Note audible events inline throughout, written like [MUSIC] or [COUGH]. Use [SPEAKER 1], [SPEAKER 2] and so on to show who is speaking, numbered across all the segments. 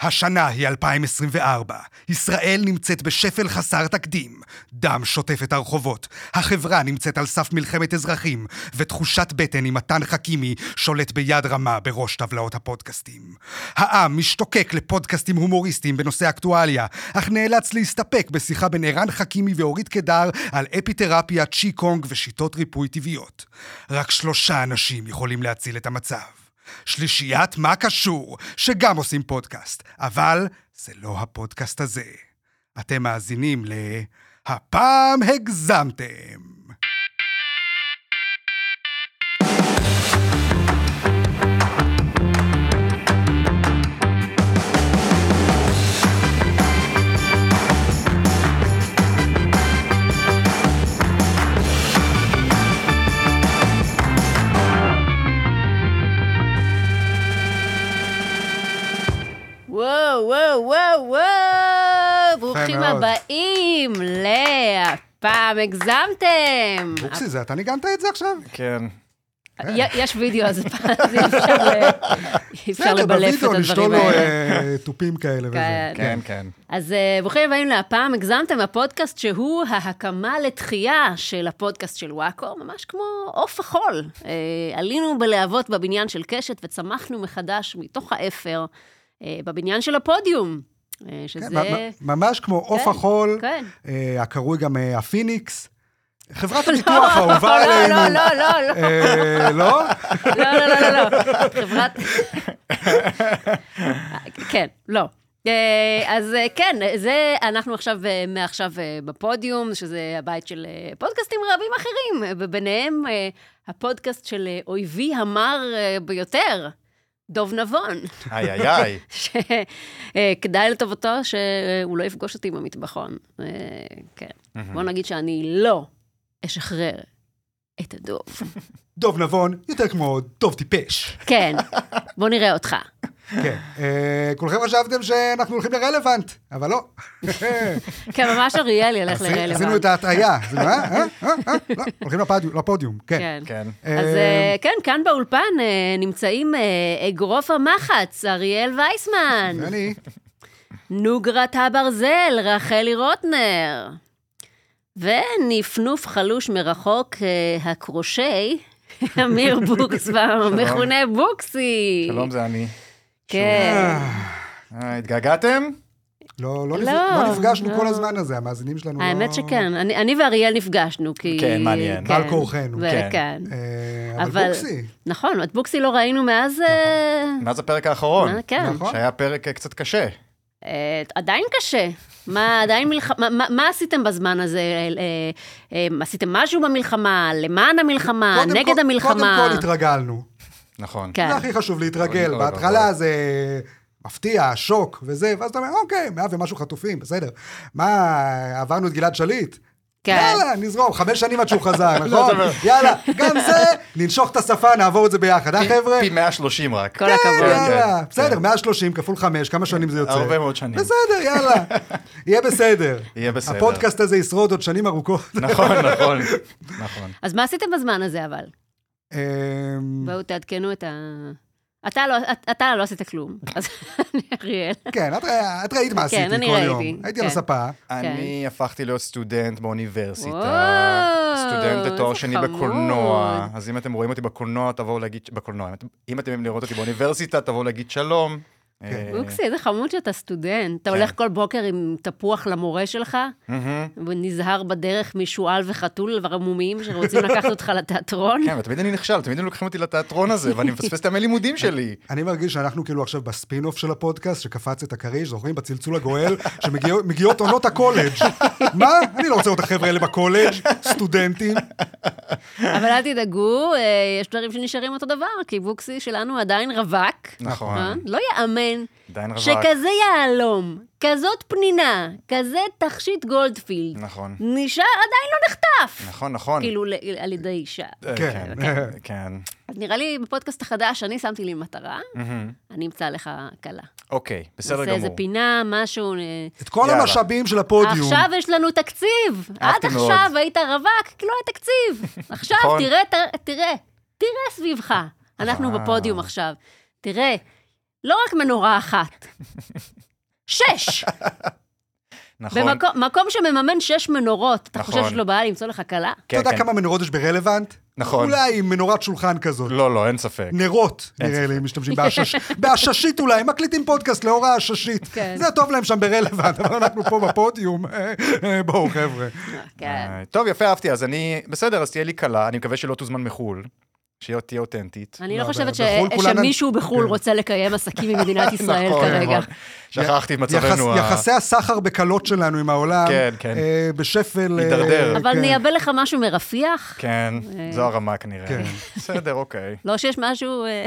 [SPEAKER 1] השנה היא 2024. ישראל נמצאת בשפל חסר תקדים. דם שוטף את הרחובות. החברה נמצאת על סף מלחמת אזרחים, ותחושת בטן עם מתן חכימי שולט ביד רמה בראש טבלאות הפודקאסטים. העם משתוקק לפודקאסטים הומוריסטיים בנושא אקטואליה, אך נאלץ להסתפק בשיחה בין ערן חכימי ואורית קדר על אפיתרפיה, צ'י קונג ושיטות ריפוי טבעיות. רק שלושה אנשים יכולים להציל את המצב. שלישיית מה קשור, שגם עושים פודקאסט, אבל זה לא הפודקאסט הזה. אתם מאזינים ל... הפעם הגזמתם.
[SPEAKER 2] וואו, וואו, וואו, וואו, ברוכים
[SPEAKER 1] מאוד.
[SPEAKER 2] הבאים להפעם הגזמתם.
[SPEAKER 1] בוקסי, זה אתה ניגנת את זה עכשיו?
[SPEAKER 3] כן.
[SPEAKER 1] אוקיי.
[SPEAKER 2] י- יש וידאו, אז הפעם אז אי אפשר
[SPEAKER 1] [LAUGHS]
[SPEAKER 2] ל- אי אפשר לבלף את הדברים
[SPEAKER 1] נשתול כן, לו
[SPEAKER 2] האלה.
[SPEAKER 1] אה, תופים כאלה וזה.
[SPEAKER 2] כן.
[SPEAKER 3] כן, כן.
[SPEAKER 2] אז אה, ברוכים הבאים להפעם הגזמתם, הפודקאסט שהוא ההקמה לתחייה של הפודקאסט של וואקו, ממש כמו עוף החול. אה, עלינו בלהבות בבניין של קשת וצמחנו מחדש מתוך האפר אה, בבניין של הפודיום, אה, שזה...
[SPEAKER 1] כן, מ- מ- ממש כמו עוף החול,
[SPEAKER 2] כן.
[SPEAKER 1] אה, הקרוי גם אה, הפיניקס. חברת
[SPEAKER 2] [LAUGHS] לא,
[SPEAKER 1] הביטוח האהובה
[SPEAKER 2] לא,
[SPEAKER 1] עלינו.
[SPEAKER 2] לא, לא, לא, לא.
[SPEAKER 1] אה, לא?
[SPEAKER 2] לא, לא, לא, לא, לא. חברת... כן, לא. אה, אז אה, כן, זה אנחנו עכשיו, אה, מעכשיו אה, בפודיום, שזה הבית של אה, פודקאסטים רבים אחרים, אה, וביניהם אה, הפודקאסט של אה, אויבי המר אה, ביותר, דוב נבון, [LAUGHS]
[SPEAKER 3] איי, איי, איי.
[SPEAKER 2] שכדאי לטובתו שהוא לא יפגוש אותי במטבחון. אה, כן. בוא נגיד שאני לא אשחרר את הדוב.
[SPEAKER 1] דוב נבון, יותר כמו דוב טיפש.
[SPEAKER 2] כן, בוא נראה אותך.
[SPEAKER 1] כן. אה, כולכם חשבתם שאנחנו הולכים לרלוונט, אבל לא.
[SPEAKER 2] כן, ממש אריאל ילך לרלוונט.
[SPEAKER 1] עשינו את ההטעיה. עשינו, אה? אה? אה? אה? לא, הולכים לפדיו- לפודיום, כן.
[SPEAKER 2] כן.
[SPEAKER 3] כן.
[SPEAKER 2] אז
[SPEAKER 1] אה,
[SPEAKER 2] אה, כן, כאן באולפן אה, נמצאים אה, אגרוף המחץ, אריאל וייסמן,
[SPEAKER 1] ואני,
[SPEAKER 2] נוגרת הברזל, רחלי רוטנר, ונפנוף חלוש מרחוק, אה, הקרושי, אמיר בוקסבאום, מכונה בוקסי.
[SPEAKER 3] שלום, זה אני.
[SPEAKER 2] כן.
[SPEAKER 3] אה, התגעגעתם?
[SPEAKER 1] לא לא נפ-
[SPEAKER 2] לא,
[SPEAKER 1] לא נפגשנו
[SPEAKER 2] לא.
[SPEAKER 1] כל הזמן הזה, המאזינים שלנו לא...
[SPEAKER 2] האמת שכן, אני אני ואריאל נפגשנו, כי...
[SPEAKER 3] כן, מעניין.
[SPEAKER 2] כן.
[SPEAKER 1] לא על כורחנו.
[SPEAKER 2] וכן.
[SPEAKER 1] אה,
[SPEAKER 2] אבל-
[SPEAKER 1] אבל בוקסי,
[SPEAKER 2] נכון, את בוקסי לא ראינו מאז... אה,
[SPEAKER 3] מאז הפרק האחרון.
[SPEAKER 2] אה, כן.
[SPEAKER 1] נכון.
[SPEAKER 3] שהיה פרק אה, קצת קשה.
[SPEAKER 2] אה, עדיין קשה. מה, עדיין מלחמה, מה, מה עשיתם בזמן הזה? אה, אה, אה, עשיתם משהו במלחמה? למען המלחמה?
[SPEAKER 1] קודם
[SPEAKER 2] אה, נגד
[SPEAKER 1] כל-
[SPEAKER 2] המלחמה?
[SPEAKER 1] קודם כל התרגלנו.
[SPEAKER 3] נכון.
[SPEAKER 2] כן.
[SPEAKER 1] זה הכי חשוב להתרגל.
[SPEAKER 3] אוי, אוי,
[SPEAKER 1] בהתחלה
[SPEAKER 3] אוי.
[SPEAKER 1] זה מפתיע, שוק וזה, ואז אתה אומר, אוקיי, מאה ומשהו חטופים, בסדר. מה, עברנו את גלעד שליט?
[SPEAKER 2] כן.
[SPEAKER 1] יאללה, נזרום, חמש שנים עד שהוא
[SPEAKER 3] [LAUGHS]
[SPEAKER 1] חזר,
[SPEAKER 3] לא,
[SPEAKER 1] נכון?
[SPEAKER 3] דבר.
[SPEAKER 1] יאללה, גם זה, ננשוך את השפה, נעבור את זה ביחד, אה חבר'ה?
[SPEAKER 3] פי 130 רק.
[SPEAKER 2] כל הכבוד.
[SPEAKER 1] כן, יאללה,
[SPEAKER 3] כן.
[SPEAKER 1] בסדר, 130 כפול 5, כמה שנים זה יוצא?
[SPEAKER 3] הרבה מאוד שנים.
[SPEAKER 1] כן. בסדר,
[SPEAKER 3] [LAUGHS]
[SPEAKER 1] יאללה. יהיה בסדר.
[SPEAKER 3] יהיה בסדר.
[SPEAKER 1] הפודקאסט הזה ישרוד עוד שנים ארוכות.
[SPEAKER 2] [LAUGHS]
[SPEAKER 3] נכון, נכון. נכון.
[SPEAKER 1] כן.
[SPEAKER 2] אז מה עשיתם בזמן הזה אבל?
[SPEAKER 1] אמ,
[SPEAKER 2] בואו תעדכנו את ה... אתה לא, אתה לא עשית כלום, [LAUGHS] אז אני אריאל.
[SPEAKER 1] כן, את רא- את ראית מה
[SPEAKER 2] כן,
[SPEAKER 1] עשיתי
[SPEAKER 2] אני
[SPEAKER 1] כל
[SPEAKER 2] ראיתי,
[SPEAKER 1] יום. הייתי על
[SPEAKER 2] כן.
[SPEAKER 1] הספה.
[SPEAKER 3] אני הפכתי להיות סטודנט באוניברסיטה.
[SPEAKER 2] וואו,
[SPEAKER 3] סטודנט לתואר
[SPEAKER 2] איזה
[SPEAKER 3] שני
[SPEAKER 2] חמוד.
[SPEAKER 3] בקולנוע. אז אם אתם רואים אותי בקולנוע, תבואו להגיד... ש- בקולנוע. אם אתם- אם אתם יכולים לראות אותי באוניברסיטה, תבואו להגיד שלום.
[SPEAKER 1] כן.
[SPEAKER 3] אה,
[SPEAKER 2] בוקסי, איזה חמוד שאתה סטודנט. אתה הולך כל בוקר עם תפוח למורה שלך,
[SPEAKER 3] מהמם.
[SPEAKER 2] ונזהר בדרך משועל וחתול ורמומים שרוצים לקחת אותך לתיאטרון.
[SPEAKER 3] כן, ותמיד אני נכשל, תמיד הם לוקחים אותי לתיאטרון הזה, ואני מפספס את
[SPEAKER 1] [LAUGHS]
[SPEAKER 3] הימי לימודים
[SPEAKER 1] כן.
[SPEAKER 3] שלי.
[SPEAKER 1] אני מרגיש שאנחנו כאילו עכשיו בספינוף של הפודקאסט, שקפץ את הכריש, זוכרים? בצלצול הגואל, שמגיעות עונות הקולג'.
[SPEAKER 2] [LAUGHS]
[SPEAKER 1] מה? אני לא רוצה את החבר'ה האלה בקולג', סטודנטים.
[SPEAKER 2] אבל אל תדאגו, אה, יש דברים שנשארים אותו דבר, כי בוקסי שלנו עדיין רווק.
[SPEAKER 3] נכון.
[SPEAKER 2] אה? לא יאמן
[SPEAKER 3] עדיין רווק.
[SPEAKER 2] שכזה יהלום, כזאת פנינה, כזה תכשיט גולדפילד,
[SPEAKER 3] נכון.
[SPEAKER 2] נשאר עדיין לא נחטף.
[SPEAKER 3] נכון, נכון.
[SPEAKER 2] כאילו, ל- על ידי אישה.
[SPEAKER 3] אה,
[SPEAKER 1] כן.
[SPEAKER 3] כן,
[SPEAKER 2] [LAUGHS]
[SPEAKER 3] כן.
[SPEAKER 2] אז נראה לי בפודקאסט החדש, אני שמתי לי מטרה,
[SPEAKER 3] מהמם.
[SPEAKER 2] אני אמצא לך כלה.
[SPEAKER 3] Mm-hmm. אוקיי, בסדר
[SPEAKER 2] נעשה
[SPEAKER 3] גמור.
[SPEAKER 2] איזה פינה, משהו... אה,
[SPEAKER 1] את כל
[SPEAKER 3] יאללה.
[SPEAKER 1] המשאבים של הפודיום.
[SPEAKER 2] עכשיו יש לנו תקציב. עד
[SPEAKER 3] אהבתי מאוד.
[SPEAKER 2] עכשיו היית רווק, כי לא היה
[SPEAKER 3] [LAUGHS]
[SPEAKER 2] תקציב. עכשיו
[SPEAKER 3] נכון.
[SPEAKER 2] תראה, תראה, תראה סביבך. אנחנו
[SPEAKER 3] אה.
[SPEAKER 2] בפודיום עכשיו. תראה, לא רק מנורה אחת, שש.
[SPEAKER 3] [LAUGHS] נכון.
[SPEAKER 2] במקום מקום שמממן שש מנורות, אתה
[SPEAKER 3] נכון.
[SPEAKER 2] חושב שיש לו בעיה למצוא לך כלה? [LAUGHS]
[SPEAKER 1] אתה
[SPEAKER 3] כן,
[SPEAKER 1] יודע
[SPEAKER 3] כן.
[SPEAKER 1] כמה מנורות יש ברלוונט?
[SPEAKER 3] נכון.
[SPEAKER 1] אולי מנורת שולחן כזאת.
[SPEAKER 3] לא, לא, אין ספק.
[SPEAKER 1] נרות,
[SPEAKER 3] אין
[SPEAKER 1] נראה לי, הם
[SPEAKER 2] [LAUGHS]
[SPEAKER 1] משתמשים בעשש... בעששית אולי, הם מקליטים פודקאסט לאור העששית.
[SPEAKER 2] כן.
[SPEAKER 1] זה טוב להם שם ברלוונט, אבל אנחנו פה בפודיום. [LAUGHS] אה, אה, בואו, חבר'ה.
[SPEAKER 2] כן.
[SPEAKER 3] אה, טוב, יפה, אהבתי, אז אני... בסדר, אז תהיה לי קלה, אני מקווה שלא תוזמן מחו"ל, שהיא תהיה אותנטית.
[SPEAKER 2] אני לא
[SPEAKER 1] לא,
[SPEAKER 2] חושבת ש-
[SPEAKER 1] בחו"ל כולן-
[SPEAKER 2] שמישהו בחו"ל
[SPEAKER 1] כן.
[SPEAKER 2] רוצה לקיים עסקים עם
[SPEAKER 3] [LAUGHS]
[SPEAKER 2] מדינת ישראל
[SPEAKER 3] נכון,
[SPEAKER 2] כרגע.
[SPEAKER 3] נכון. שכחתי את מצבנו
[SPEAKER 1] יחס-
[SPEAKER 3] ה...
[SPEAKER 1] יחסי הסחר בקלות שלנו עם העולם,
[SPEAKER 3] כן, כן.
[SPEAKER 1] אה, בשפל... אה,
[SPEAKER 3] הידרדר.
[SPEAKER 2] אבל
[SPEAKER 1] כן.
[SPEAKER 2] נייבא לך משהו מרפיח?
[SPEAKER 3] כן,
[SPEAKER 2] אה.
[SPEAKER 3] זו הרמה כנראה.
[SPEAKER 1] כן.
[SPEAKER 3] בסדר,
[SPEAKER 2] [LAUGHS]
[SPEAKER 3] אוקיי.
[SPEAKER 2] לא שיש משהו... אה,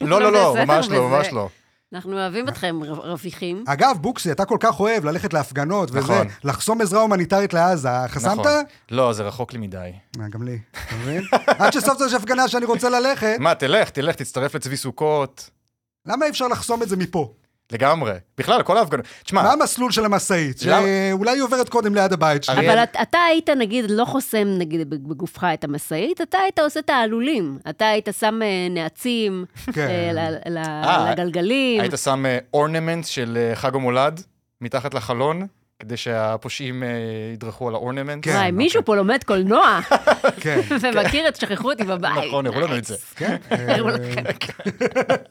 [SPEAKER 3] לא,
[SPEAKER 2] [LAUGHS]
[SPEAKER 3] לא, לא,
[SPEAKER 2] בסדר
[SPEAKER 3] ממש לא,
[SPEAKER 2] בזה.
[SPEAKER 3] ממש לא.
[SPEAKER 2] אנחנו אוהבים אתכם, ר- רפיחים.
[SPEAKER 1] אגב, בוקסי, אתה כל כך אוהב ללכת להפגנות וזה,
[SPEAKER 3] נכון.
[SPEAKER 1] לחסום עזרה הומניטרית לעזה, אה, חסמת?
[SPEAKER 3] נכון. לא, זה רחוק לי מדי.
[SPEAKER 1] אה, גם לי, אתה מבין? [LAUGHS] עד שסוף סוף יש הפגנה שאני רוצה ללכת,
[SPEAKER 3] מה, תלך, תלך, תצטרף לצבי סוכות.
[SPEAKER 1] למה אי אפשר לחסום את זה מפה?
[SPEAKER 3] לגמרי. בכלל, כל ההפגנות. תשמע,
[SPEAKER 1] מה המסלול של המשאית?
[SPEAKER 3] אה. למה-
[SPEAKER 1] שאולי היא עוברת קודם ליד הבית שלי.
[SPEAKER 3] אריאל.
[SPEAKER 2] אבל את- אתה היית, נגיד, לא חוסם, נגיד, בגופך את המשאית, אתה היית עושה תעלולים. אתה היית שם אה, נעצים
[SPEAKER 1] כן.
[SPEAKER 2] אה, ל- ל-
[SPEAKER 3] אה,
[SPEAKER 2] לגלגלים.
[SPEAKER 3] היית שם אורנמנט של אה, חג המולד מתחת לחלון, כדי שהפושעים אה, ידרכו על האורנמנט.
[SPEAKER 1] כן,
[SPEAKER 2] וואי, מישהו פה לומד קולנוע
[SPEAKER 3] [LAUGHS]
[SPEAKER 1] כן,
[SPEAKER 2] ומכיר את שכחו אותי בבית.
[SPEAKER 3] נכון, הראו לנו את
[SPEAKER 2] [LAUGHS]
[SPEAKER 3] זה.
[SPEAKER 1] כן.
[SPEAKER 2] הראו לנו
[SPEAKER 1] אה,
[SPEAKER 2] את זה.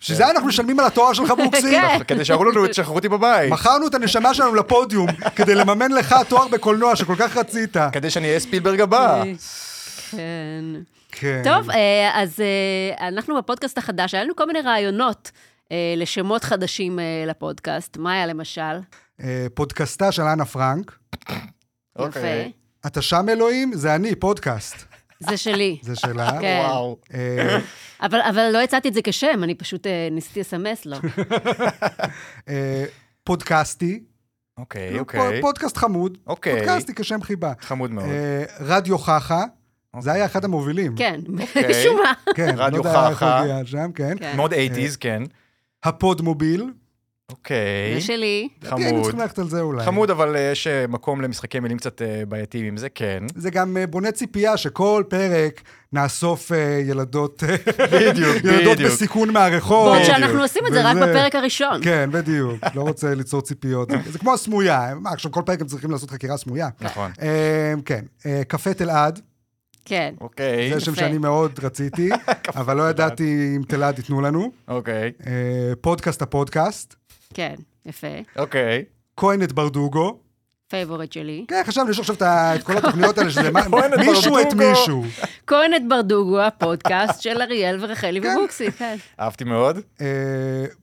[SPEAKER 1] בשביל זה אנחנו משלמים על התואר שלך, בוקסי.
[SPEAKER 2] כן.
[SPEAKER 3] כדי שיראו לנו את שכחו אותי בבית.
[SPEAKER 1] מכרנו את הנשמה שלנו לפודיום כדי לממן לך תואר בקולנוע שכל כך רצית.
[SPEAKER 3] כדי שאני אהיה ספילברג הבא.
[SPEAKER 2] כן.
[SPEAKER 1] כן.
[SPEAKER 2] טוב, אה, אז אה, אנחנו בפודקאסט החדש, היה לנו כל מיני רעיונות אה, לשמות חדשים אה, לפודקאסט. מה היה למשל?
[SPEAKER 1] אה, פודקאסטה של אנה פרנק.
[SPEAKER 2] יפה.
[SPEAKER 3] אוקיי.
[SPEAKER 1] אתה שם אלוהים? זה אני, פודקאסט.
[SPEAKER 2] זה שלי.
[SPEAKER 1] זה שלה.
[SPEAKER 2] [LAUGHS] כן.
[SPEAKER 3] וואו.
[SPEAKER 1] אה,
[SPEAKER 2] אבל, אבל לא הצעתי את זה כשם, אני פשוט אה, ניסיתי לסמס לו.
[SPEAKER 1] אה, פודקאסטי.
[SPEAKER 3] אוקיי,
[SPEAKER 1] פ-
[SPEAKER 3] אוקיי.
[SPEAKER 1] פודקאסט חמוד.
[SPEAKER 3] אוקיי.
[SPEAKER 1] פודקאסטי כשם חיבה.
[SPEAKER 3] חמוד מאוד. אוקיי.
[SPEAKER 1] אה, רדיו חכה. זה היה אחד המובילים.
[SPEAKER 2] כן, משום מה.
[SPEAKER 1] כן,
[SPEAKER 3] רדיו
[SPEAKER 1] לא יודע איך הוא
[SPEAKER 3] חכה.
[SPEAKER 1] הגיע עד שם, כן.
[SPEAKER 2] כן.
[SPEAKER 3] מאוד 80's, כן.
[SPEAKER 1] הפוד מוביל.
[SPEAKER 3] אוקיי.
[SPEAKER 2] זה שלי.
[SPEAKER 1] היינו
[SPEAKER 3] חמוד.
[SPEAKER 1] צריכים כן, ללכת על זה אולי.
[SPEAKER 3] חמוד, אבל אה, יש אה, מקום למשחקי מילים קצת אה, בעייתיים עם זה, כן.
[SPEAKER 1] זה גם אה, בונה ציפייה שכל פרק נאסוף אה, ילדות,
[SPEAKER 3] בדיוק,
[SPEAKER 1] [LAUGHS] ילדות
[SPEAKER 3] בדיוק.
[SPEAKER 1] בסיכון מהרחוב.
[SPEAKER 2] בעוד שאנחנו עושים את זה רק
[SPEAKER 1] וזה-
[SPEAKER 2] בפרק הראשון.
[SPEAKER 1] כן, בדיוק, לא רוצה ליצור ציפיות. זה כמו הסמויה, מה, עכשיו כל פרק הם צריכים לעשות חקירה סמויה?
[SPEAKER 3] נכון.
[SPEAKER 1] אה, כן, אה, קפה תלעד,
[SPEAKER 2] כן.
[SPEAKER 3] אוקיי,
[SPEAKER 1] זה שם
[SPEAKER 2] יפה.
[SPEAKER 1] שאני מאוד רציתי,
[SPEAKER 3] [LAUGHS]
[SPEAKER 1] אבל לא ידעתי אם תלעד ייתנו לנו.
[SPEAKER 3] אוקיי,
[SPEAKER 1] אה, פודקאסט הפודקאסט,
[SPEAKER 2] כן, יפה.
[SPEAKER 3] אוקיי.
[SPEAKER 1] כהן את ברדוגו.
[SPEAKER 2] פייבוריט שלי.
[SPEAKER 1] כן, חשבנו, יש עכשיו את ה- את כל התוכניות האלה, שזה
[SPEAKER 3] [LAUGHS]
[SPEAKER 1] מה-
[SPEAKER 3] כהן את
[SPEAKER 1] מישהו את
[SPEAKER 3] ברדוגו.
[SPEAKER 1] מישהו.
[SPEAKER 2] כהן את ברדוגו, הפודקאסט של אריאל ורחלי ובוקסי, כן.
[SPEAKER 3] אהבתי מאוד.
[SPEAKER 1] אה,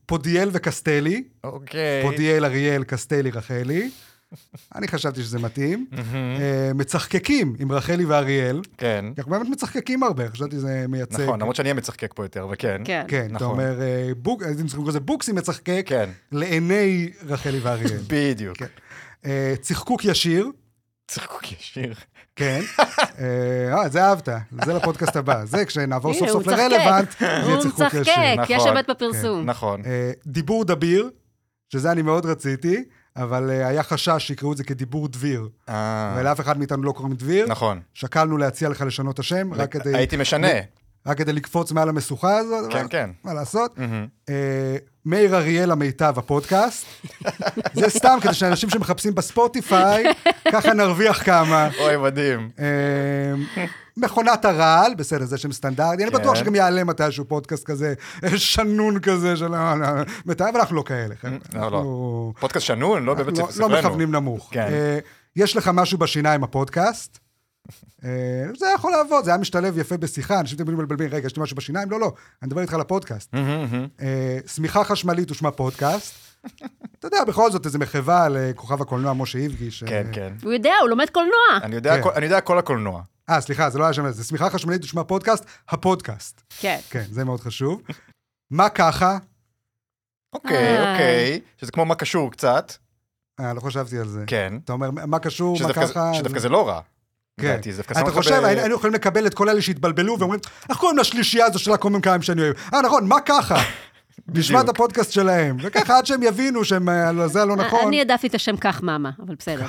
[SPEAKER 1] פודיאל וקסטלי,
[SPEAKER 3] אוקיי.
[SPEAKER 1] פודיאל, אריאל, קסטלי, רחלי. אני חשבתי שזה מתאים. אה, מצחקקים עם רחלי ואריאל.
[SPEAKER 3] כן.
[SPEAKER 1] כי אנחנו באמת מצחקקים הרבה, חשבתי שזה מייצג.
[SPEAKER 3] נכון, למרות שאני המצחקק פה יותר, אבל כן.
[SPEAKER 2] כן.
[SPEAKER 1] כן, אתה
[SPEAKER 3] נכון.
[SPEAKER 1] אומר, אה, בוק- אז אם צריכים לקרוא לזה בוקסי מצחקק,
[SPEAKER 3] כן.
[SPEAKER 1] לעיני רחלי
[SPEAKER 3] [LAUGHS]
[SPEAKER 1] ואריאל.
[SPEAKER 3] בדיוק.
[SPEAKER 1] כן. אה, צחקוק ישיר,
[SPEAKER 3] צחקוק ישיר.
[SPEAKER 1] כן. אה, אה, זה אהבת, זה לפודקאסט הבא. זה כשנעבור
[SPEAKER 2] הנה,
[SPEAKER 1] סוף
[SPEAKER 2] הוא
[SPEAKER 1] סוף
[SPEAKER 2] מצחקק.
[SPEAKER 1] לרלוונט, כן, זה יהיה
[SPEAKER 2] הוא
[SPEAKER 1] צחקוק ישיר.
[SPEAKER 2] מצחקק, יש
[SPEAKER 3] נכון.
[SPEAKER 2] אמת בפרסום.
[SPEAKER 3] נכון.
[SPEAKER 1] אה, דיבור דביר, שזה אני מאוד רציתי, אבל אה, היה חשש שיקראו את זה כדיבור דביר.
[SPEAKER 3] אה,
[SPEAKER 1] ולאף אחד מאיתנו לא קוראים דביר.
[SPEAKER 3] נכון. אה,
[SPEAKER 1] שקלנו להציע לך לשנות את השם, רק כדי-
[SPEAKER 3] הייתי משנה.
[SPEAKER 1] רק כדי לקפוץ מעל המשוכה הזאת.
[SPEAKER 3] כן,
[SPEAKER 1] אבל
[SPEAKER 3] כן.
[SPEAKER 1] מה לעשות?
[SPEAKER 3] מהמם.
[SPEAKER 1] אה, מאיר אריאל המיטב הפודקאסט.
[SPEAKER 3] [LAUGHS]
[SPEAKER 1] זה סתם כדי שאנשים שמחפשים בספוטיפיי, ככה נרוויח כמה.
[SPEAKER 3] אוי, מדהים.
[SPEAKER 1] אה, מכונת הרעל, בסדר, זה שם סטנדרטי, אני
[SPEAKER 3] כן.
[SPEAKER 1] בטוח שגם יעלה מתישהו פודקאסט כזה, אה, שנון כזה של... אה, אה, מתאר, אבל אנחנו לא כאלה. חבר'ה.
[SPEAKER 3] לא, לא.
[SPEAKER 1] אנחנו-
[SPEAKER 3] פודקאסט שנון, לא
[SPEAKER 1] אנחנו
[SPEAKER 3] באמת
[SPEAKER 1] לא- לא
[SPEAKER 3] ספרנו.
[SPEAKER 1] מכוונים נמוך.
[SPEAKER 3] כן.
[SPEAKER 1] אה, יש לך משהו בשיניים, הפודקאסט? אה, זה היה יכול לעבוד, זה היה משתלב יפה בשיחה, אנשים תמיד מבלבלים, רגע, יש לי משהו בשיניים? לא, לא, אני מדבר איתך על הפודקאסט.
[SPEAKER 3] מהמם, מהמם.
[SPEAKER 1] אה, שמיכה חשמלית ושמה פודקאסט. אתה יודע, בכל זאת, איזה מחווה לכוכב הקולנוע משה איבגי. ש-
[SPEAKER 3] כן, כן.
[SPEAKER 2] הוא יודע, הוא לומד קולנוע.
[SPEAKER 3] אני יודע
[SPEAKER 1] אה. כן.
[SPEAKER 3] הכל- אני יודע הכל הקולנוע.
[SPEAKER 1] אה, סליחה, זה לא היה שם, זה שמיכה חשמלית ושמה פודקאסט, הפודקאסט.
[SPEAKER 2] כן.
[SPEAKER 1] כן, זה מאוד חשוב. מה ככה?
[SPEAKER 3] אוקיי,
[SPEAKER 2] אה.
[SPEAKER 3] אוקיי. שזה כמו מה קשור קצת.
[SPEAKER 1] אה, לא חשבתי על זה.
[SPEAKER 3] כן.
[SPEAKER 1] אתה אומר, מה קשור, מה
[SPEAKER 3] שדווקא-
[SPEAKER 1] ככה?
[SPEAKER 3] שדווקא
[SPEAKER 1] זה-
[SPEAKER 3] זה לא רע.
[SPEAKER 1] כן.
[SPEAKER 3] לדעתי, זה לא דווקא שם
[SPEAKER 1] אתה
[SPEAKER 3] אותך ב-
[SPEAKER 1] חושב, היינו היינו יכולים לקבל את כל אלה שהתבלבלו ואומרים, איך קוראים לשלישייה הזו של הקומיקאים שאני אוהב? אה, נכון, מה
[SPEAKER 3] [LAUGHS]
[SPEAKER 1] ככה? נשמע את הפודקאסט שלהם. וככה, עד שהם יבינו שהם, אה, על זה הלא נכון. [LAUGHS]
[SPEAKER 2] אני העדפתי את השם כך מאמה, אבל בסדר.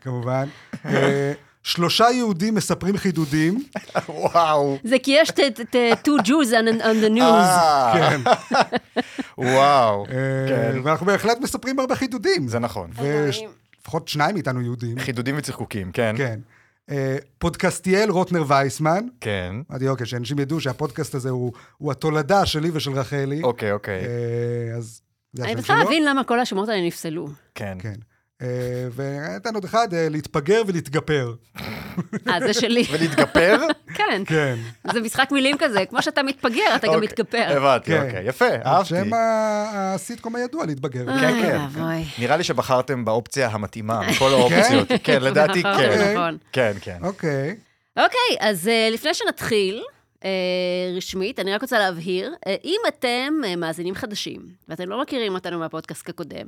[SPEAKER 1] כמובן. אה, שלושה יהודים מספרים חידודים,
[SPEAKER 3] [LAUGHS] וואו.
[SPEAKER 2] זה כי יש את- את אה, two Jews on, on the news.
[SPEAKER 3] אה,
[SPEAKER 1] כן.
[SPEAKER 3] [LAUGHS] וואו.
[SPEAKER 1] אה,
[SPEAKER 3] כן,
[SPEAKER 1] ואנחנו בהחלט מספרים הרבה חידודים.
[SPEAKER 3] זה נכון.
[SPEAKER 1] ולפחות שניים מאיתנו יהודים,
[SPEAKER 3] חידודים וצחקוקים, כן.
[SPEAKER 1] כן. אה, פודקאסטיאל רוטנר וייסמן,
[SPEAKER 3] כן.
[SPEAKER 1] אמרתי, אוקיי, שאנשים ידעו שהפודקאסט הזה הוא הוא התולדה שלי ושל רחלי.
[SPEAKER 3] אוקיי, אוקיי.
[SPEAKER 1] אה, אז זה
[SPEAKER 2] אני
[SPEAKER 1] השם
[SPEAKER 2] צריכה
[SPEAKER 1] שלו.
[SPEAKER 2] להבין למה כל השמות האלה נפסלו.
[SPEAKER 3] כן.
[SPEAKER 1] כן. אה, ונתן עוד אחד, אה, להתפגר ולהתגפר.
[SPEAKER 2] אה, זה שלי.
[SPEAKER 3] ולהתגפר?
[SPEAKER 2] כן.
[SPEAKER 1] כן.
[SPEAKER 2] זה משחק מילים כזה, כמו שאתה מתפגר, אתה גם
[SPEAKER 3] אוקיי,
[SPEAKER 2] מתגפר.
[SPEAKER 3] הבנתי,
[SPEAKER 1] כן.
[SPEAKER 3] אוקיי. יפה, [LAUGHS] אהבתי.
[SPEAKER 1] שם ה- הסיטקום הידוע, להתבגר.
[SPEAKER 2] אה,
[SPEAKER 3] כן, כן.
[SPEAKER 2] אוי ואבוי.
[SPEAKER 3] נראה לי שבחרתם באופציה
[SPEAKER 2] [LAUGHS]
[SPEAKER 3] המתאימה, מכל האופציות. כן, לדעתי
[SPEAKER 2] נכון,
[SPEAKER 3] כן.
[SPEAKER 2] נכון.
[SPEAKER 3] כן, כן.
[SPEAKER 1] אוקיי.
[SPEAKER 2] אוקיי, אז אה, לפני שנתחיל... אה, רשמית, אני רק רוצה להבהיר, אה, אם אתם אה, מאזינים חדשים, ואתם לא מכירים אותנו מהפודקאסט הקודם,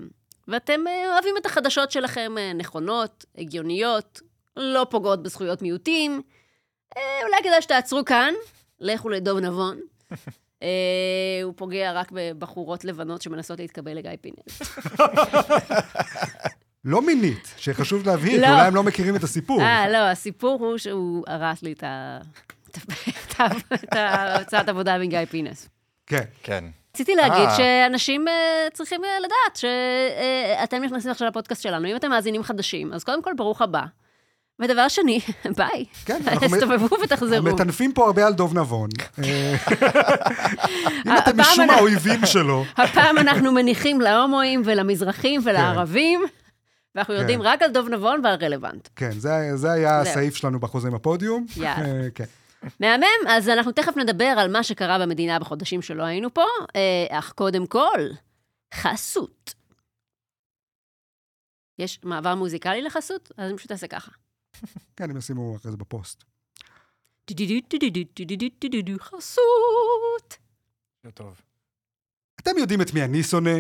[SPEAKER 2] ואתם אה, אוהבים את החדשות שלכם אה, נכונות, הגיוניות, לא פוגעות בזכויות מיעוטים, אה, אולי כדאי שתעצרו כאן, לכו לדוב
[SPEAKER 3] [LAUGHS]
[SPEAKER 2] נבון. אה, הוא פוגע רק בבחורות לבנות שמנסות להתקבל לגיא פינס.
[SPEAKER 1] לא מינית, שחשוב להבהיר,
[SPEAKER 2] לא.
[SPEAKER 1] כי אולי הם לא מכירים את הסיפור.
[SPEAKER 2] אה, לא, הסיפור הוא שהוא הרס לי את ה- את ה- את ההוצאת עבודה מגיא פינס.
[SPEAKER 1] כן.
[SPEAKER 3] כן.
[SPEAKER 2] רציתי להגיד
[SPEAKER 3] אה.
[SPEAKER 2] שאנשים אה, צריכים אה, לדעת שאתם נכנסים עכשיו לפודקאסט שלנו. אם אתם מאזינים חדשים, אז קודם כל, ברוך הבא. ודבר שני, [LAUGHS] ביי.
[SPEAKER 1] כן, אנחנו מ-
[SPEAKER 2] תסתובבו ותחזרו.
[SPEAKER 1] מטנפים פה הרבה על דוב
[SPEAKER 2] [LAUGHS]
[SPEAKER 1] נבון. אה, [LAUGHS] אם אתם
[SPEAKER 2] הפעם
[SPEAKER 1] משום
[SPEAKER 2] אנחנו-
[SPEAKER 1] האויבים שלו,
[SPEAKER 2] הפעם אנחנו מניחים להומואים ולמזרחים ולערבים, ואנחנו יורדים
[SPEAKER 1] כן.
[SPEAKER 2] רק על דוב נבון ועל רלוונט.
[SPEAKER 1] כן, זה- זה היה
[SPEAKER 2] זהו.
[SPEAKER 1] הסעיף שלנו בחוזה עם הפודיום.
[SPEAKER 2] [LAUGHS] יאללה.
[SPEAKER 1] אה, כן.
[SPEAKER 2] מהמם, אז אנחנו תכף נדבר על מה שקרה במדינה בחודשים שלא היינו פה, אה, אך קודם כל, חסות. יש מעבר מוזיקלי לחסות? אז אני פשוט אעשה ככה.
[SPEAKER 1] כן, הם ישימו אחרי זה בפוסט.
[SPEAKER 2] טו-טו-טו-טו-טו-טו-טו-טו-טו, חסות.
[SPEAKER 3] טוב.
[SPEAKER 1] אתם יודעים את מי אני שונא?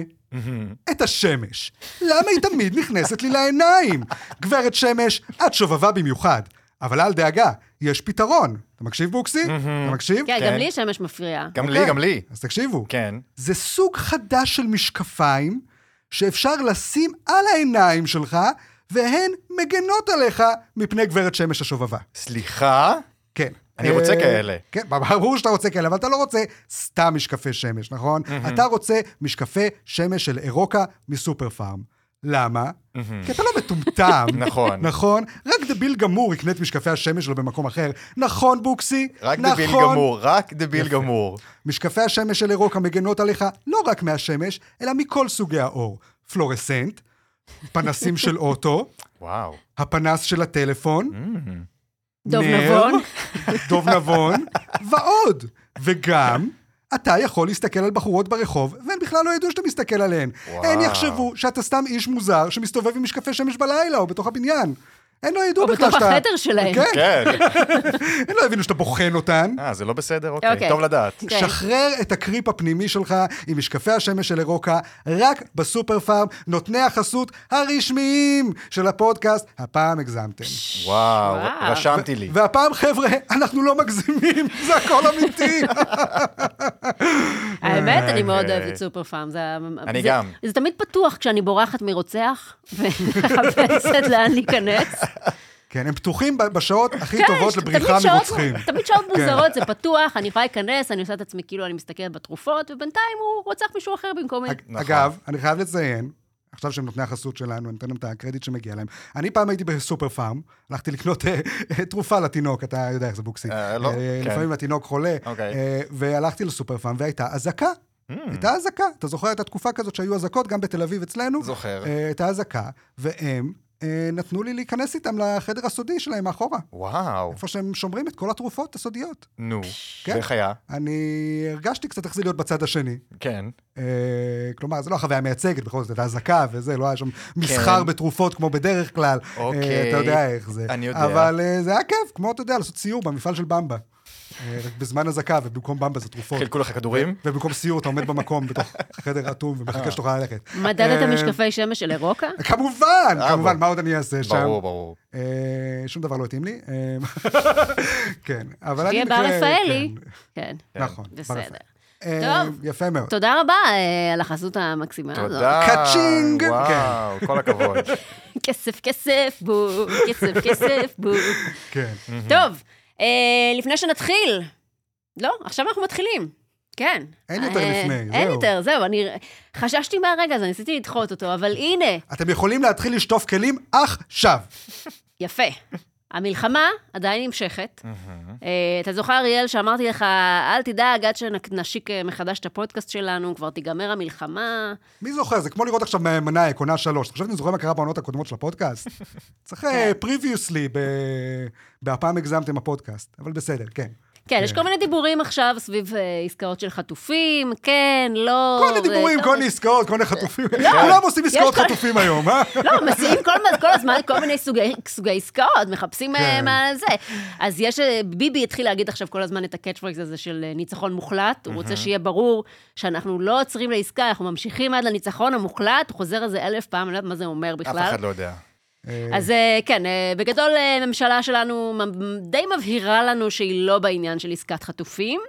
[SPEAKER 1] את השמש. למה היא תמיד נכנסת לי לעיניים? גברת שמש, את שובבה במיוחד. אבל אל דאגה, יש פתרון. אתה מקשיב, בוקסי? אתה מקשיב?
[SPEAKER 2] כן,
[SPEAKER 3] כן.
[SPEAKER 2] גם לי השמש מפריעה.
[SPEAKER 3] גם לי,
[SPEAKER 1] אוקיי.
[SPEAKER 3] גם לי.
[SPEAKER 1] אז תקשיבו.
[SPEAKER 3] כן.
[SPEAKER 1] זה סוג חדש של משקפיים שאפשר לשים על העיניים שלך, והן מגנות עליך מפני גברת שמש השובבה.
[SPEAKER 3] סליחה?
[SPEAKER 1] כן.
[SPEAKER 3] אני רוצה
[SPEAKER 1] אה,
[SPEAKER 3] כאלה.
[SPEAKER 1] כן, ברור שאתה רוצה כאלה, אבל אתה לא רוצה סתם משקפי שמש, נכון? אתה רוצה משקפי שמש של אירוקה מסופר פארם. למה? כי אתה לא מטומטם.
[SPEAKER 3] [LAUGHS] נכון.
[SPEAKER 1] נכון? רק דביל גמור יקנה את משקפי השמש שלו במקום אחר. נכון, בוקסי?
[SPEAKER 3] רק
[SPEAKER 1] נכון.
[SPEAKER 3] דביל גמור, רק דביל גמור.
[SPEAKER 1] משקפי השמש של אירוקה מגנות עליך לא רק מהשמש, אלא מכל סוגי האור. פלורסנט, פנסים של אוטו,
[SPEAKER 3] וואו.
[SPEAKER 1] הפנס של הטלפון,
[SPEAKER 2] Mm-hmm. דוב
[SPEAKER 1] נר,
[SPEAKER 2] נבון.
[SPEAKER 1] [LAUGHS] דוב נבון, ועוד. וגם, אתה יכול להסתכל על בחורות ברחוב, והן בכלל לא ידעו שאתה מסתכל עליהן.
[SPEAKER 3] וואו.
[SPEAKER 1] הן יחשבו שאתה סתם איש מוזר שמסתובב עם משקפי שמש בלילה או בתוך הבניין. הן לא ידעו
[SPEAKER 2] או
[SPEAKER 1] בכלל
[SPEAKER 2] בתוך
[SPEAKER 1] שאתה...
[SPEAKER 2] החדר שלהם.
[SPEAKER 1] כן,
[SPEAKER 2] [LAUGHS]
[SPEAKER 3] כן.
[SPEAKER 1] הן לא הבינו שאתה בוחן אותן.
[SPEAKER 3] אה, זה לא בסדר? אוקיי.
[SPEAKER 2] אוקיי.
[SPEAKER 3] טוב לדעת.
[SPEAKER 2] כן.
[SPEAKER 1] שחרר את הקריפ הפנימי שלך עם משקפי השמש של אירוקה, רק בסופר פארם, נותני החסות הרשמיים של הפודקאסט, הפעם הגזמתם.
[SPEAKER 3] וואו,
[SPEAKER 2] וואו.
[SPEAKER 3] רשמתי לי.
[SPEAKER 1] והפעם, חבר'ה, אנחנו לא מגזימים, [LAUGHS] זה הכל אמיתי.
[SPEAKER 2] האמת, אני מאוד
[SPEAKER 3] אוקיי.
[SPEAKER 2] אוהבת סופר פארם. זה ה-
[SPEAKER 3] אני
[SPEAKER 2] זה-
[SPEAKER 3] גם.
[SPEAKER 2] זה תמיד פתוח כשאני בורחת מרוצח, [LAUGHS] ומחפשת לאן להיכנס.
[SPEAKER 1] [LAUGHS] כן, הם פתוחים ב- בשעות הכי
[SPEAKER 2] כן,
[SPEAKER 1] טובות
[SPEAKER 2] יש-
[SPEAKER 1] לבריחה
[SPEAKER 2] תמיד שעות-
[SPEAKER 1] מרוצחים. כן.
[SPEAKER 2] תמיד שעות מוזרות, זה פתוח, אני יכולה להיכנס, אני עושה את עצמי כאילו אני מסתכלת בתרופות, ובינתיים הוא רוצח מישהו אחר במקומי.
[SPEAKER 1] אג-
[SPEAKER 3] נכון.
[SPEAKER 1] אגב, אני חייב לציין, עכשיו שהם נותני החסות שלנו, אני נותן להם את הקרדיט שמגיע להם. אני פעם הייתי בסופר פארם, הלכתי לקנות אה, אה, תרופה לתינוק, אתה יודע איך זה בוקסי.
[SPEAKER 3] אה, לא,
[SPEAKER 1] אה,
[SPEAKER 3] כן.
[SPEAKER 1] לפעמים התינוק חולה,
[SPEAKER 3] אוקיי.
[SPEAKER 1] אה, והלכתי לסופר פארם והייתה אזעקה. הייתה אזעקה, אתה זוכר, הייתה תקופה כזאת שהיו אזעקות, גם בתל אביב אצלנו.
[SPEAKER 3] זוכר.
[SPEAKER 1] אה, הייתה אזעקה, והם אה, נתנו לי להיכנס איתם לחדר הסודי שלהם מאחורה,
[SPEAKER 3] וואו,
[SPEAKER 1] איפה שהם שומרים את כל התרופות הסודיות.
[SPEAKER 3] נו.
[SPEAKER 1] כן.
[SPEAKER 3] ואיך היה?
[SPEAKER 1] אני הרגשתי קצת איך זה להיות בצד השני.
[SPEAKER 3] כן.
[SPEAKER 1] אה, כלומר, זו לא החוויה המייצגת, בכל זאת, הייתה אזעקה וזה, לא היה שם מסחר בתרופות כמו בדרך כלל. אה,
[SPEAKER 3] כן. אוקיי.
[SPEAKER 1] אתה יודע איך זה.
[SPEAKER 3] אני יודע.
[SPEAKER 1] אבל אה, זה היה כיף, כמו, אתה יודע, לעשות סיור במפעל של במבה. אה, רק בזמן אזעקה, ובמקום במבה זה תרופות.
[SPEAKER 3] חילקו לך כדורים?
[SPEAKER 1] ובמקום סיור אתה עומד במקום בתוך חדר אטום ומחכה שתוכל ללכת.
[SPEAKER 2] מדדת
[SPEAKER 1] אה,
[SPEAKER 2] משקפי שמש של אירוקה?
[SPEAKER 1] כמובן,
[SPEAKER 3] אה,
[SPEAKER 1] כמובן,
[SPEAKER 3] בוא.
[SPEAKER 1] מה עוד אני אעשה שם?
[SPEAKER 3] ברור, ברור.
[SPEAKER 1] אה, שום דבר לא התאים לי. אה, [LAUGHS] כן, אבל אני...
[SPEAKER 2] תהיה בר
[SPEAKER 1] במקרה-
[SPEAKER 2] רפאלי. כן,
[SPEAKER 1] כן, נכון. בר
[SPEAKER 2] בסדר.
[SPEAKER 1] רפאלי. אה,
[SPEAKER 2] טוב.
[SPEAKER 1] יפה מאוד.
[SPEAKER 2] תודה רבה אה, על החסות המקסימה הזאת.
[SPEAKER 3] תודה.
[SPEAKER 1] קצ'ינג. [LAUGHS]
[SPEAKER 3] וואו, כל הכבוד.
[SPEAKER 2] כסף, כסף, בו, כסף, כסף, בו.
[SPEAKER 1] כן.
[SPEAKER 2] טוב, אה, לפני שנתחיל, לא, עכשיו אנחנו מתחילים. כן.
[SPEAKER 1] אין יותר
[SPEAKER 2] אה,
[SPEAKER 1] לפני,
[SPEAKER 2] אין
[SPEAKER 1] זהו.
[SPEAKER 2] יותר, זהו, אני חששתי מהרגע הזה, ניסיתי לדחות אותו, אבל הנה,
[SPEAKER 1] אתם יכולים להתחיל לשטוף כלים עכשיו.
[SPEAKER 2] יפה. המלחמה עדיין נמשכת. אה, אתה זוכר, אריאל, שאמרתי לך, אל תדאג, עד שנשיק אה, מחדש את הפודקאסט שלנו, כבר תיגמר המלחמה.
[SPEAKER 1] מי זוכר? זה כמו לראות עכשיו מהמנאייק, עונה שלוש. אתה חושב שאני זוכר מה קרה בעונות הקודמות של
[SPEAKER 2] [LAUGHS]
[SPEAKER 1] הפודקאסט? צריך
[SPEAKER 2] כן.
[SPEAKER 1] פריוויוסלי, בהפעם הגזמתם הפודקאסט, אבל בסדר, כן.
[SPEAKER 2] כן, יש כל מיני דיבורים עכשיו סביב אה, עסקאות של חטופים, כן, לא...
[SPEAKER 1] כל מיני
[SPEAKER 2] זה-
[SPEAKER 1] דיבורים,
[SPEAKER 2] טוב,
[SPEAKER 1] כל מיני עסקאות, כל מיני חטופים. כולם עושים
[SPEAKER 2] לא, יש
[SPEAKER 1] עסקאות
[SPEAKER 2] כל-
[SPEAKER 1] חטופים היום, אה?
[SPEAKER 2] לא, מציעים כל, הז- כל הזמן כל מיני סוגי, סוגי עסקאות, מחפשים
[SPEAKER 1] כן.
[SPEAKER 2] כן. מה זה. אז יש, אה, ביבי התחיל להגיד עכשיו כל הזמן את הקאץ' פרקס הזה של אה, ניצחון מוחלט, הוא רוצה שיהיה ברור שאנחנו לא עוצרים לעסקה, אנחנו ממשיכים עד לניצחון המוחלט, הוא חוזר על זה אלף פעם, אני לא יודעת מה זה אומר
[SPEAKER 3] אף
[SPEAKER 2] בכלל.
[SPEAKER 3] אחד לא יודע.
[SPEAKER 2] אז אה, כן, אה, בגדול, הממשלה שלנו מ- די מבהירה לנו שהיא לא בעניין של עסקת חטופים.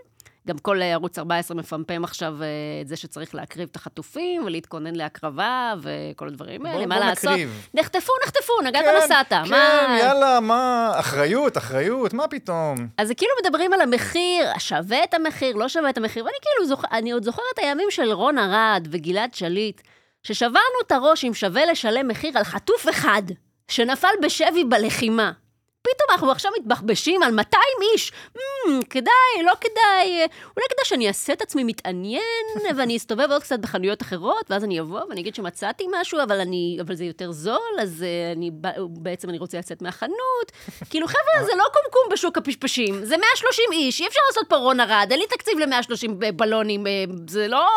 [SPEAKER 2] גם כל אה, ערוץ 14 מפמפם עכשיו אה, את זה שצריך להקריב את החטופים ולהתכונן להקרבה וכל הדברים האלה,
[SPEAKER 3] בוא-
[SPEAKER 2] מה
[SPEAKER 3] בוא
[SPEAKER 2] לעשות?
[SPEAKER 3] נקריב.
[SPEAKER 2] נחטפו, נחטפו, נגעת
[SPEAKER 3] כן,
[SPEAKER 2] נסעת.
[SPEAKER 3] כן,
[SPEAKER 2] מה...
[SPEAKER 3] יאללה, מה? אחריות, אחריות, מה פתאום?
[SPEAKER 2] אז זה כאילו מדברים על המחיר, שווה את המחיר, לא שווה את המחיר, ואני כאילו, זוכ... אני עוד זוכרת את הימים של רון ארד וגלעד שליט, ששברנו את הראש אם שווה לשלם מחיר על חטוף אחד שנפל בשבי בלחימה. פתאום אנחנו עכשיו מתבחבשים על 200 איש. Hmm, כדאי, לא כדאי, אה, אולי כדאי שאני אעשה את עצמי מתעניין, ואני אסתובב עוד קצת בחנויות אחרות, ואז אני אבוא ואני אגיד שמצאתי משהו, אבל, אני, אבל זה יותר זול, אז אה, אני, בא- בעצם אני רוצה לצאת מהחנות. כאילו, חבר'ה, זה לא קומקום בשוק הפשפשים, זה 130 איש, אי אפשר לעשות פה רון ארד, אין לי תקציב ל-130 בלונים, אה, זה לא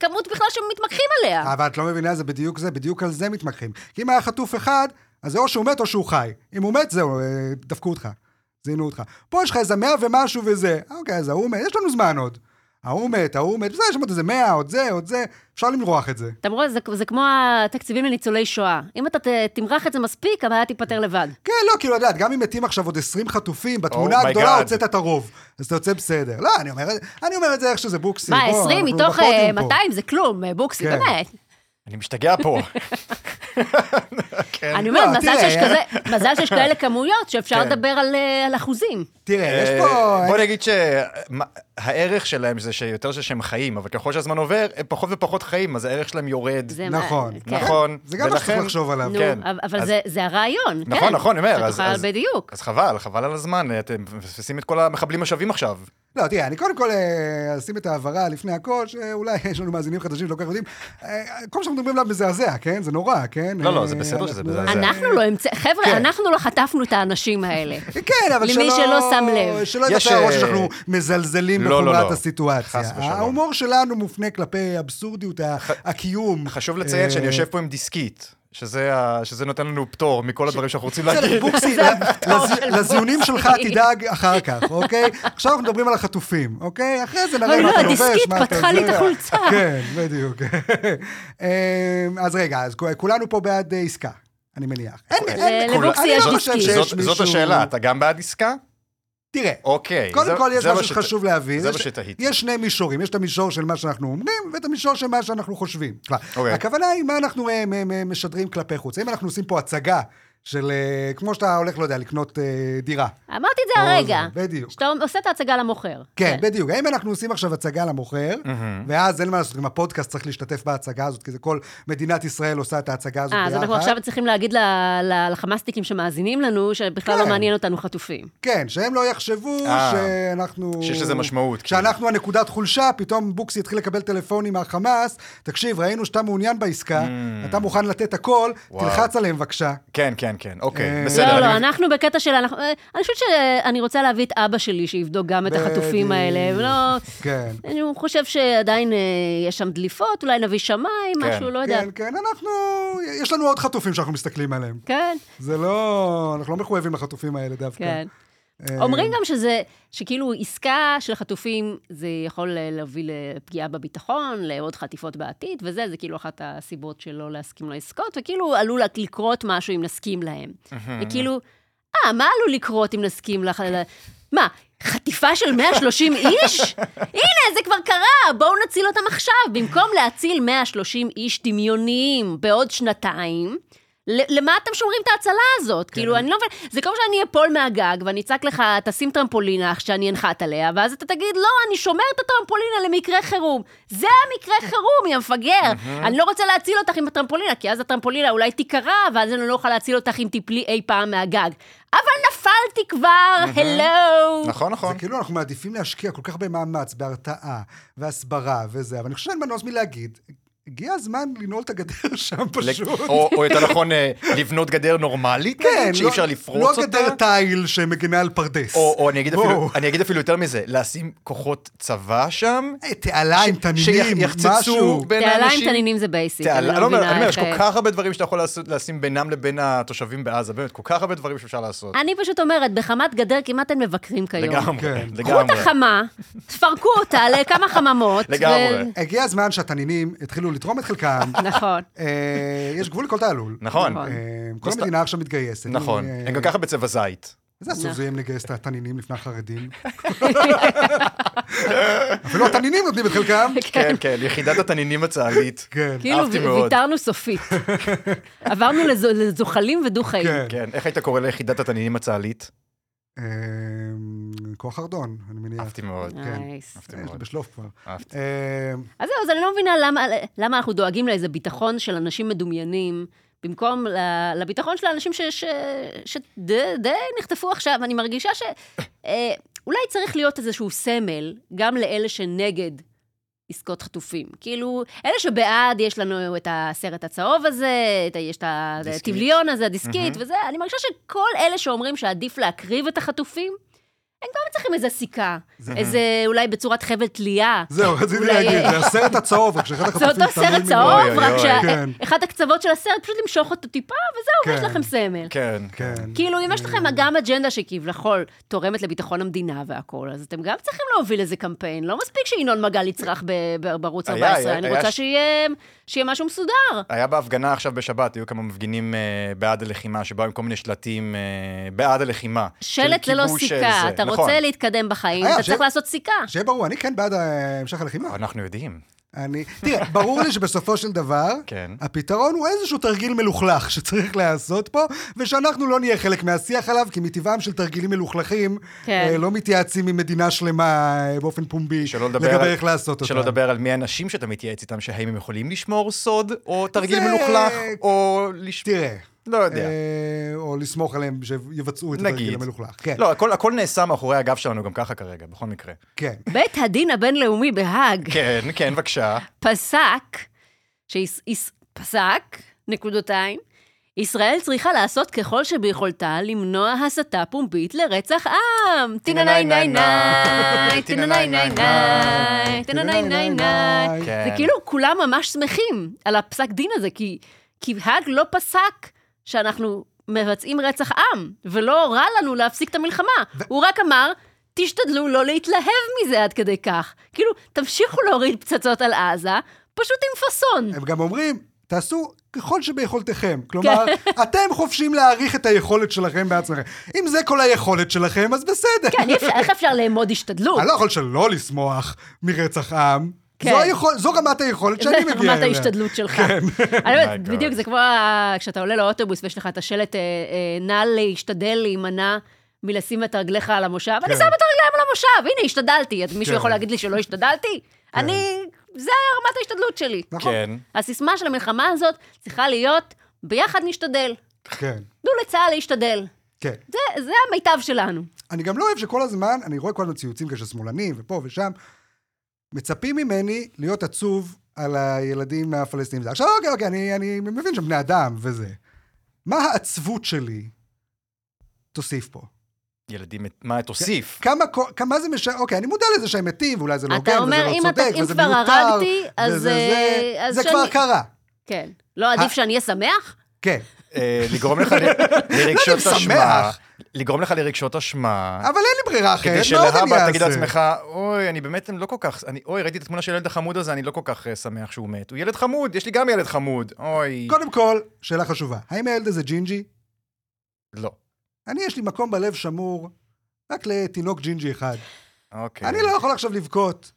[SPEAKER 2] כמות בכלל שמתמקחים עליה.
[SPEAKER 1] אבל את לא מבינה, זה בדיוק זה, בדיוק על זה מתמקחים. כי אם היה חטוף אחד, אז זה או שהוא מת או שהוא חי. אם הוא מת, זהו, אה, דפקו אותך. זינו אותך. פה יש לך איזה מאה ומשהו וזה. אה, אוקיי, אז ההוא מת, יש לנו זמן עוד. ההוא מת, ההוא מת, בסדר, יש לנו עוד איזה מאה, עוד זה, עוד זה, אפשר למרוח את זה.
[SPEAKER 2] אתה רואה, זה, זה כמו התקציבים לניצולי שואה. אם אתה ת, תמרח את זה מספיק, הבעיה תיפתר לבד.
[SPEAKER 1] כן, לא, כאילו, את יודעת, גם אם מתים עכשיו עוד 20 חטופים, בתמונה
[SPEAKER 3] Oh my
[SPEAKER 1] הגדולה
[SPEAKER 3] God.
[SPEAKER 1] הוצאת את הרוב. אז אתה יוצא בסדר. לא, אני אומר, אני אומר את זה איך שזה בוקסי.
[SPEAKER 2] מה,
[SPEAKER 1] בוא,
[SPEAKER 2] 20
[SPEAKER 1] אנחנו
[SPEAKER 2] מתוך
[SPEAKER 1] בפודיום פה.
[SPEAKER 2] אה, 200 זה כלום, אה, בוקסי,
[SPEAKER 1] כן.
[SPEAKER 2] באמת.
[SPEAKER 3] אני משתגע [LAUGHS] פה. אה, כן.
[SPEAKER 2] אני אומרת,
[SPEAKER 1] לא,
[SPEAKER 2] מזל
[SPEAKER 1] תראה,
[SPEAKER 2] שיש כזה- מזל שיש כאלה כמויות שאפשר
[SPEAKER 3] כן.
[SPEAKER 2] לדבר על, אה, על אחוזים.
[SPEAKER 1] תראה, יש
[SPEAKER 3] אה,
[SPEAKER 1] פה...
[SPEAKER 3] בוא נגיד שהערך שלהם זה שיותר שהם חיים, אבל ככל שהזמן עובר, הם פחות ופחות חיים, אז הערך שלהם יורד.
[SPEAKER 2] זה מה-
[SPEAKER 1] נכון.
[SPEAKER 2] כן.
[SPEAKER 3] נכון.
[SPEAKER 1] זה גם מה שצריך
[SPEAKER 3] ולכן-
[SPEAKER 1] לחשוב עליו.
[SPEAKER 2] נו,
[SPEAKER 3] כן.
[SPEAKER 2] אבל- אבל
[SPEAKER 3] אז-
[SPEAKER 2] זה- זה הרעיון, כן.
[SPEAKER 3] נכון, נכון, אני אומר. אז-
[SPEAKER 2] שתוכל
[SPEAKER 3] אז-
[SPEAKER 2] בדיוק.
[SPEAKER 3] אז חבל, חבל על הזמן, אתם מפספסים את כל המחבלים השווים עכשיו.
[SPEAKER 1] לא, תראה, אני קודם כל אה, אשים את ההבהרה לפני הכל, שאולי יש לנו מאזינים חדשים שלא כל כך יודעים. אה, כל מה שאנחנו מדברים עליו מזעזע, כן? זה נורא, כן?
[SPEAKER 3] לא, לא,
[SPEAKER 1] אה,
[SPEAKER 3] זה בסדר שזה
[SPEAKER 1] אנחנו-
[SPEAKER 3] מזעזע.
[SPEAKER 2] אנחנו לא המצא... חבר'ה, אנחנו לא חטפנו את
[SPEAKER 1] [LAUGHS]
[SPEAKER 2] האנשים האלה.
[SPEAKER 1] כן, אבל שלא...
[SPEAKER 2] למי שלא שם לב.
[SPEAKER 1] שלא
[SPEAKER 3] יש,
[SPEAKER 1] יבצע הרושם
[SPEAKER 3] אה,
[SPEAKER 1] שאנחנו מזלזלים
[SPEAKER 3] לא, לא,
[SPEAKER 1] בחומרת
[SPEAKER 3] לא.
[SPEAKER 1] הסיטואציה.
[SPEAKER 3] חס ושלום.
[SPEAKER 1] ההומור שלנו מופנה כלפי אבסורדיות ה- הקיום.
[SPEAKER 3] חשוב לציין שאני
[SPEAKER 1] אה,
[SPEAKER 3] יושב פה עם דיסקית, שזה ה- שזה נותן לנו פטור מכל הדברים שאנחנו רוצים
[SPEAKER 1] בסדר,
[SPEAKER 3] להגיד. [LAUGHS]
[SPEAKER 1] בוקסי,
[SPEAKER 2] זה
[SPEAKER 1] לז-
[SPEAKER 2] הפטור של
[SPEAKER 1] לזיונים
[SPEAKER 2] בוקסי.
[SPEAKER 1] שלך תדאג אחר כך, אוקיי? עכשיו אנחנו מדברים על החטופים, אוקיי? אחרי זה נראה
[SPEAKER 2] אוי,
[SPEAKER 1] מה
[SPEAKER 2] לא,
[SPEAKER 1] אתה לובש,
[SPEAKER 2] הדיסקית
[SPEAKER 1] מה אתה
[SPEAKER 2] פתחה לי את
[SPEAKER 1] זה. [LAUGHS]
[SPEAKER 2] החולצה.
[SPEAKER 1] כן, בדיוק. אמ, אז רגע, אז כולנו פה בעד אה, עסקה, אני מניח. אין- אין-
[SPEAKER 2] אה, לבוקסי
[SPEAKER 1] אני לא
[SPEAKER 2] יש
[SPEAKER 1] חושב
[SPEAKER 2] דיסקית.
[SPEAKER 1] שיש
[SPEAKER 3] זאת- זאת
[SPEAKER 1] מישהו-
[SPEAKER 3] השאלה, אתה גם בעד עסקה?
[SPEAKER 1] תראה,
[SPEAKER 3] אוקיי.
[SPEAKER 1] קודם
[SPEAKER 3] זה-
[SPEAKER 1] כל יש
[SPEAKER 3] זה מה
[SPEAKER 1] משהו
[SPEAKER 3] שת-
[SPEAKER 1] שחשוב להבין.
[SPEAKER 3] זה
[SPEAKER 1] יש-
[SPEAKER 3] מה שתהיתי.
[SPEAKER 1] יש שני מישורים, יש את המישור של מה שאנחנו אומרים, ואת המישור של מה שאנחנו חושבים. כלומר,
[SPEAKER 3] אוקיי.
[SPEAKER 1] הכוונה היא מה אנחנו אה, מ- מ- משדרים כלפי חוץ. אם אנחנו עושים פה הצגה של, אה, כמו שאתה הולך, לא יודע, לקנות אה, דירה.
[SPEAKER 2] אמרתי את זה
[SPEAKER 1] או
[SPEAKER 2] הרגע.
[SPEAKER 1] זה, בדיוק.
[SPEAKER 2] שאתה עושה את ההצגה למוכר.
[SPEAKER 1] כן, בדיוק. האם אנחנו עושים עכשיו הצגה למוכר, ואז אין מה לעשות, גם הפודקאסט צריך להשתתף בהצגה הזאת, כי זה כל מדינת ישראל עושה את ההצגה הזאת
[SPEAKER 2] אה,
[SPEAKER 1] ביחד.
[SPEAKER 2] אז אנחנו עכשיו צריכים להגיד ל- ל- לחמאסניקים שמאזינים לנו, שבכלל
[SPEAKER 1] כן.
[SPEAKER 2] לא מעניין אותנו חטופים.
[SPEAKER 1] כן, שהם לא יחשבו
[SPEAKER 3] אה,
[SPEAKER 1] שאנחנו...
[SPEAKER 3] שיש לזה משמעות, כאילו.
[SPEAKER 1] שאנחנו הנקודת חולשה, פתאום בוקסי התחיל לקבל טלפונים מהחמאס, תקשיב, ראינו שאתה מעוניין בעסקה, אתה מוכן לתת הכל,
[SPEAKER 3] וואו.
[SPEAKER 1] תלחץ עליהם בבקשה.
[SPEAKER 3] כן, כן, כן, אוקיי,
[SPEAKER 1] אה,
[SPEAKER 3] בסדר.
[SPEAKER 2] לא, לא,
[SPEAKER 3] אני-
[SPEAKER 2] אנחנו בקטע של... אנחנו- אה, אני חושבת שאני רוצה להביא את אבא שלי שיבדוק גם את החטופים
[SPEAKER 1] בדיוק.
[SPEAKER 2] האלה, לא- ולא...
[SPEAKER 1] כן.
[SPEAKER 2] אני- הוא חושב שעדיין אה, יש שם דליפות, אולי נביא שמיים,
[SPEAKER 3] כן,
[SPEAKER 2] משהו, לא יודעת.
[SPEAKER 1] כן, כן, אנחנו... יש לנו עוד חטופים שאנחנו מסתכלים עליהם.
[SPEAKER 2] כן,
[SPEAKER 1] זה לא... אנחנו לא מחויבים לחטופים האלה דווקא.
[SPEAKER 2] כן.
[SPEAKER 1] אה,
[SPEAKER 2] אומרים גם שזה, שכאילו עסקה של חטופים, זה יכול אה, להוביל לפגיעה בביטחון, לעוד חטיפות בעתיד, וזה, זה כאילו אחת הסיבות שלא להסכים לעסקות, וכאילו עלול לקרות משהו אם נסכים להם. וכאילו, אה, מה עלול לקרות אם נסכים לח... ל- מה, חטיפה של 130
[SPEAKER 1] [LAUGHS]
[SPEAKER 2] איש? הנה, זה כבר קרה, בואו נציל אותם עכשיו. במקום להציל 130 איש דמיוניים בעוד שנתיים, ל- למה אתם שומרים את ההצלה הזאת? כן. כאילו, אני לא מבינה, זה כמו שאני אפול מהגג ואני אצעק לך, תשים טרמפולינה שאני אנחת עליה, ואז אתה תגיד, לא, אני שומר את הטרמפולינה למקרה חירום. זה המקרה חירום, יא מפגר. אני לא רוצה להציל אותך עם הטרמפולינה, כי אז הטרמפולינה אולי תיקרע, ואז אני לא אוכל להציל אותך אם תיפלי אי פעם מהגג. אבל נפלתי כבר, הלו.
[SPEAKER 3] נכון, נכון.
[SPEAKER 1] זה כאילו אנחנו מעדיפים להשקיע כל כך במאמץ, בהרתעה, והסברה וזה, אבל אני חושב שאין מנוס מלהגיד, הגיע הזמן לנעול את הגדר [LAUGHS] שם כאילו פשוט.
[SPEAKER 3] לק- או או יותר נכון, אה, לבנות גדר נורמלית, נגיד, שאי
[SPEAKER 1] לא-
[SPEAKER 3] אפשר לפרוץ
[SPEAKER 1] לא
[SPEAKER 3] אותה.
[SPEAKER 1] גדר תיל שמגנה על פרדס.
[SPEAKER 3] או או אני אגיד אפילו-
[SPEAKER 1] וואו.
[SPEAKER 3] אני אגיד אפילו יותר מזה, לשים כוחות צבא שם,
[SPEAKER 1] אה, תעלה עם
[SPEAKER 3] ש-
[SPEAKER 1] תנינים,
[SPEAKER 3] שיחצצו
[SPEAKER 1] משהו.
[SPEAKER 3] בין
[SPEAKER 2] תעלה עם
[SPEAKER 3] האנשים.
[SPEAKER 2] תנינים זה בייסיק,
[SPEAKER 3] תעלה-
[SPEAKER 2] אני לא
[SPEAKER 3] לא אומר,
[SPEAKER 2] מבינה
[SPEAKER 3] אני אומר, יש
[SPEAKER 2] איך-
[SPEAKER 3] כל כך הרבה דברים שאתה יכול לעשות- לשים בינם לבין התושבים בעזה, באמת, כל כך הרבה דברים שאפשר לעשות.
[SPEAKER 2] אני פשוט אומרת, בחמת גדר כמעט אין מבקרים כיום.
[SPEAKER 3] לגמרי,
[SPEAKER 1] כן.
[SPEAKER 2] קחו את
[SPEAKER 3] לגמרי.
[SPEAKER 2] החמה, תפרקו אותה לכמה חממות. ו-
[SPEAKER 3] לגמרי.
[SPEAKER 1] הגיע הזמן שהתנינים יתחילו לתרום את חלקם.
[SPEAKER 3] [LAUGHS]
[SPEAKER 2] נכון.
[SPEAKER 1] אה, יש גבול לכל תעלול.
[SPEAKER 3] נכון,
[SPEAKER 2] נכון.
[SPEAKER 1] אה, כל
[SPEAKER 3] נסת-
[SPEAKER 1] המדינה עכשיו מתגייסת.
[SPEAKER 3] נכון.
[SPEAKER 1] אה,
[SPEAKER 3] הם גם ככה בצבע זית.
[SPEAKER 1] איזה
[SPEAKER 2] נכון.
[SPEAKER 1] אסור זה יהיה אם נגייס את התנינים לפני
[SPEAKER 3] [LAUGHS]
[SPEAKER 1] החרדים. [LAUGHS] אפילו התנינים נותנים את חלקם.
[SPEAKER 3] כן, כן, יחידת התנינים הצה"לית.
[SPEAKER 1] כן.
[SPEAKER 2] כאילו
[SPEAKER 3] אהבתי מאוד.
[SPEAKER 2] ויתרנו
[SPEAKER 3] [LAUGHS]
[SPEAKER 2] סופית. עברנו לזו- לזוחלים ודו-חיים.
[SPEAKER 1] כן.
[SPEAKER 3] כן, איך היית קורא ליחידת התנינים הצה"לית?
[SPEAKER 1] אה, כוח ארדון, אני מניח.
[SPEAKER 3] אהבתי מאוד.
[SPEAKER 2] נייס.
[SPEAKER 3] אהבתי
[SPEAKER 1] אה, יש לי
[SPEAKER 3] מאוד.
[SPEAKER 1] בשלוף כבר.
[SPEAKER 3] אהבתי.
[SPEAKER 1] אה,
[SPEAKER 2] אז זהו, אז אני לא מבינה למה- למה אנחנו דואגים לאיזה ביטחון של אנשים מדומיינים, במקום ל- לביטחון של האנשים שדי נחטפו עכשיו. אני מרגישה שאולי צריך להיות איזשהו סמל גם לאלה שנגד עסקות חטופים. כאילו, אלה שבעד, יש לנו את הסרט הצהוב הזה, את ה- יש את
[SPEAKER 3] דיסקית.
[SPEAKER 2] הטבליון הזה, הדיסקית
[SPEAKER 3] מהמם.
[SPEAKER 2] וזה, אני מרגישה שכל אלה שאומרים שעדיף להקריב את החטופים, הם כבר צריכים איזה סיכה, איזה אולי בצורת חבל תלייה.
[SPEAKER 1] זהו, רציתי
[SPEAKER 2] אולי-
[SPEAKER 1] להגיד, זה הסרט הצהוב, רק שאחד
[SPEAKER 2] זה
[SPEAKER 1] החטופים
[SPEAKER 2] אותו סרט
[SPEAKER 1] תמים
[SPEAKER 3] אוי,
[SPEAKER 2] צהוב,
[SPEAKER 3] אוי,
[SPEAKER 2] רק
[SPEAKER 3] אוי.
[SPEAKER 1] כן.
[SPEAKER 2] שאחד הקצוות של הסרט, פשוט למשוך אותו טיפה, וזהו, ויש
[SPEAKER 1] כן.
[SPEAKER 2] לכם סמל.
[SPEAKER 3] כן, כן.
[SPEAKER 1] כן.
[SPEAKER 2] כאילו, אם יש לכם גם אג'נדה שכביכול תורמת לביטחון המדינה והכול, אז אתם גם צריכים להוביל איזה קמפיין. לא מספיק שינון מגל יצרח ב- ב- בערוץ
[SPEAKER 3] היה,
[SPEAKER 2] 14,
[SPEAKER 3] היה,
[SPEAKER 2] אני
[SPEAKER 3] היה
[SPEAKER 2] רוצה
[SPEAKER 3] ש-
[SPEAKER 2] שיהיה שיהיה משהו מסודר.
[SPEAKER 3] היה בהפגנה עכשיו בשבת, היו כמה מפגינים אה, בעד הלחימה, שבאו עם כל מיני שלטים אה, בעד הלחימה.
[SPEAKER 2] שלט
[SPEAKER 3] של
[SPEAKER 2] ללא
[SPEAKER 3] כיבוש, אה,
[SPEAKER 2] סיכה,
[SPEAKER 3] זה.
[SPEAKER 2] אתה
[SPEAKER 3] נכון.
[SPEAKER 2] רוצה להתקדם בחיים,
[SPEAKER 1] אה,
[SPEAKER 2] אתה
[SPEAKER 1] ש-
[SPEAKER 2] צריך לעשות סיכה.
[SPEAKER 1] שיהיה ברור, אני כן בעד אה, המשך הלחימה.
[SPEAKER 3] אנחנו יודעים.
[SPEAKER 1] אני... תראה, ברור לי שבסופו של דבר,
[SPEAKER 3] כן.
[SPEAKER 1] הפתרון הוא איזשהו תרגיל מלוכלך שצריך להיעשות פה, ושאנחנו לא נהיה חלק מהשיח עליו, כי מטבעם של תרגילים מלוכלכים,
[SPEAKER 2] כן.
[SPEAKER 1] אה, לא מתייעצים עם מדינה שלמה אה, באופן פומבי,
[SPEAKER 3] שלא לדבר,
[SPEAKER 1] לגבי
[SPEAKER 3] על-
[SPEAKER 1] איך לעשות אותם.
[SPEAKER 3] שלא לדבר על מי האנשים שאתה מתייעץ איתם, שהאם הם יכולים לשמור סוד, או תרגיל
[SPEAKER 1] זה-
[SPEAKER 3] מלוכלך, או לשמור...
[SPEAKER 1] תראה,
[SPEAKER 3] לא יודע.
[SPEAKER 1] אה, או לסמוך עליהם שיבצעו את התרגיל
[SPEAKER 3] נגיד.
[SPEAKER 1] המלוכלך. כן,
[SPEAKER 3] לא, הכל, הכל נעשה מאחורי הגב שלנו גם ככה כרגע, בכל מקרה.
[SPEAKER 1] כן.
[SPEAKER 2] בית הדין הבינלאומי בהאג
[SPEAKER 3] כן, כן, בבקשה.
[SPEAKER 2] פסק, שיש, יש, פסק, נקודותיים, ישראל צריכה לעשות ככל שביכולתה למנוע הסתה פומבית לרצח עם. טינניי ניי ניי, טינניי ניי
[SPEAKER 1] כן.
[SPEAKER 2] ניי, טינניי ניי ניי.
[SPEAKER 3] כן.
[SPEAKER 2] זה כאילו כולם ממש שמחים על הפסק דין הזה, כי, כי האג לא פסק שאנחנו מבצעים רצח עם, ולא רע לנו להפסיק את המלחמה. ו... הוא רק אמר, תשתדלו לא להתלהב מזה עד כדי כך. כאילו, תמשיכו להוריד פצצות על עזה, פשוט עם פאסון.
[SPEAKER 1] [LAUGHS] הם גם אומרים, תעשו ככל שביכולתכם. כלומר,
[SPEAKER 2] כן.
[SPEAKER 1] [LAUGHS] אתם חופשיים להעריך את היכולת שלכם בעצמכם. אם זה כל היכולת שלכם, אז בסדר.
[SPEAKER 2] כן, אי אפשר- איך אפשר לאמוד השתדלות?
[SPEAKER 1] אני לא יכול שלא לשמוח מרצח עם.
[SPEAKER 2] כן.
[SPEAKER 1] זו, היכול, זו רמת היכולת שאני
[SPEAKER 2] [LAUGHS]
[SPEAKER 1] מגיע
[SPEAKER 2] זה
[SPEAKER 1] אליה. כן. Oh
[SPEAKER 2] רמת ההשתדלות שלך. אני
[SPEAKER 1] [LAUGHS]
[SPEAKER 3] My
[SPEAKER 2] אומרת,
[SPEAKER 3] God.
[SPEAKER 2] בדיוק, זה כמו ה- כשאתה עולה לאוטובוס ויש לך את השלט, אה, אה, נא להשתדל להימנע מלשים את רגליך על המושב. אני שם את הרגליים על המושב, הנה, השתדלתי. אז מישהו
[SPEAKER 1] כן.
[SPEAKER 2] יכול להגיד לי שלא השתדלתי? אני, זה רמת ההשתדלות שלי.
[SPEAKER 1] נכון.
[SPEAKER 3] כן.
[SPEAKER 2] הסיסמה של המלחמה הזאת צריכה להיות, ביחד נשתדל.
[SPEAKER 1] כן,
[SPEAKER 2] תנו לצה"ל להשתדל.
[SPEAKER 1] כן.
[SPEAKER 2] זה- זה המיטב שלנו.
[SPEAKER 1] אני גם לא אוהב שכל הזמן, אני רואה כל הזמן ציוצים כאלה של שמאלנים ופה ושם, מצפים ממני להיות עצוב על הילדים הפלסטינים. עכשיו, אוקיי, אוקיי, אני, אני מבין שהם בני אדם וזה. מה העצבות שלי תוסיף פה?
[SPEAKER 3] ילדים, מה תוסיף?
[SPEAKER 1] כמה, כו- כמה זה משנה, אוקיי, אני מודע לזה שהם מתים, ואולי זה לא
[SPEAKER 2] אתה
[SPEAKER 1] הוגן, וזה
[SPEAKER 2] אומר,
[SPEAKER 1] לא
[SPEAKER 2] אם אתה-
[SPEAKER 1] צודק,
[SPEAKER 2] אם
[SPEAKER 1] וזה
[SPEAKER 2] כבר
[SPEAKER 1] מיותר,
[SPEAKER 2] הרגתי, אז,
[SPEAKER 1] וזה- זה,
[SPEAKER 2] אה, אז
[SPEAKER 1] זה
[SPEAKER 2] שאני-
[SPEAKER 1] כבר קרה,
[SPEAKER 2] כן. לא עדיף שאני אהיה שמח?
[SPEAKER 1] כן.
[SPEAKER 3] אה, לגרום לך ל-
[SPEAKER 1] [LAUGHS]
[SPEAKER 3] לרגשות
[SPEAKER 1] לא, אני
[SPEAKER 3] אשמה.
[SPEAKER 1] שמח.
[SPEAKER 3] לגרום לך לרגשות אשמה.
[SPEAKER 1] אבל אין לי ברירה אחרת,
[SPEAKER 3] כדי
[SPEAKER 1] מה עוד אני
[SPEAKER 3] שלהבא
[SPEAKER 1] אעשה?
[SPEAKER 3] תגיד לעצמך, אוי, אני באמת אני לא כל כך, אני, אוי, ראיתי את התמונה של הילד החמוד הזה, אני לא כל כך אה, שמח שהוא מת. הוא ילד חמוד, יש לי גם ילד חמוד. אוי.
[SPEAKER 1] קודם כל, שאלה חשובה, האם הילד הזה ג'ינג'י?
[SPEAKER 3] לא.
[SPEAKER 1] אני, יש לי מקום בלב שמור רק לתינוק ג'ינג'י אחד.
[SPEAKER 3] אוקיי.
[SPEAKER 1] אני לא יכול עכשיו לבכות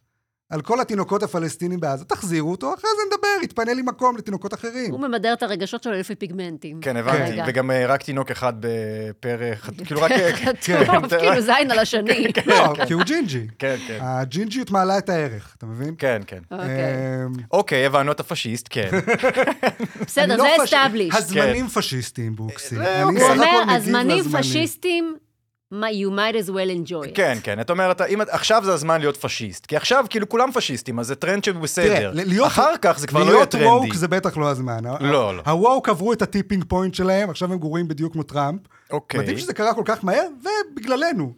[SPEAKER 1] על כל התינוקות הפלסטינים בעזה, תחזירו אותו, אחרי זה נדבר, יתפנה לי מקום לתינוקות אחרים.
[SPEAKER 2] הוא ממדר את הרגשות שלו לפי פיגמנטים.
[SPEAKER 3] כן, הבנתי.
[SPEAKER 2] כרגע.
[SPEAKER 3] וגם אה, רק תינוק אחד בפר... אה, חת-
[SPEAKER 1] [LAUGHS]
[SPEAKER 3] כאילו רק...
[SPEAKER 2] [LAUGHS]
[SPEAKER 1] כן,
[SPEAKER 2] טוב, כאילו זין על השני.
[SPEAKER 1] לא, כי הוא ג'ינג'י.
[SPEAKER 3] כן, כן.
[SPEAKER 1] הג'ינג'יות מעלה את הערך, אתה מבין?
[SPEAKER 3] כן, כן.
[SPEAKER 2] אוקיי.
[SPEAKER 1] אמ,
[SPEAKER 3] אוקיי, הבנו אתה פשיסט, כן.
[SPEAKER 1] אני
[SPEAKER 2] בסדר,
[SPEAKER 1] לא
[SPEAKER 2] זה
[SPEAKER 1] פאש-
[SPEAKER 2] established.
[SPEAKER 1] הזמנים פשיסטים, בוקסי.
[SPEAKER 3] זה
[SPEAKER 1] אני לא
[SPEAKER 3] אוקיי.
[SPEAKER 2] הוא
[SPEAKER 1] בסך הכל
[SPEAKER 2] אומר,
[SPEAKER 1] מגיב
[SPEAKER 2] הזמנים
[SPEAKER 1] לזמנים."
[SPEAKER 2] פשיסטים, מה- you might as well enjoy it.
[SPEAKER 3] כן, כן. אתה אומר, אתה- אם את- עכשיו זה הזמן להיות פשיסט. כי עכשיו כאילו כולם פשיסטים, אז זה טרנד שהוא
[SPEAKER 1] תראה,
[SPEAKER 3] בסדר.
[SPEAKER 1] ל- להיות-
[SPEAKER 3] אחר כך זה כבר לא יהיה
[SPEAKER 1] להיות
[SPEAKER 3] טרנדי.
[SPEAKER 1] ווק זה בטח לא הזמן.
[SPEAKER 3] לא, לא.
[SPEAKER 1] הווק עברו את הטיפינג פוינט שלהם, עכשיו הם גרועים בדיוק כמו טראמפ.
[SPEAKER 3] אוקיי.
[SPEAKER 1] מדהים שזה קרה כל כך מהר, ובגללנו.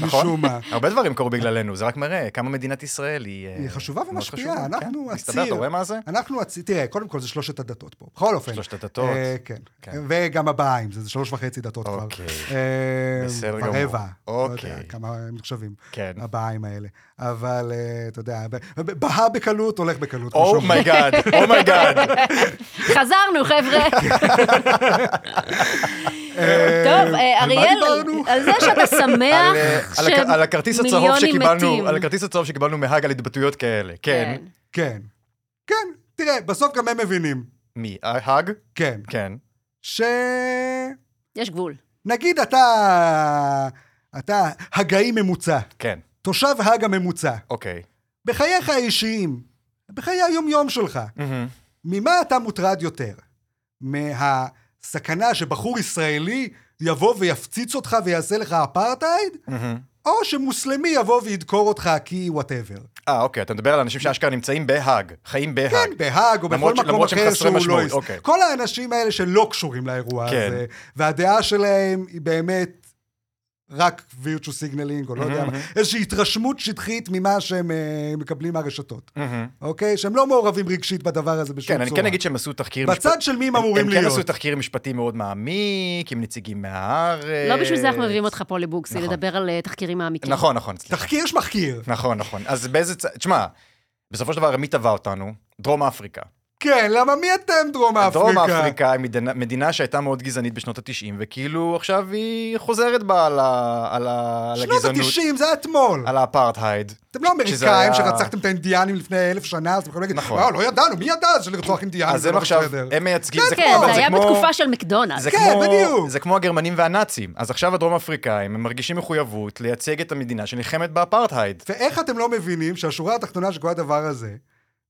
[SPEAKER 1] משום מה.
[SPEAKER 3] נכון? [LAUGHS] הרבה דברים קרו בגללנו, זה רק מראה כמה מדינת ישראל היא... אה,
[SPEAKER 1] היא חשובה
[SPEAKER 3] מאוד
[SPEAKER 1] ומשפיעה,
[SPEAKER 3] חשובה, כן.
[SPEAKER 1] אנחנו
[SPEAKER 3] מסתבר, אתה
[SPEAKER 1] הציר.
[SPEAKER 3] רואה מה זה?
[SPEAKER 1] אנחנו, הצ- תראה, קודם כל זה שלושת הדתות פה, בכל אופן.
[SPEAKER 3] שלושת הדתות.
[SPEAKER 1] אה, כן.
[SPEAKER 3] כן.
[SPEAKER 1] וגם הבאה עם זה, זה שלוש וחצי דתות כבר.
[SPEAKER 3] אוקיי.
[SPEAKER 1] אה,
[SPEAKER 3] בסדר
[SPEAKER 1] כבר
[SPEAKER 3] גמור.
[SPEAKER 1] רבע.
[SPEAKER 3] אוקיי.
[SPEAKER 1] לא יודע כמה הם נחשבים,
[SPEAKER 3] כן.
[SPEAKER 1] הבאים האלה. אבל, אה, אתה יודע, ב- ב- בהה בקלות, הולך בקלות.
[SPEAKER 3] Oh
[SPEAKER 1] כמו שאומרים.
[SPEAKER 3] אומייגאד, אומייגאד.
[SPEAKER 2] חזרנו,
[SPEAKER 1] [LAUGHS]
[SPEAKER 2] חבר'ה. טוב, אה,
[SPEAKER 1] על מה
[SPEAKER 2] אריאל,
[SPEAKER 1] דיברנו?
[SPEAKER 2] על זה שאתה שמח
[SPEAKER 3] [LAUGHS] על, אה, על הכ- על הכרטיס הצהוב
[SPEAKER 2] שמיליונים מתים.
[SPEAKER 3] שקיבלנו, על הכרטיס הצהוב שקיבלנו מהאג על התבטאויות כאלה. כן.
[SPEAKER 1] כן. כן, תראה, בסוף גם הם מבינים.
[SPEAKER 3] מי? אה, האג?
[SPEAKER 1] כן.
[SPEAKER 3] כן.
[SPEAKER 1] ש...
[SPEAKER 2] יש גבול.
[SPEAKER 1] נגיד אתה... אתה הגאי ממוצע,
[SPEAKER 3] כן.
[SPEAKER 1] תושב האג הממוצע.
[SPEAKER 3] אוקיי.
[SPEAKER 1] בחייך האישיים, בחיי היום-יום שלך,
[SPEAKER 3] מהמם.
[SPEAKER 1] ממה אתה מוטרד יותר? מהסכנה שבחור ישראלי יבוא ויפציץ אותך ויעשה לך אפרטהייד?
[SPEAKER 3] מהמם.
[SPEAKER 1] או שמוסלמי יבוא וידקור אותך כי וואטאבר.
[SPEAKER 3] אה, אוקיי, אתה מדבר על אנשים שאשכרה נמצאים בהאג, חיים בהאג.
[SPEAKER 1] כן, בהאג או בכל
[SPEAKER 3] למרות ש-
[SPEAKER 1] מקום
[SPEAKER 3] למרות שהם
[SPEAKER 1] אחר
[SPEAKER 3] חסרי
[SPEAKER 1] שהוא
[SPEAKER 3] משמעות,
[SPEAKER 1] לא... יס-
[SPEAKER 3] אוקיי.
[SPEAKER 1] כל האנשים האלה שלא קשורים לאירוע
[SPEAKER 3] כן.
[SPEAKER 1] הזה, והדעה שלהם היא באמת רק virtue signaling, או לא יודע מה,
[SPEAKER 3] מהמם.
[SPEAKER 1] איזושהי התרשמות שטחית ממה שהם אה, מקבלים מהרשתות,
[SPEAKER 3] מהמם.
[SPEAKER 1] אוקיי? שהם לא מעורבים רגשית בדבר הזה בשום
[SPEAKER 3] כן,
[SPEAKER 1] צורה.
[SPEAKER 3] אני כן אגיד שהם עשו תחקיר
[SPEAKER 1] בצד של מי הם אמורים
[SPEAKER 3] הם כן
[SPEAKER 1] להיות.
[SPEAKER 3] עשו תחקיר משפטי מאוד מעמיק, עם נציגים מהארץ.
[SPEAKER 2] לא בשביל זה אנחנו מביאים אותך פה לבוקסי,
[SPEAKER 3] אה, נכון.
[SPEAKER 2] לדבר על אה, תחקירים מעמיקים.
[SPEAKER 3] נכון, נכון, סליחה.
[SPEAKER 1] תחקיר שמחקיר.
[SPEAKER 3] נכון, נכון. אז באיזה צד... תשמע, בסופו של דבר, מי תבע אותנו? דרום אפריקה.
[SPEAKER 1] כן, למה מי אתם דרום אפריקה?
[SPEAKER 3] דרום אפריקה היא מדינה, מדינה שהייתה מאוד גזענית בשנות ה-90, וכאילו עכשיו היא חוזרת בה על, ה, על, ה, על
[SPEAKER 1] שנות
[SPEAKER 3] הגזענות,
[SPEAKER 1] ה-90 זה היה אתמול.
[SPEAKER 3] על האפרטהייד.
[SPEAKER 1] אתם לא
[SPEAKER 3] שזה היה-
[SPEAKER 1] אמריקאים שרצחתם את האינדיאנים לפני אלף שנה, אז אתם יכולים להגיד,
[SPEAKER 3] נכון.
[SPEAKER 1] "וואו, לא ידענו, מי ידע שלרצוח אינדיאנים
[SPEAKER 3] אז
[SPEAKER 1] זה
[SPEAKER 3] הם
[SPEAKER 1] לא
[SPEAKER 3] עכשיו,
[SPEAKER 1] בסדר?
[SPEAKER 3] הם מייצגים, זה
[SPEAKER 2] כן,
[SPEAKER 3] כמו...
[SPEAKER 2] זה היה
[SPEAKER 3] כמו-
[SPEAKER 2] בתקופה של מקדונלדס.
[SPEAKER 3] זה
[SPEAKER 1] כן,
[SPEAKER 3] כמו,
[SPEAKER 1] בדיוק.
[SPEAKER 3] זה כמו הגרמנים והנאצים. אז עכשיו הדרום אפריקאים, הם מרגישים מחויבות לייצג את המדינה שנלחמת באפרטהייד.
[SPEAKER 1] ואיך אתם לא מבינים שהשורה התחתונה של כל הדבר הזה,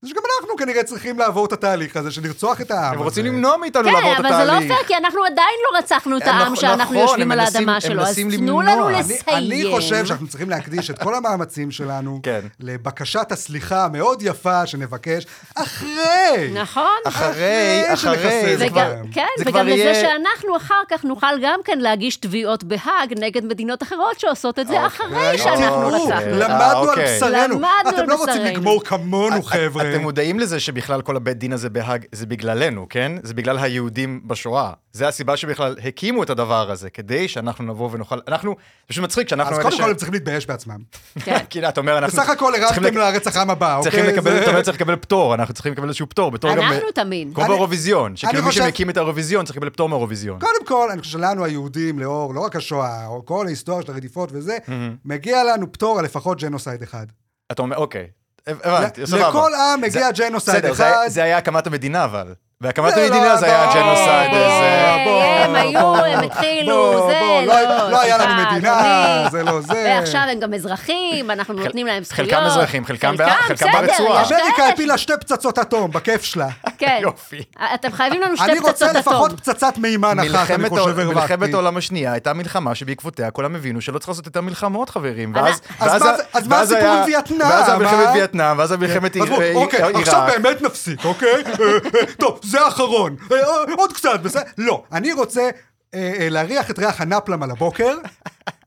[SPEAKER 1] זה שגם אנחנו כנראה צריכים לעבור את התהליך הזה של לרצוח את העם
[SPEAKER 3] הם
[SPEAKER 1] הזה.
[SPEAKER 3] רוצים למנוע מאיתנו לעבור את
[SPEAKER 2] כן,
[SPEAKER 3] התהליך.
[SPEAKER 2] אבל זה לא פייר, כי אנחנו עדיין לא רצחנו את
[SPEAKER 3] הם
[SPEAKER 2] העם
[SPEAKER 3] נכ-
[SPEAKER 2] שאנחנו
[SPEAKER 3] נכון,
[SPEAKER 2] יושבים
[SPEAKER 3] הם
[SPEAKER 2] על
[SPEAKER 3] מנסים-
[SPEAKER 2] האדמה
[SPEAKER 3] הם
[SPEAKER 2] שלו, אז
[SPEAKER 3] מנסים
[SPEAKER 2] תנו
[SPEAKER 3] למנוע.
[SPEAKER 2] לנו
[SPEAKER 3] אני-
[SPEAKER 1] אני-
[SPEAKER 2] לסיים.
[SPEAKER 1] אני חושב שאנחנו צריכים להקדיש את כל המאמצים שלנו
[SPEAKER 3] כן.
[SPEAKER 1] לבקשת הסליחה המאוד יפה שנבקש אחרי.
[SPEAKER 2] נכון.
[SPEAKER 3] אחרי,
[SPEAKER 1] אחרי
[SPEAKER 3] אחרי,
[SPEAKER 1] שנחסל.
[SPEAKER 3] זה כבר...
[SPEAKER 2] וגם, כן,
[SPEAKER 3] זה
[SPEAKER 2] וגם
[SPEAKER 3] כבר
[SPEAKER 2] לזה
[SPEAKER 3] יהיה-
[SPEAKER 2] שאנחנו אחר כך נוכל גם כן להגיש תביעות בהאג נגד מדינות אחרות שעושות את
[SPEAKER 1] אוקיי.
[SPEAKER 2] זה אחרי
[SPEAKER 1] ראיתי,
[SPEAKER 2] שאנחנו
[SPEAKER 1] תראו,
[SPEAKER 2] רצחנו.
[SPEAKER 3] אה,
[SPEAKER 1] למדנו על
[SPEAKER 3] אוקיי.
[SPEAKER 1] בשרנו.
[SPEAKER 2] למדנו אוקיי. על
[SPEAKER 1] אתם לא רוצים
[SPEAKER 2] בשרנו.
[SPEAKER 1] לגמור כמונו, חבר'ה.
[SPEAKER 3] אה, אתם מודעים לזה שבכלל כל הבית דין הזה בהאג זה בגללנו, כן? זה בגלל היהודים בשואה. זה הסיבה שבכלל הקימו את הדבר הזה, כדי שאנחנו נבוא ונוכל... אנחנו, זה פשוט מצחיק שאנחנו...
[SPEAKER 1] אז
[SPEAKER 3] אלה
[SPEAKER 1] קודם
[SPEAKER 3] ש-
[SPEAKER 1] כל הם צריכים להתבייש בעצמם.
[SPEAKER 2] כן.
[SPEAKER 3] [LAUGHS] כאילו, אתה אומר, אנחנו...
[SPEAKER 1] בסך הכל
[SPEAKER 3] צריכים
[SPEAKER 1] הרמתם
[SPEAKER 3] לק-
[SPEAKER 1] לרצח עם הבא, אוקיי?
[SPEAKER 3] צריכים לקבל,
[SPEAKER 1] זה-
[SPEAKER 3] אתה אומר, צריך לקבל פטור, אנחנו צריכים לקבל איזשהו פטור,
[SPEAKER 1] אה,
[SPEAKER 3] בתור גם...
[SPEAKER 2] אנחנו תמיד.
[SPEAKER 3] כמו
[SPEAKER 1] אני-
[SPEAKER 3] באירוויזיון, שכאילו מי
[SPEAKER 1] חושב-
[SPEAKER 3] שמקים את האירוויזיון צריך לקבל פטור מאירוויזיון.
[SPEAKER 1] קודם כל, אני חושב שלנו היהודים, לאור לא רק השואה, או כל ההיסטוריה של הרדיפות וזה, מגיע לנו פטור על לפחות ג'נוסייד אחד.
[SPEAKER 3] אתה אומר, אוקיי, הבנתי,
[SPEAKER 1] ל-
[SPEAKER 3] סבבה.
[SPEAKER 1] לכל עם מגיע
[SPEAKER 3] זה-
[SPEAKER 1] ג'נוסייד
[SPEAKER 3] בסדר, זה-
[SPEAKER 1] אחד.
[SPEAKER 3] זה היה הקמת המדינה, אבל. בהקמת
[SPEAKER 1] זה לא
[SPEAKER 3] המדינה זה היה
[SPEAKER 1] הבעיה.
[SPEAKER 3] הג'נוסייד
[SPEAKER 1] בוא,
[SPEAKER 3] הזה.
[SPEAKER 1] בוא,
[SPEAKER 2] אה, הם היו,
[SPEAKER 1] בוא,
[SPEAKER 2] הם
[SPEAKER 1] בוא,
[SPEAKER 2] התחילו,
[SPEAKER 1] בוא,
[SPEAKER 2] זה,
[SPEAKER 1] בוא,
[SPEAKER 2] לא,
[SPEAKER 1] לא היה לנו
[SPEAKER 2] סליחה,
[SPEAKER 1] מדינה,
[SPEAKER 2] אדוני.
[SPEAKER 1] זה לא זה.
[SPEAKER 2] ועכשיו הם גם אזרחים, אנחנו נותנים להם זכויות.
[SPEAKER 3] חלקם אזרחים, חלקם בא- חלקם
[SPEAKER 2] בסדר,
[SPEAKER 3] ברצועה.
[SPEAKER 2] יש כאלה
[SPEAKER 1] [LAUGHS] אמריקה
[SPEAKER 2] ש-
[SPEAKER 1] הפילה שתי פצצות אטום, בכיף
[SPEAKER 2] [LAUGHS]
[SPEAKER 1] שלה.
[SPEAKER 2] כן.
[SPEAKER 3] יופי.
[SPEAKER 2] אתם חייבים לנו
[SPEAKER 1] אני
[SPEAKER 2] שתי
[SPEAKER 1] רוצה
[SPEAKER 2] פצצות אטום.
[SPEAKER 1] לפחות פצצת מימן אחת, אני
[SPEAKER 3] מלחמת העול-
[SPEAKER 1] חושב הרווחתי.
[SPEAKER 3] מלחמת העולם השנייה הייתה מלחמה שבעקבותיה כולם הבינו שלא צריך לעשות יותר מלחמות, חברים.
[SPEAKER 2] אז-
[SPEAKER 1] אז
[SPEAKER 3] ואז- ואז
[SPEAKER 1] מה
[SPEAKER 3] ה-
[SPEAKER 1] זה- אז מה
[SPEAKER 3] ואז
[SPEAKER 1] הסיפור
[SPEAKER 3] היה-
[SPEAKER 1] עם וייטנאם,
[SPEAKER 3] ואז היה מלחמת
[SPEAKER 1] אה?
[SPEAKER 3] וייטנאם, ואז היה מלחמת עיר-
[SPEAKER 1] עזבו,
[SPEAKER 3] עיר-
[SPEAKER 1] אוקיי, עכשיו
[SPEAKER 3] עיראק.
[SPEAKER 1] באמת נפסיק, אוקיי? אה, אה, טוב, זה האחרון. אה, אה, עוד קצת, בסדר? לא, אני רוצה אה, אה, להריח את ריח הנפלם על הבוקר,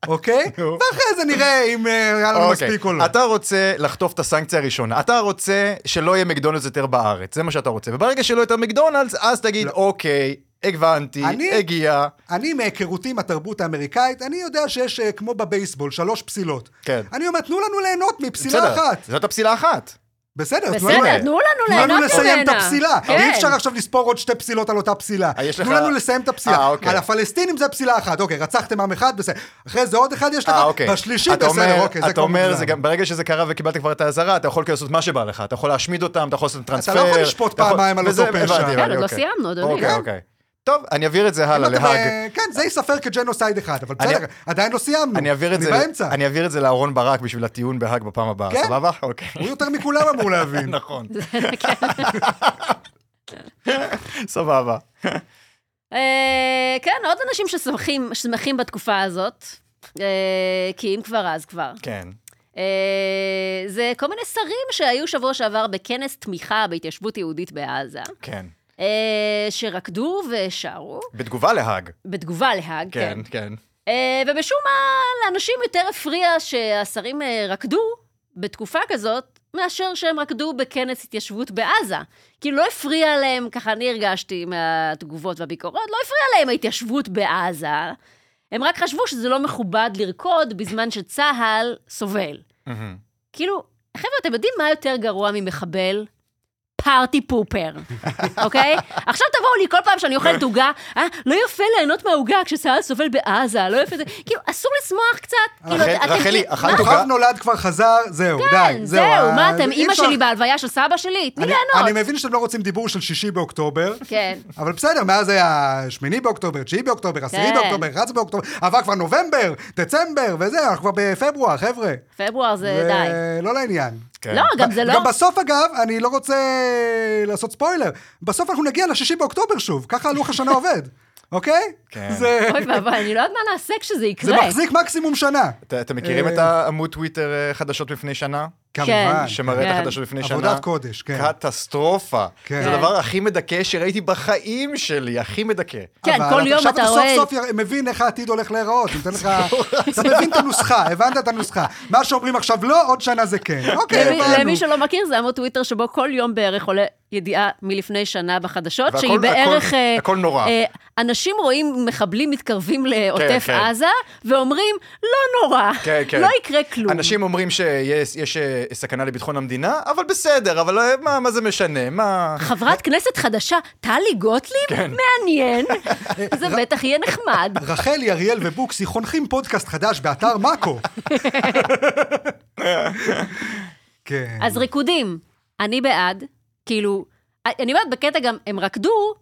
[SPEAKER 1] אוקיי?
[SPEAKER 3] נו.
[SPEAKER 1] ואחרי זה נראה אם אה, היה לנו
[SPEAKER 3] אוקיי.
[SPEAKER 1] מספיק או לא.
[SPEAKER 3] אתה רוצה לחטוף את הסנקציה הראשונה, אתה רוצה שלא יהיה מקדונלדס יותר בארץ, זה מה שאתה רוצה. וברגע שלא יהיה יותר מקדונלדס, אז תגיד, אוקיי, הבנתי,
[SPEAKER 1] לא. אני-
[SPEAKER 3] הגיע.
[SPEAKER 1] אני, מהיכרותי עם התרבות האמריקאית, אני יודע שיש, אה, כמו בבייסבול, שלוש פסילות.
[SPEAKER 3] כן.
[SPEAKER 1] אני אומר, תנו לנו ליהנות מפסילה
[SPEAKER 3] בסדר,
[SPEAKER 1] אחת.
[SPEAKER 3] זאת הפסילה אחת.
[SPEAKER 1] בסדר, תנו לנו-
[SPEAKER 2] בסדר, תנו לנו
[SPEAKER 1] תנו
[SPEAKER 2] ליהנות ממנה.
[SPEAKER 1] לנו לסיים את הפסילה.
[SPEAKER 2] כן.
[SPEAKER 1] אי אפשר עכשיו לספור עוד שתי פסילות על אותה פסילה.
[SPEAKER 3] אה, יש
[SPEAKER 1] תנו
[SPEAKER 3] לך-
[SPEAKER 1] לנו לסיים את הפסילה.
[SPEAKER 3] אה, אוקיי.
[SPEAKER 1] על הפלסטינים זה פסילה אחת. אוקיי, רצחתם עם אחד, בסדר. אחרי זה עוד אחד יש לך,
[SPEAKER 3] אה, אוקיי.
[SPEAKER 1] בשלישית,
[SPEAKER 3] אתה
[SPEAKER 1] בסדר,
[SPEAKER 3] אומר-
[SPEAKER 1] אוקיי, זה
[SPEAKER 3] אתה
[SPEAKER 1] כבר
[SPEAKER 3] אומר, זה
[SPEAKER 1] מוגזם.
[SPEAKER 3] גם- ברגע שזה קרה וקיבלת כבר את האזהרה, אתה יכול כאילו לעשות מה שבא לך. אתה יכול להשמיד אותם, אתה יכול לעשות טרנספר.
[SPEAKER 1] לא יכול לשפוט
[SPEAKER 3] אתה יכול-
[SPEAKER 1] פעמיים על
[SPEAKER 3] וזה-
[SPEAKER 1] אותו פשע.
[SPEAKER 3] הבנתי,
[SPEAKER 1] כן,
[SPEAKER 3] הבנתי,
[SPEAKER 2] עוד לא
[SPEAKER 3] אוקיי.
[SPEAKER 2] סיימנו, אדוני.
[SPEAKER 3] אוקיי,
[SPEAKER 1] כן.
[SPEAKER 3] אוקיי. טוב, אני אעביר את זה הלאה
[SPEAKER 1] אם אתה
[SPEAKER 3] להאג.
[SPEAKER 1] ב- כן, זה ייספר כג'נוסייד אחד, אבל
[SPEAKER 3] אני-
[SPEAKER 1] בסדר, עדיין לא סיימנו.
[SPEAKER 3] אני אעביר את זה,
[SPEAKER 1] אני באמצע.
[SPEAKER 3] אני אעביר את זה לאהרון ברק בשביל הטיעון בהאג בפעם הבאה,
[SPEAKER 1] כן.
[SPEAKER 3] סבבה?
[SPEAKER 1] [LAUGHS]
[SPEAKER 3] אוקיי.
[SPEAKER 1] הוא יותר מכולם אמור
[SPEAKER 3] [LAUGHS]
[SPEAKER 1] להבין.
[SPEAKER 3] נכון,
[SPEAKER 1] אוקיי.
[SPEAKER 2] [LAUGHS] כן.
[SPEAKER 3] סבבה.
[SPEAKER 2] אה, כן, עוד אנשים ששמחים, ששמחים בתקופה הזאת, אה, כי אם כבר, אז כבר.
[SPEAKER 3] כן.
[SPEAKER 2] אה, זה כל מיני שרים שהיו שבוע שעבר בכנס תמיכה בהתיישבות יהודית בעזה,
[SPEAKER 3] כן.
[SPEAKER 2] אה, שרקדו ושרו,
[SPEAKER 3] בתגובה להאג.
[SPEAKER 2] בתגובה להאג,
[SPEAKER 3] כן,
[SPEAKER 2] כן.
[SPEAKER 3] כן.
[SPEAKER 2] אה, ומשום מה, לאנשים יותר הפריע שהשרים אה, רקדו בתקופה כזאת, מאשר שהם רקדו בכנס התיישבות בעזה. כאילו, לא הפריע להם, ככה אני הרגשתי מהתגובות והביקורות, לא הפריע להם ההתיישבות בעזה. הם רק חשבו שזה לא מכובד לרקוד בזמן שצה"ל סובל.
[SPEAKER 3] מהמם.
[SPEAKER 2] כאילו, חבר'ה, אתם יודעים מה יותר גרוע ממחבל? פארטי
[SPEAKER 1] [LAUGHS]
[SPEAKER 2] פופר, אוקיי? עכשיו תבואו לי כל פעם שאני אוכלת עוגה, אה, לא יפה ליהנות מהעוגה כשצה"ל סובל בעזה, לא יפה זה, כאילו, אסור לשמוח קצת. כאילו,
[SPEAKER 3] רחל-
[SPEAKER 2] אתם-
[SPEAKER 3] רחלי,
[SPEAKER 2] מה?
[SPEAKER 3] אכלת עוגה?
[SPEAKER 1] כוכב נולד כבר חזר, זהו, די,
[SPEAKER 2] כן,
[SPEAKER 1] זהו.
[SPEAKER 2] זהו,
[SPEAKER 1] אה,
[SPEAKER 2] מה אתם,
[SPEAKER 1] אי
[SPEAKER 2] אימא
[SPEAKER 1] אפשר-
[SPEAKER 2] שלי בהלוויה של סבא שלי, תני
[SPEAKER 1] אני-
[SPEAKER 2] ליהנות.
[SPEAKER 1] אני מבין שאתם לא רוצים דיבור של שישי באוקטובר.
[SPEAKER 2] כן.
[SPEAKER 1] אבל בסדר, מאז היה שמיני באוקטובר, תשיעי באוקטובר, עשירי
[SPEAKER 2] כן.
[SPEAKER 1] באוקטובר, 11 באוקטובר, עבר כבר נובמבר, דצמבר, וזה, אנחנו כבר בפברואר, חבר'ה.
[SPEAKER 2] פברואר זה די.
[SPEAKER 1] לא לעניין.
[SPEAKER 3] כן.
[SPEAKER 2] לא, גם זה לא...
[SPEAKER 1] גם בסוף, אגב, אני לא רוצה לעשות ספוילר, בסוף אנחנו נגיע לשישי באוקטובר שוב, ככה לוח השנה עובד, אוקיי?
[SPEAKER 3] כן.
[SPEAKER 1] זה-
[SPEAKER 2] אוי ואבוי, אני לא יודעת מה נעשה כשזה
[SPEAKER 1] זה
[SPEAKER 2] יקרה.
[SPEAKER 1] מחזיק מקסימום שנה.
[SPEAKER 3] אתה- אתם מכירים
[SPEAKER 1] אה,
[SPEAKER 3] את העמוד טוויטר אה, חדשות לפני שנה?
[SPEAKER 1] כמובן.
[SPEAKER 3] שמראה את
[SPEAKER 2] כן.
[SPEAKER 3] החדשות לפני שנה?
[SPEAKER 1] עבודת קודש, כן.
[SPEAKER 3] קטסטרופה.
[SPEAKER 1] כן.
[SPEAKER 3] זה
[SPEAKER 2] כן.
[SPEAKER 3] הדבר הכי מדכא שראיתי בחיים שלי, הכי מדכא.
[SPEAKER 2] כן,
[SPEAKER 1] אבל
[SPEAKER 2] כל יום אתה
[SPEAKER 1] עכשיו
[SPEAKER 2] רואה...
[SPEAKER 1] אתה סוף סוף יר- מבין איך העתיד הולך להיראות, נותן לך...
[SPEAKER 2] [LAUGHS]
[SPEAKER 1] אתה מבין את הנוסחה, הבנת את הנוסחה. מה שאומרים עכשיו לא, עוד שנה זה כן. אוקיי,
[SPEAKER 2] למי-
[SPEAKER 1] הבנו.
[SPEAKER 2] למי שלא מכיר, זה עמוד טוויטר שבו כל יום בערך עולה ידיעה מלפני שנה בחדשות,
[SPEAKER 3] והכל-
[SPEAKER 2] שהיא בערך...
[SPEAKER 3] הכל-
[SPEAKER 2] אה,
[SPEAKER 3] הכל נורא.
[SPEAKER 2] אה, אנשים רואים מחבלים מתקרבים לעוטף
[SPEAKER 3] כן.
[SPEAKER 2] עזה, ואומרים, לא נורא,
[SPEAKER 3] כן, כן.
[SPEAKER 2] לא יקרה כלום.
[SPEAKER 3] אנשים אומרים שיש יש, אה, סכנה לביטחון המדינה, אבל בסדר, אבל אה, מה, מה זה משנה? מה...
[SPEAKER 2] חברת כנסת חדשה, טלי
[SPEAKER 3] כן.
[SPEAKER 2] גוטליב?
[SPEAKER 3] [LAUGHS]
[SPEAKER 2] מעניין. זה בטח יהיה נחמד.
[SPEAKER 1] רחלי, אריאל ובוקסי חונכים פודקאסט חדש באתר
[SPEAKER 2] [LAUGHS]
[SPEAKER 1] מאקו. כן.
[SPEAKER 2] אז ריקודים, אני בעד, כאילו, אני אומרת בקטע גם, הם רקדו,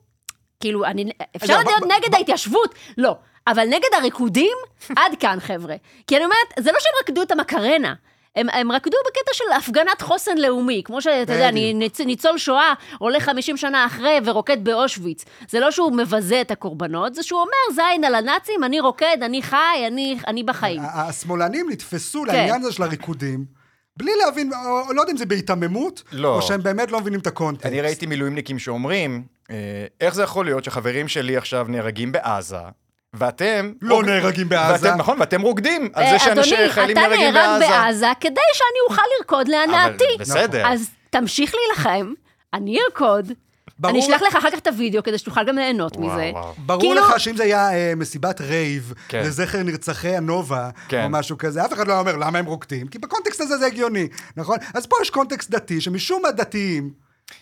[SPEAKER 2] כאילו, אני, אפשר
[SPEAKER 1] רגע,
[SPEAKER 2] להיות
[SPEAKER 1] ב- ב-
[SPEAKER 2] נגד ההתיישבות, לא, אבל נגד הריקודים,
[SPEAKER 1] [LAUGHS]
[SPEAKER 2] עד כאן חבר'ה. כי אני אומרת, זה לא שהם רקדו את המקרנה. הם, הם רקדו בקטע של הפגנת חוסן לאומי, כמו שאתה יודע, אני ניצ, ניצול שואה הולך 50 שנה אחרי ורוקד באושוויץ. זה לא שהוא מבזה את הקורבנות, זה שהוא אומר, זין על הנאצים, אני רוקד, אני חי, אני, אני כן. בחיים.
[SPEAKER 1] ה- השמאלנים נתפסו לעניין הזה של הריקודים, בלי להבין, או- לא יודע אם זה בהיתממות,
[SPEAKER 3] לא.
[SPEAKER 1] או שהם באמת לא מבינים את הקונטקסט.
[SPEAKER 3] אני ראיתי מילואימניקים שאומרים, אה, איך זה יכול להיות שחברים שלי עכשיו נהרגים בעזה, ואתם...
[SPEAKER 1] לא
[SPEAKER 3] רוק-
[SPEAKER 1] נהרגים בעזה.
[SPEAKER 3] ואתם, נכון, ואתם רוקדים על
[SPEAKER 2] אה,
[SPEAKER 3] זה שאנשים חיילים נהרגים בעזה.
[SPEAKER 2] אתה נהרג בעזה כדי שאני אוכל לרקוד להנאתי.
[SPEAKER 3] אבל בסדר.
[SPEAKER 1] נכון.
[SPEAKER 2] אז תמשיך להילחם, אני ארקוד,
[SPEAKER 1] ברור-
[SPEAKER 2] אני אשלח לך אחר כך את הוידאו כדי שתוכל גם ליהנות
[SPEAKER 3] וואו,
[SPEAKER 2] מזה.
[SPEAKER 3] וואו.
[SPEAKER 1] ברור
[SPEAKER 2] כאילו-
[SPEAKER 1] לך שאם זה היה אה, מסיבת רייב
[SPEAKER 3] כן.
[SPEAKER 1] לזכר נרצחי הנובה,
[SPEAKER 3] כן.
[SPEAKER 1] או משהו כזה, אף אחד לא היה אומר למה הם רוקדים, כי בקונטקסט הזה זה הגיוני, נכון? אז פה יש קונטקסט דתי, שמשום מה דתיים,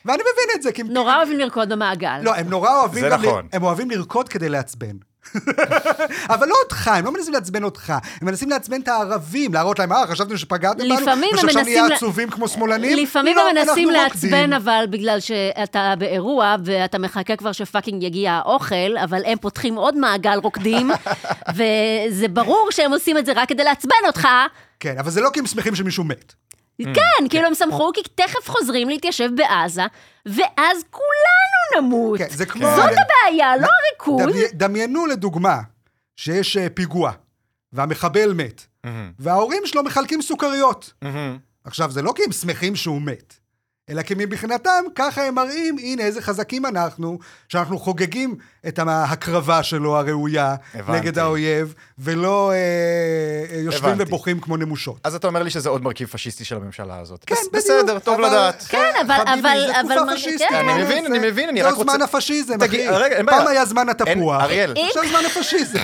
[SPEAKER 1] ואני מבין את זה, כי... הם-
[SPEAKER 2] נורא אוהבים לרקוד במעגל.
[SPEAKER 1] לא, הם נורא אוהבים...
[SPEAKER 3] זה
[SPEAKER 1] גם ל-
[SPEAKER 3] נכון.
[SPEAKER 1] הם אוהבים לרקוד כדי לעצבן. [LAUGHS] אבל לא אותך, הם לא מנסים לעצבן אותך, הם מנסים לעצבן את הערבים, להראות להם, אה, חשבתם שפגעתם בנו?
[SPEAKER 2] לפעמים הם
[SPEAKER 1] ושעכשיו
[SPEAKER 2] מנסים
[SPEAKER 1] נהיה
[SPEAKER 2] לה-
[SPEAKER 1] עצובים כמו שמאלנים?
[SPEAKER 2] לפעמים
[SPEAKER 1] לא,
[SPEAKER 2] הם מנסים
[SPEAKER 1] אנחנו
[SPEAKER 2] לעצבן,
[SPEAKER 1] רוקדים.
[SPEAKER 2] אבל בגלל שאתה באירוע ואתה מחכה כבר שפאקינג יגיע האוכל, אבל הם פותחים עוד מעגל
[SPEAKER 1] [LAUGHS]
[SPEAKER 2] רוקדים, וזה ברור שהם עושים את זה רק כדי לעצבן אותך.
[SPEAKER 1] כן, אבל זה לא כי הם שמחים שמישהו מת.
[SPEAKER 2] כן, כאילו הם שמחו, כי תכף חוזרים להתיישב בעזה, ואז כולנו נמות.
[SPEAKER 1] כן, זה כמו...
[SPEAKER 2] זאת הבעיה, לא הריקוד.
[SPEAKER 1] דמי- דמיינו לדוגמה שיש אה, פיגוע, והמחבל מת,
[SPEAKER 3] מהמם,
[SPEAKER 1] וההורים שלו מחלקים סוכריות.
[SPEAKER 3] מהמם.
[SPEAKER 1] עכשיו, זה לא כי הם שמחים שהוא מת, אלא כי מבחינתם, ככה הם מראים, הנה איזה חזקים אנחנו, שאנחנו חוגגים את ההקרבה שלו הראויה
[SPEAKER 3] הבנתי.
[SPEAKER 1] נגד האויב, ולא אה, אה, יושבים
[SPEAKER 3] הבנתי.
[SPEAKER 1] ובוכים כמו נמושות.
[SPEAKER 3] אז אתה אומר לי שזה עוד מרכיב פשיסטי של הממשלה הזאת.
[SPEAKER 1] כן,
[SPEAKER 3] אה, בס-
[SPEAKER 1] בדיוק.
[SPEAKER 3] בסדר, טוב
[SPEAKER 1] אבל-
[SPEAKER 3] לדעת.
[SPEAKER 2] כן, אבל-
[SPEAKER 1] חביבי,
[SPEAKER 2] אבל-
[SPEAKER 1] זה
[SPEAKER 2] אבל-
[SPEAKER 1] תקופה פשיסטית.
[SPEAKER 2] כן.
[SPEAKER 1] מה
[SPEAKER 3] אני מבין,
[SPEAKER 1] נעשה?
[SPEAKER 3] אני מבין, אני רק
[SPEAKER 1] זהו
[SPEAKER 3] רוצה-
[SPEAKER 1] זמן הפשיזם,
[SPEAKER 3] תגיד,
[SPEAKER 1] אחי.
[SPEAKER 3] רגע, אין בעיה.
[SPEAKER 1] פעם היה זמן
[SPEAKER 3] אין-
[SPEAKER 1] התפוח,
[SPEAKER 3] אריאל.
[SPEAKER 1] עכשיו זמן הפשיזם.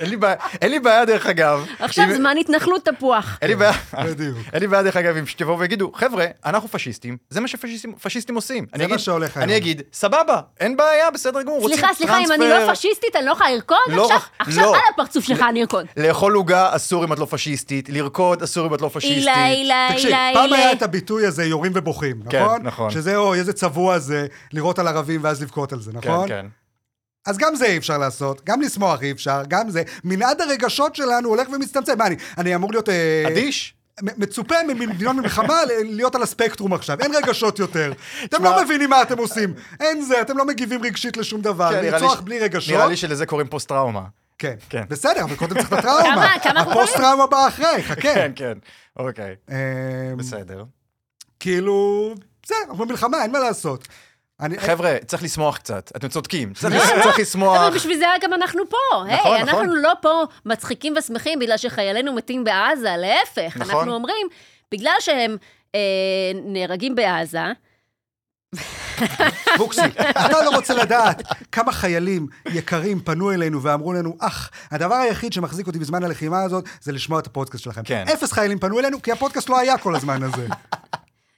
[SPEAKER 3] אין לי בעיה- אין לי בעיה, דרך אגב.
[SPEAKER 2] עכשיו
[SPEAKER 3] אם-
[SPEAKER 2] זמן התנחלות תפוח.
[SPEAKER 3] אין לי בעיה,
[SPEAKER 1] אה, בדיוק.
[SPEAKER 3] אין לי בעיה דרך אגב, אם שתבואו ויגידו, חבר'ה, אנחנו פשיסטים, זה מה שפשיסטים פשיסטים עושים. אני
[SPEAKER 1] מה
[SPEAKER 3] אגיד-
[SPEAKER 1] שהולך היום.
[SPEAKER 3] אני אגיד, סבבה, אין בעיה, בסדר גמור, רוצים
[SPEAKER 2] סליחה, סליחה, אם אני
[SPEAKER 3] טרנספר.
[SPEAKER 2] לא פשיסטית, אני לא יכולה לרקוד?
[SPEAKER 3] לא,
[SPEAKER 2] עכשיו, עכשיו
[SPEAKER 3] לא.
[SPEAKER 2] על הפרצוף שלך אני ארקוד.
[SPEAKER 3] לאכול עוגה אסור אם את לא פשיסטית, לרקוד אסור אם את לא פשיסטית.
[SPEAKER 2] אילה, אילה,
[SPEAKER 3] תקשיב,
[SPEAKER 2] אילה,
[SPEAKER 1] פעם
[SPEAKER 2] אילה.
[SPEAKER 1] היה את הביטוי הזה, יורים ובוכים,
[SPEAKER 3] כן,
[SPEAKER 1] נכון?
[SPEAKER 3] נכון.
[SPEAKER 1] שזה, אוי, איזה צבוע זה, לירות על ערבים ואז לבכות על זה, נכון?
[SPEAKER 3] כן, כן.
[SPEAKER 1] אז גם זה אי אפשר לעשות, גם לשמוח אי אפשר, גם זה. מנעד הרגשות שלנו הולך ומצטמצם. מה, אני, אני אמור להיות... אה,
[SPEAKER 3] אדיש?
[SPEAKER 1] מ- מצופה ממדינות במלחמה ל- להיות על הספקטרום עכשיו, אין רגשות
[SPEAKER 3] [LAUGHS]
[SPEAKER 1] יותר. אתם
[SPEAKER 3] תשמע-
[SPEAKER 1] לא מבינים מה אתם עושים, אין זה, אתם לא מגיבים רגשית לשום דבר,
[SPEAKER 3] כן, נראה לי
[SPEAKER 1] אה, לרצוח
[SPEAKER 3] ש-
[SPEAKER 1] בלי רגשות.
[SPEAKER 3] נראה לי שלזה קוראים פוסט-טראומה.
[SPEAKER 1] כן,
[SPEAKER 3] כן.
[SPEAKER 1] בסדר, אבל קודם צריך את הטראומה.
[SPEAKER 2] כמה- כמה אנחנו
[SPEAKER 1] הפוסט-טראומה באה אחרי, חכה.
[SPEAKER 3] כן, כן, אוקיי,
[SPEAKER 1] אמ,
[SPEAKER 3] בסדר.
[SPEAKER 1] כאילו, בסדר, אנחנו במלחמה, אין מה לעשות. אני,
[SPEAKER 3] חבר'ה, צריך לשמוח קצת, אתם
[SPEAKER 1] [LAUGHS]
[SPEAKER 3] צודקים. צריך צריך לשמוח.
[SPEAKER 2] אבל בשביל זה גם אנחנו פה.
[SPEAKER 3] נכון,
[SPEAKER 2] היי,
[SPEAKER 3] נכון.
[SPEAKER 2] אנחנו לא פה מצחיקים ושמחים בגלל שחיילינו מתים בעזה, להפך.
[SPEAKER 3] נכון.
[SPEAKER 2] אנחנו אומרים, בגלל שהם אה, נהרגים בעזה,
[SPEAKER 1] בוקסי, אתה לא רוצה לדעת כמה חיילים יקרים פנו אלינו ואמרו לנו, אח, הדבר היחיד שמחזיק אותי בזמן הלחימה הזאת זה לשמוע את הפודקאסט שלכם.
[SPEAKER 3] כן.
[SPEAKER 1] אפס חיילים פנו אלינו, כי הפודקאסט לא היה כל הזמן הזה.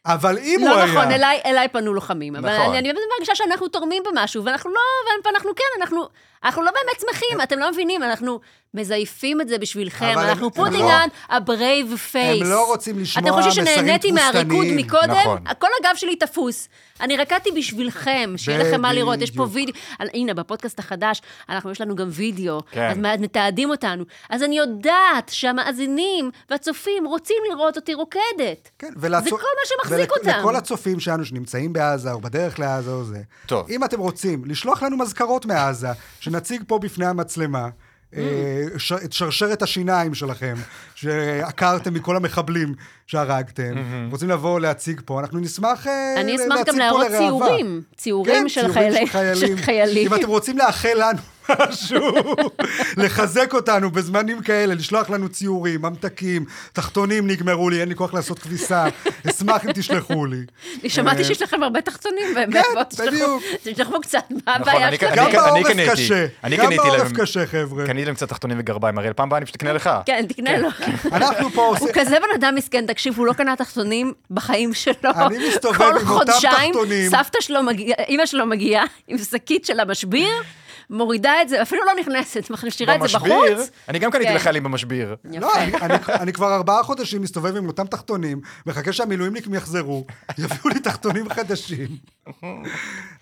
[SPEAKER 1] אבל אם הוא
[SPEAKER 2] לא
[SPEAKER 1] היה...
[SPEAKER 2] נכון, אליי, אליי פנו לוחמים. אבל
[SPEAKER 3] נכון.
[SPEAKER 2] אני, אני באמת מרגישה שאנחנו תורמים במשהו, ואנחנו לא, ואנחנו כן, אנחנו, אנחנו לא באמת שמחים, אתם לא מבינים, אנחנו מזייפים את זה בשבילכם,
[SPEAKER 1] אבל הם-
[SPEAKER 2] אנחנו
[SPEAKER 1] הם לא-
[SPEAKER 2] פודינגן, ה-brave
[SPEAKER 1] הם
[SPEAKER 2] face.
[SPEAKER 1] לא רוצים לשמוע
[SPEAKER 2] אתם חושבים
[SPEAKER 1] מסרים
[SPEAKER 2] שנהניתי מהריקוד
[SPEAKER 1] תבוסתניים.
[SPEAKER 2] מקודם?
[SPEAKER 3] נכון.
[SPEAKER 2] כל הגב שלי תפוס. אני רקדתי בשבילכם, שיהיה לכם מה לראות, יש פה
[SPEAKER 1] בדיוק.
[SPEAKER 2] וידאו. על- הנה, בפודקאסט החדש, אנחנו, יש לנו גם וידאו,
[SPEAKER 3] כן.
[SPEAKER 2] אז מה- מתעדים אותנו. אז אני יודעת שהמאזינים והצופים רוצים לראות אותי רוקדת.
[SPEAKER 1] כן, ולצו...
[SPEAKER 2] זה כל מה שמחזיק אותם.
[SPEAKER 1] לכל הצופים שלנו שנמצאים בעזה או בדרך לעזה או זה.
[SPEAKER 3] טוב.
[SPEAKER 1] אם אתם רוצים, לשלוח לנו מזכרות מעזה, שנציג פה בפני המצלמה. אה,
[SPEAKER 2] Mm.
[SPEAKER 1] ש- את שרשרת השיניים שלכם, שעקרתם מכל המחבלים שהרגתם. רוצים לבוא להציג פה, אנחנו נשמח אה,
[SPEAKER 2] אני
[SPEAKER 1] ל-
[SPEAKER 2] אשמח
[SPEAKER 1] להציג
[SPEAKER 2] גם
[SPEAKER 1] פה
[SPEAKER 2] להראות
[SPEAKER 1] לראווה.
[SPEAKER 2] ציורים,
[SPEAKER 1] כן,
[SPEAKER 2] ציורים של חיילי- של חיילים.
[SPEAKER 1] אם אתם רוצים לאחל
[SPEAKER 2] [LAUGHS]
[SPEAKER 1] לנו משהו, לחזק אותנו בזמנים כאלה, לשלוח לנו ציורים, ממתקים, תחתונים נגמרו לי, אין לי כוח לעשות כביסה, אשמח אם תשלחו לי.
[SPEAKER 2] אני שמעתי
[SPEAKER 1] אה,
[SPEAKER 2] שיש לכם הרבה תחתונים, באמת.
[SPEAKER 1] כן,
[SPEAKER 2] בואו תשלחו-
[SPEAKER 1] בדיוק.
[SPEAKER 2] תשלחו קצת, מה
[SPEAKER 3] נכון,
[SPEAKER 2] הבעיה
[SPEAKER 3] אני-
[SPEAKER 2] שלכם?
[SPEAKER 1] גם
[SPEAKER 3] אני
[SPEAKER 1] בעורף
[SPEAKER 3] קניתי.
[SPEAKER 1] קשה,
[SPEAKER 3] אני
[SPEAKER 1] גם
[SPEAKER 3] קניתי
[SPEAKER 1] בעורף
[SPEAKER 3] להם- כן.
[SPEAKER 1] קשי, חבר'ה.
[SPEAKER 3] קניתי להם קצת תחתונים וגרביים, אריאל, פעם הבאה אני פשוט אקנה לך.
[SPEAKER 2] כן, תקנה לו.
[SPEAKER 1] אנחנו פה
[SPEAKER 2] הוא
[SPEAKER 1] עושים...
[SPEAKER 2] כזה בן אדם מסכן, תקשיב, הוא לא קנה תחתונים בחיים שלו.
[SPEAKER 1] אני מסתובב עם אותם
[SPEAKER 2] כל חודשיים,
[SPEAKER 1] תחתונים.
[SPEAKER 2] סבתא שלו מגיעה, אימא שלו מגיעה עם שקית של המשביר, מורידה את זה, אפילו לא נכנסת, משאירה את זה
[SPEAKER 3] במשביר,
[SPEAKER 2] בחוץ.
[SPEAKER 3] אני גם קניתי
[SPEAKER 2] כן.
[SPEAKER 3] לחיילים במשביר.
[SPEAKER 1] לא,
[SPEAKER 2] יפה.
[SPEAKER 1] אני, אני, אני כבר ארבעה חודשים מסתובב עם אותם תחתונים, מחכה שהמילואימניקים יחזרו, יביאו לי תחתונים חדשים.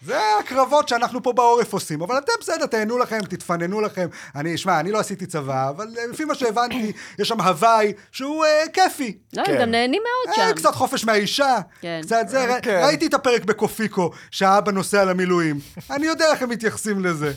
[SPEAKER 1] זה הקרבות שאנחנו פה בעורף עושים, אבל אתם בסדר, תהנו לכם, תתפננו לכם. אני, שמע, אני לא עשיתי צבא, אבל אה, לפי מה שהבנתי, יש שם הוואי שהוא אה, כיפי.
[SPEAKER 2] לא,
[SPEAKER 3] כן.
[SPEAKER 2] הם גם נהנים מאוד
[SPEAKER 1] אה,
[SPEAKER 2] שם.
[SPEAKER 1] קצת חופש מהאישה,
[SPEAKER 2] כן.
[SPEAKER 1] קצת זה, ר-
[SPEAKER 3] כן.
[SPEAKER 1] ראיתי את הפרק בקופיקו, שהאבא נוסע למילואים. אני יודע איך הם מתייחסים לזה.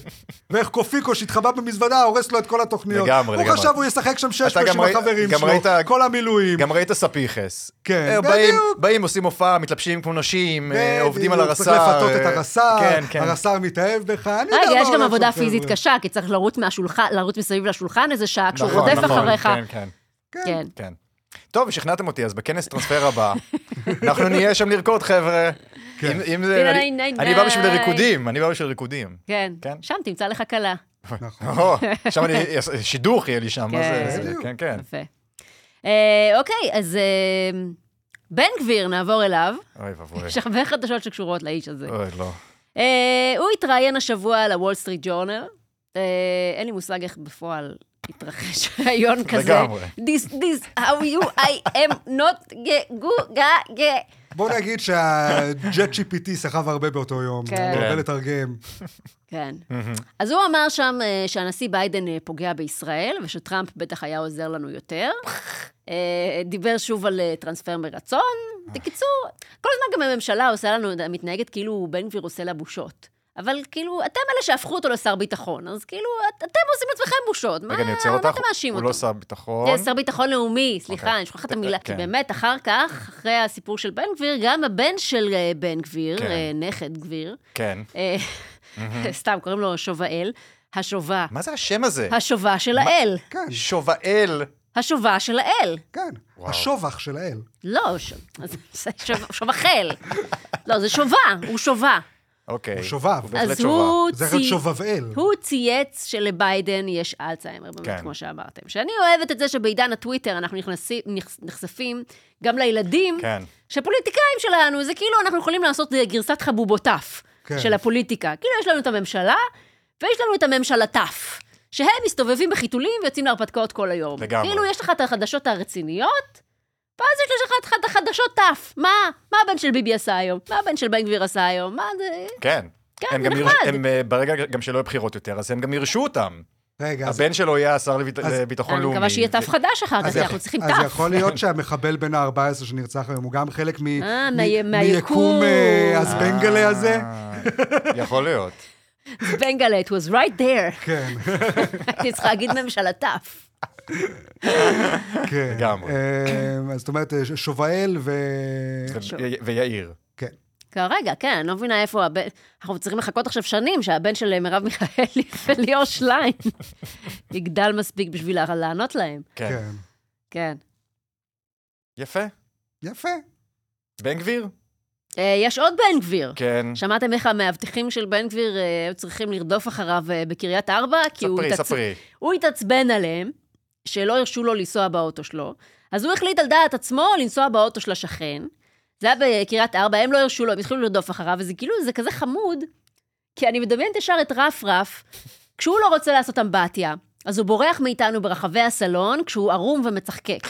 [SPEAKER 1] ואיך קופיקו שהתחבא במזוודה, הורס לו את כל התוכניות.
[SPEAKER 3] לגמרי,
[SPEAKER 1] הוא
[SPEAKER 3] לגמרי.
[SPEAKER 1] חשב הוא ישחק שם שש
[SPEAKER 3] אתה גם
[SPEAKER 1] פשעים
[SPEAKER 3] ראית-
[SPEAKER 1] החברים
[SPEAKER 3] גם
[SPEAKER 1] שלו,
[SPEAKER 3] ראית-
[SPEAKER 1] כל המילואים.
[SPEAKER 3] גם ראית ספיחס.
[SPEAKER 1] כן,
[SPEAKER 3] אה, באים-
[SPEAKER 1] בדיוק.
[SPEAKER 3] באים, עושים הופעה, מתלבשים כמו נשים, אה,
[SPEAKER 1] בדיוק,
[SPEAKER 3] עובדים על הרס"ר.
[SPEAKER 1] צריך לפתות את
[SPEAKER 3] אה,
[SPEAKER 1] הרס"ר,
[SPEAKER 3] כן, כן.
[SPEAKER 1] הרס"ר מתאהב בך, אני יודע מה
[SPEAKER 2] רגע, אה, יש גם
[SPEAKER 1] הולך
[SPEAKER 2] עבודה
[SPEAKER 1] שם,
[SPEAKER 2] פיזית
[SPEAKER 1] חבר'ה.
[SPEAKER 2] קשה, כי צריך לרוץ מהשולחן, לרוץ מסביב לשולחן איזה שעה, כשהוא
[SPEAKER 3] נכון,
[SPEAKER 2] רודף
[SPEAKER 3] נכון,
[SPEAKER 2] אחריך.
[SPEAKER 3] כן, כן.
[SPEAKER 2] כן.
[SPEAKER 3] כן. טוב, שכנעתם אותי, אז בכנס טרנספר
[SPEAKER 2] [LAUGHS]
[SPEAKER 3] הבא, אנחנו נהיה שם לרקוד, חבר'ה.
[SPEAKER 1] כן.
[SPEAKER 3] אם- אם זה-
[SPEAKER 2] די,
[SPEAKER 3] אני-
[SPEAKER 2] די,
[SPEAKER 3] אני בא
[SPEAKER 2] די.
[SPEAKER 3] בשביל ריקודים, אני בא בשביל ריקודים.
[SPEAKER 2] [LAUGHS] כן,
[SPEAKER 3] כן.
[SPEAKER 2] שם תמצא לך כלה.
[SPEAKER 3] או, שם אני, שידוך יהיה לי שם, מה
[SPEAKER 2] כן.
[SPEAKER 3] זה- זה?
[SPEAKER 1] בדיוק.
[SPEAKER 3] כן, כן.
[SPEAKER 2] יפה. אה, אוקיי, אז אה, בן גביר, נעבור אליו.
[SPEAKER 3] אוי ואבוי.
[SPEAKER 2] יש הרבה חדשות שקשורות לאיש הזה.
[SPEAKER 3] אוי, לא.
[SPEAKER 2] אה, הוא התראיין השבוע לוול סטריט ג'ורנל. אה, אין לי מושג איך בפועל התרחש [LAUGHS] ראיון כזה.
[SPEAKER 3] לגמרי.
[SPEAKER 2] This, this, how you, I am not, ge, go, ga, ge.
[SPEAKER 1] בוא נגיד שה-Jet GPT סחב הרבה באותו יום,
[SPEAKER 2] כן.
[SPEAKER 1] הוא הרבה
[SPEAKER 3] כן.
[SPEAKER 1] לתרגם.
[SPEAKER 2] כן. אז הוא אמר שם אה, שהנשיא ביידן אה, פוגע בישראל, ושטראמפ בטח היה עוזר לנו
[SPEAKER 3] [LAUGHS]
[SPEAKER 2] יותר. אה, דיבר שוב על אה, טרנספר מרצון.
[SPEAKER 3] אה.
[SPEAKER 2] בקיצור, כל הזמן גם הממשלה עושה לנו, מתנהגת כאילו בן גביר עושה לה בושות. אבל כאילו, אתם אלה שהפכו אותו לשר ביטחון, אז כאילו, את, אתם עושים לעצמכם בושות. מה,
[SPEAKER 3] רגע, אני עוצר
[SPEAKER 2] אה, מה
[SPEAKER 3] אותך,
[SPEAKER 2] אתה מאשים
[SPEAKER 3] הוא
[SPEAKER 2] אותו?
[SPEAKER 3] לא שר ביטחון.
[SPEAKER 2] זה שר ביטחון לאומי,
[SPEAKER 3] אוקיי.
[SPEAKER 2] סליחה, אני שוכחת את המילה, כי
[SPEAKER 3] כן.
[SPEAKER 2] באמת, אחר כך, אחרי הסיפור של בן גביר, גם הבן של אה, בן גביר,
[SPEAKER 3] כן.
[SPEAKER 2] אה, נכד גביר,
[SPEAKER 3] כן.
[SPEAKER 2] אה, [LAUGHS] סתם, קוראים לו שובאל. השובה.
[SPEAKER 3] מה זה השם הזה?
[SPEAKER 2] השובה של האל.
[SPEAKER 1] כן,
[SPEAKER 3] שובאל.
[SPEAKER 2] השובה של האל.
[SPEAKER 1] כן.
[SPEAKER 3] וואו.
[SPEAKER 1] השובח של האל.
[SPEAKER 2] [LAUGHS] לא, ש- אז- זה שוב- שובחל. לא, זה שובה, הוא שובה.
[SPEAKER 3] אוקיי.
[SPEAKER 1] הוא שובב.
[SPEAKER 3] הוא בהחלט
[SPEAKER 2] אז
[SPEAKER 3] שובה.
[SPEAKER 2] הוא,
[SPEAKER 1] זכר שובבאל.
[SPEAKER 2] הוא צייץ שלביידן יש אלצהיימר, באמת,
[SPEAKER 3] כן.
[SPEAKER 2] כן. כמו שאמרתם. שאני אוהבת את זה שבעידן הטוויטר אנחנו נכנסים, נכס- נחשפים גם לילדים,
[SPEAKER 3] כן.
[SPEAKER 2] שפוליטיקאים שלנו, זה כאילו אנחנו יכולים לעשות אה, גרסת חבובותף
[SPEAKER 1] כן.
[SPEAKER 2] כן. של הפוליטיקה. כאילו יש לנו את הממשלה, ויש לנו את הממשלתף, שהם מסתובבים בחיתולים ויוצאים להרפתקאות כל היום.
[SPEAKER 3] לגמרי.
[SPEAKER 2] כאילו יש לך את החדשות הרציניות, ואז יש לך את החדשות תף. מה? מה הבן של ביבי עשה היום? מה הבן של בן גביר עשה היום? מה זה...
[SPEAKER 3] כן.
[SPEAKER 2] כן,
[SPEAKER 3] הם
[SPEAKER 2] זה
[SPEAKER 3] גם
[SPEAKER 2] נחמד.
[SPEAKER 3] יר- הם, אה, ברגע גם שלא יהיו בחירות יותר, אז הם גם יירשו אותם.
[SPEAKER 1] רגע, אז
[SPEAKER 3] הבן שלו יהיה השר לביט-
[SPEAKER 1] אז-
[SPEAKER 3] לביטחון
[SPEAKER 2] אני
[SPEAKER 3] נכון, לאומי.
[SPEAKER 2] מקווה שיהיה תף חדש אחר כך,
[SPEAKER 1] אז
[SPEAKER 2] כי
[SPEAKER 1] יכ-
[SPEAKER 2] אנחנו צריכים
[SPEAKER 1] אז
[SPEAKER 2] תף.
[SPEAKER 1] יכול להיות שהמחבל בן ה-14 שנרצח היום הוא גם חלק מ-
[SPEAKER 2] אה,
[SPEAKER 1] מ-
[SPEAKER 2] מהי-
[SPEAKER 1] מיקום
[SPEAKER 2] מהיקום.
[SPEAKER 1] אה, הזבנגלה הזה?
[SPEAKER 3] אה, יכול
[SPEAKER 2] [LAUGHS]
[SPEAKER 3] להיות.
[SPEAKER 2] בנגלה, it was right there. [LAUGHS]
[SPEAKER 3] [LAUGHS]
[SPEAKER 1] כן,
[SPEAKER 2] אני צריכה להגיד ממשלה תף.
[SPEAKER 1] כן.
[SPEAKER 3] לגמרי.
[SPEAKER 1] אה, אז זאת אומרת, אה, ש- שובאל ו...
[SPEAKER 2] שוב.
[SPEAKER 3] ו- ויאיר.
[SPEAKER 1] כן.
[SPEAKER 2] כרגע, כן, אני לא מבינה איפה הבן... אנחנו צריכים לחכות עכשיו שנים שהבן של מרב מיכאלי [LAUGHS] וליאור שליין [LAUGHS] יגדל מספיק בשביל לה- לענות להם.
[SPEAKER 3] כן.
[SPEAKER 1] כן.
[SPEAKER 2] כן.
[SPEAKER 3] יפה.
[SPEAKER 1] יפה.
[SPEAKER 3] בן גביר?
[SPEAKER 2] אה, יש עוד בן גביר.
[SPEAKER 3] כן.
[SPEAKER 2] שמעתם איך המאבטחים של בן גביר אה, היו צריכים לרדוף אחריו אה, בקריית ארבע? כי הוא
[SPEAKER 3] ספרי,
[SPEAKER 2] התעצ-
[SPEAKER 3] ספרי.
[SPEAKER 2] הוא התעצבן עליהם, שלא הרשו לו לנסוע באוטו שלו, אז הוא החליט על דעת עצמו לנסוע באוטו של השכן. זה היה בקריית ארבע, הם לא הרשו לו, הם התחילו לרדוף אחריו, וזה כאילו, זה כזה חמוד, כי אני מדמיינת ישר את רף רף, כשהוא לא רוצה לעשות אמבטיה, אז הוא בורח מאיתנו ברחבי הסלון, כשהוא ערום ומצחקק.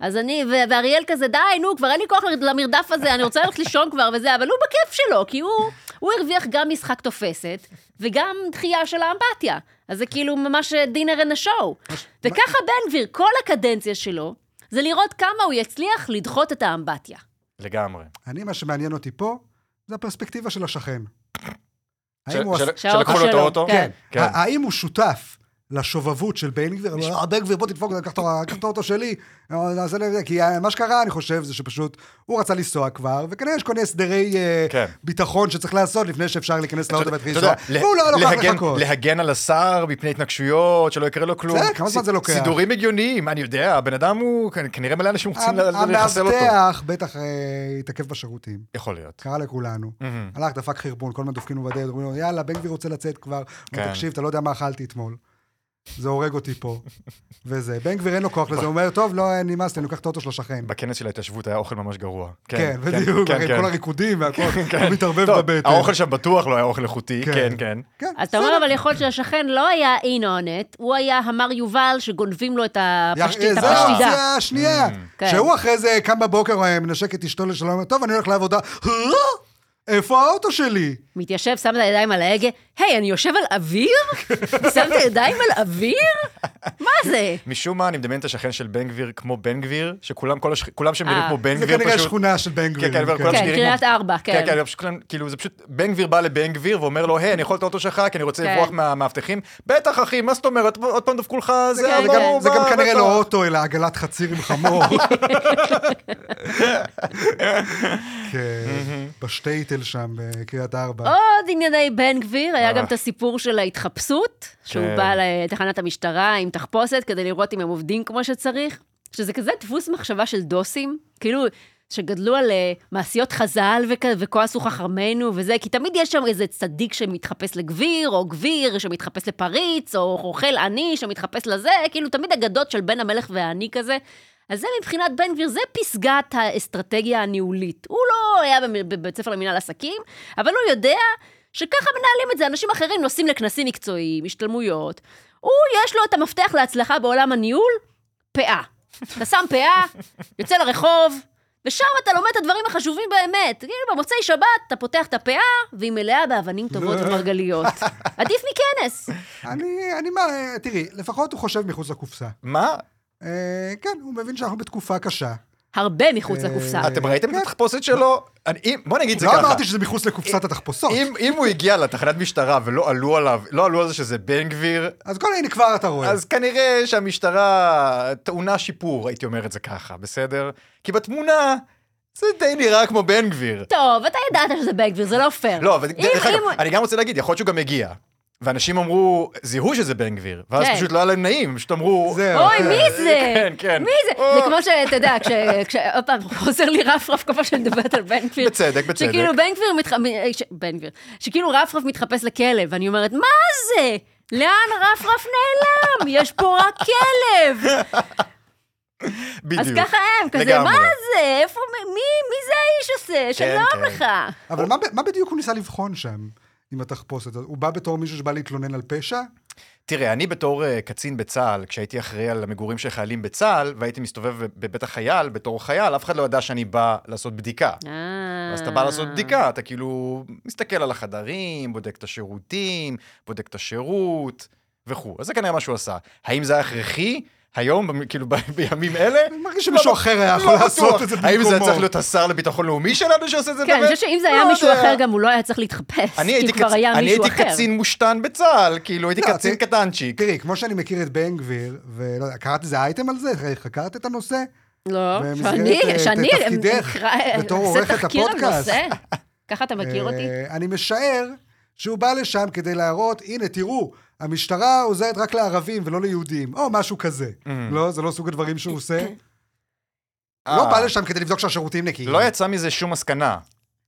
[SPEAKER 2] אז אני ו- ואריאל כזה, די, נו, כבר אין לי כוח למרד- למרדף הזה, אני רוצה ללכת לישון כבר וזה, אבל הוא בכיף שלו, כי הוא, הוא הרוויח גם משחק תופסת, וגם דחייה של האמבטיה. אז זה כאילו ממש דינר אין השואו. וככה בן גביר, כל הקדנציה שלו, זה לראות כמה הוא יצליח לדחות את האמבטיה.
[SPEAKER 3] לגמרי.
[SPEAKER 1] אני, מה שמעניין אותי פה, זה הפרספקטיבה של השכן.
[SPEAKER 3] של-
[SPEAKER 1] האם הוא
[SPEAKER 3] של-
[SPEAKER 1] עשה-
[SPEAKER 2] שהאוטו
[SPEAKER 3] שלקחו לו את
[SPEAKER 2] שלו,
[SPEAKER 3] האוטו?
[SPEAKER 2] כן.
[SPEAKER 3] כן.
[SPEAKER 1] ה- האם הוא שותף לשובבות של בן גביר?
[SPEAKER 3] נשמע-
[SPEAKER 1] אה, בן גביר, בוא תדפוק, קח את ה- קח את האוטו שלי. אה, נעשה לזה, כי אה, מה שקרה, אני חושב, זה שפשוט הוא רצה לנסוע כבר, וכנראה יש כל מיני הסדרי אה,
[SPEAKER 3] כן.
[SPEAKER 1] ביטחון שצריך לעשות לפני שאפשר להיכנס
[SPEAKER 3] אתה
[SPEAKER 1] לאוטו
[SPEAKER 3] יודע,
[SPEAKER 1] ולהתחיל
[SPEAKER 3] אתה יודע,
[SPEAKER 1] לנסוע.
[SPEAKER 3] לה-
[SPEAKER 1] והוא לא לוקח
[SPEAKER 3] להגן-
[SPEAKER 1] לחכות.
[SPEAKER 3] להגן על השר מפני התנגשויות, שלא יקרה לו כלום.
[SPEAKER 1] בסדר, כמה זמן
[SPEAKER 3] ס-
[SPEAKER 1] זה לוקח?
[SPEAKER 3] סידורים הגיוניים, אני יודע, הבן אדם הוא, כ- כנראה מלא אנשים רוצים ל- לחסל אותו.
[SPEAKER 1] המאבטח בטח אה, התעכב בשירותים.
[SPEAKER 3] יכול להיות.
[SPEAKER 1] קרה לכולנו. הלך, דפק חרבון, כל הזמן דופקים לו בדלת, אומרים לו, יאללה, בן גביר רוצה לצאת כבר.
[SPEAKER 3] כן.
[SPEAKER 1] כן. תקשיב, אתה לא יודע מה אכלתי אתמול. זה הורג אותי פה. וזה, בן גביר אין לו כוח לזה, הוא אומר, טוב, לא, נמאס לי, אני לוקח את האוטו של השכן.
[SPEAKER 3] בכנס של ההתיישבות היה אוכל ממש גרוע.
[SPEAKER 1] כן, בדיוק, הרי כל הריקודים והכל, הוא מתערבב
[SPEAKER 3] כן, טוב,
[SPEAKER 1] בבטן.
[SPEAKER 3] האוכל שם בטוח לא היה אוכל איכותי,
[SPEAKER 1] כן.
[SPEAKER 3] כן, כן.
[SPEAKER 1] כן,
[SPEAKER 2] אז אתה אומר, אבל יכול להיות שהשכן לא היה אינונט, הוא היה המר יובל שגונבים לו את
[SPEAKER 1] יא-
[SPEAKER 2] הפשט- את
[SPEAKER 1] זה
[SPEAKER 2] הפשטידה.
[SPEAKER 1] אה, האופציה
[SPEAKER 3] Mm.
[SPEAKER 1] השנייה.
[SPEAKER 2] כן.
[SPEAKER 1] שהוא אחרי זה קם בבוקר, אה, מנשק את אשתו לשלום, אומר, טוב, אני הולך לעבודה. "אה? איפה האוטו שלי?
[SPEAKER 2] מתיישב, שם את הידיים על ההגה, היי, אני יושב על אוויר? שם את הידיים על אוויר? מה זה?
[SPEAKER 3] משום מה, אני מדמיין את השכן של בן גביר כמו בן גביר, שכולם כל השכ- כולם שם נראים
[SPEAKER 2] אה.
[SPEAKER 3] כמו בן
[SPEAKER 1] זה
[SPEAKER 3] גביר
[SPEAKER 1] כנראה
[SPEAKER 3] פשוט.
[SPEAKER 1] שכונה של בן גביר.
[SPEAKER 3] כן, כן, וכולם
[SPEAKER 2] כן,
[SPEAKER 3] שנראים
[SPEAKER 2] קריית
[SPEAKER 3] כמו-
[SPEAKER 2] ארבע, כן.
[SPEAKER 3] כן, כן, פשוט כולם- כאילו, זה פשוט, בן גביר בא לבן גביר ואומר לו, היי, אני יכול את האוטו שלך, כי אני רוצה
[SPEAKER 2] כן.
[SPEAKER 3] לברוח מהמאבטחים. בטח, אחי, מה זאת אומרת? עוד פעם דפקו לך, זה
[SPEAKER 2] כן,
[SPEAKER 3] היה
[SPEAKER 1] זה גם-
[SPEAKER 3] ברור,
[SPEAKER 1] זה גם
[SPEAKER 3] בא,
[SPEAKER 1] כנראה
[SPEAKER 3] בטח."
[SPEAKER 1] לא אוטו, אלא עגלת חציר עם
[SPEAKER 3] [LAUGHS]
[SPEAKER 1] חמור. כן, בשטייטל שם, בקריית ארבע.
[SPEAKER 2] עוד ענייני בן גביר, היה
[SPEAKER 3] אה.
[SPEAKER 2] גם את הסיפור של ההתחפשות, שהוא
[SPEAKER 3] כן.
[SPEAKER 2] בא לתחנת המשטרה עם תחפושת כדי לראות אם הם עובדים כמו שצריך, שזה כזה דפוס מחשבה של דוסים, כאילו... שגדלו על אה, מעשיות חז"ל וכ... וכועסו חכמינו וזה, כי תמיד יש שם איזה צדיק שמתחפש לגביר, או גביר שמתחפש לפריץ, או אוכל עני שמתחפש לזה, כאילו תמיד אגדות של בן המלך והעני כזה. אז זה מבחינת בן גביר, זה פסגת האסטרטגיה הניהולית. הוא לא היה במ- בבית ספר למינהל עסקים, אבל הוא יודע שככה מנהלים את זה. אנשים אחרים נוסעים לכנסים מקצועיים, השתלמויות. הוא, יש לו את המפתח להצלחה בעולם הניהול, פאה. אתה שם פאה, יוצא לרחוב, ושם אתה לומד את הדברים החשובים באמת. כאילו, במוצאי שבת אתה פותח את הפאה, והיא מלאה באבנים טובות ומרגליות. עדיף מכנס.
[SPEAKER 1] אני, אני מה, אה, תראי, לפחות הוא חושב מחוץ לקופסה.
[SPEAKER 3] מה?
[SPEAKER 1] אה, כן, הוא מבין שאנחנו בתקופה קשה.
[SPEAKER 2] הרבה מחוץ לקופסה.
[SPEAKER 3] אה, אתם ראיתם את
[SPEAKER 1] כן.
[SPEAKER 3] התחפושת שלו? אני- אם- בוא נגיד את זה
[SPEAKER 1] לא
[SPEAKER 3] ככה.
[SPEAKER 1] אמרתי שזה מחוץ לקופסת התחפושות.
[SPEAKER 3] אם- אם הוא הגיע לתחנת משטרה ולא עלו עליו, לא עלו על זה שזה בן גביר,
[SPEAKER 1] אז כל הנה כבר אתה רואה.
[SPEAKER 3] אז כנראה שהמשטרה טעונה שיפור, הייתי אומר את זה ככה, בסדר? כי בתמונה זה די נראה כמו בן גביר.
[SPEAKER 2] טוב, אתה ידעת שזה בן גביר, זה לא פייר.
[SPEAKER 3] לא, אבל
[SPEAKER 2] אם-
[SPEAKER 3] דרך אגב,
[SPEAKER 2] אם הוא-
[SPEAKER 3] אני גם רוצה להגיד, יכול להיות שהוא גם הגיע. ואנשים אמרו, זיהו שזה בן גביר, ואז
[SPEAKER 2] כן.
[SPEAKER 3] פשוט לא היה להם נעים, הם פשוט אמרו...
[SPEAKER 1] זהו.
[SPEAKER 2] אוי, מי זה?
[SPEAKER 3] [LAUGHS] כן, כן.
[SPEAKER 2] מי זה?
[SPEAKER 3] או.
[SPEAKER 2] זה כמו שאתה יודע, כש- כש... עוד פעם, [LAUGHS] חוזר לי רפרף כל פעם שאני מדברת על בן גביר.
[SPEAKER 3] בצדק, בצדק.
[SPEAKER 2] שכאילו בן גביר מתח... מ- אה, ש- בן גביר. שכאילו רפרף מתחפש לכלב, ואני אומרת, מה זה? לאן רפרף נעלם? יש פה רק
[SPEAKER 3] [LAUGHS]
[SPEAKER 2] כלב.
[SPEAKER 3] בדיוק.
[SPEAKER 2] אז ככה הם, כזה,
[SPEAKER 3] לגמרי.
[SPEAKER 2] מה זה? איפה, מי, מי זה האיש הזה?
[SPEAKER 3] כן.
[SPEAKER 2] שלום לך.
[SPEAKER 1] אבל מה ב- מה בדיוק הוא ניסה לבחון שם, עם התחפושת? הזאת? הוא בא בתור מישהו שבא להתלונן על פשע?
[SPEAKER 3] תראה, אני בתור אה, קצין בצה"ל, כשהייתי אחראי על המגורים של חיילים בצה"ל, והייתי מסתובב בבית החייל בתור חייל, אף אחד לא ידע שאני בא לעשות בדיקה. אז אתה בא
[SPEAKER 2] אה.
[SPEAKER 3] לעשות בדיקה, אתה כאילו מסתכל על החדרים, בודק את השירותים, בודק את השירות וכו'. אז זה כנראה מה שהוא עשה. האם זה היה הכרחי? היום, במ- כאילו ב- בימים אלה?
[SPEAKER 1] אני מרגיש שמישהו
[SPEAKER 3] לא,
[SPEAKER 1] אחר היה
[SPEAKER 3] לא
[SPEAKER 1] יכול
[SPEAKER 3] בטוח.
[SPEAKER 1] לעשות את זה במקומו. לא,
[SPEAKER 3] האם זה היה צריך להיות השר לביטחון לאומי שלנו שעושה את זה?
[SPEAKER 2] כן, אני
[SPEAKER 3] באמת?
[SPEAKER 2] חושבת שאם זה היה
[SPEAKER 3] לא
[SPEAKER 2] מישהו
[SPEAKER 3] יודע.
[SPEAKER 2] אחר, גם הוא לא היה צריך להתחפש.
[SPEAKER 3] אני הייתי
[SPEAKER 2] כי כבר
[SPEAKER 3] קצ-
[SPEAKER 2] היה
[SPEAKER 3] אני
[SPEAKER 2] מישהו
[SPEAKER 3] הייתי
[SPEAKER 2] אחר.
[SPEAKER 3] קצין מושתן בצה"ל, כאילו הייתי
[SPEAKER 1] לא,
[SPEAKER 3] קצין
[SPEAKER 1] אתה-
[SPEAKER 3] קטנצ'יק.
[SPEAKER 1] תראי, כמו שאני מכיר את בן גביר, ולא יודע, קראת איזה אייטם על זה? חקרת את הנושא?
[SPEAKER 2] לא,
[SPEAKER 1] במסגרת,
[SPEAKER 2] שאני,
[SPEAKER 1] אה,
[SPEAKER 2] שאני,
[SPEAKER 1] תפקידך
[SPEAKER 2] אקרא-
[SPEAKER 1] בתור
[SPEAKER 2] אעשה
[SPEAKER 1] עורכת
[SPEAKER 2] תחקיר על
[SPEAKER 1] הפודקאסט.
[SPEAKER 2] נושא. ככה אתה מכיר אותי?
[SPEAKER 1] אה, אני משער שהוא בא לשם כדי להראות, הנה, תראו, המשטרה עוזרת רק לערבים ולא ליהודים, או משהו כזה.
[SPEAKER 3] Mm.
[SPEAKER 1] לא, זה לא סוג הדברים שהוא עושה. הוא לא
[SPEAKER 3] אה.
[SPEAKER 1] בא לשם כדי לבדוק שהשירותים נקיים.
[SPEAKER 3] לא יצא מזה שום מסקנה.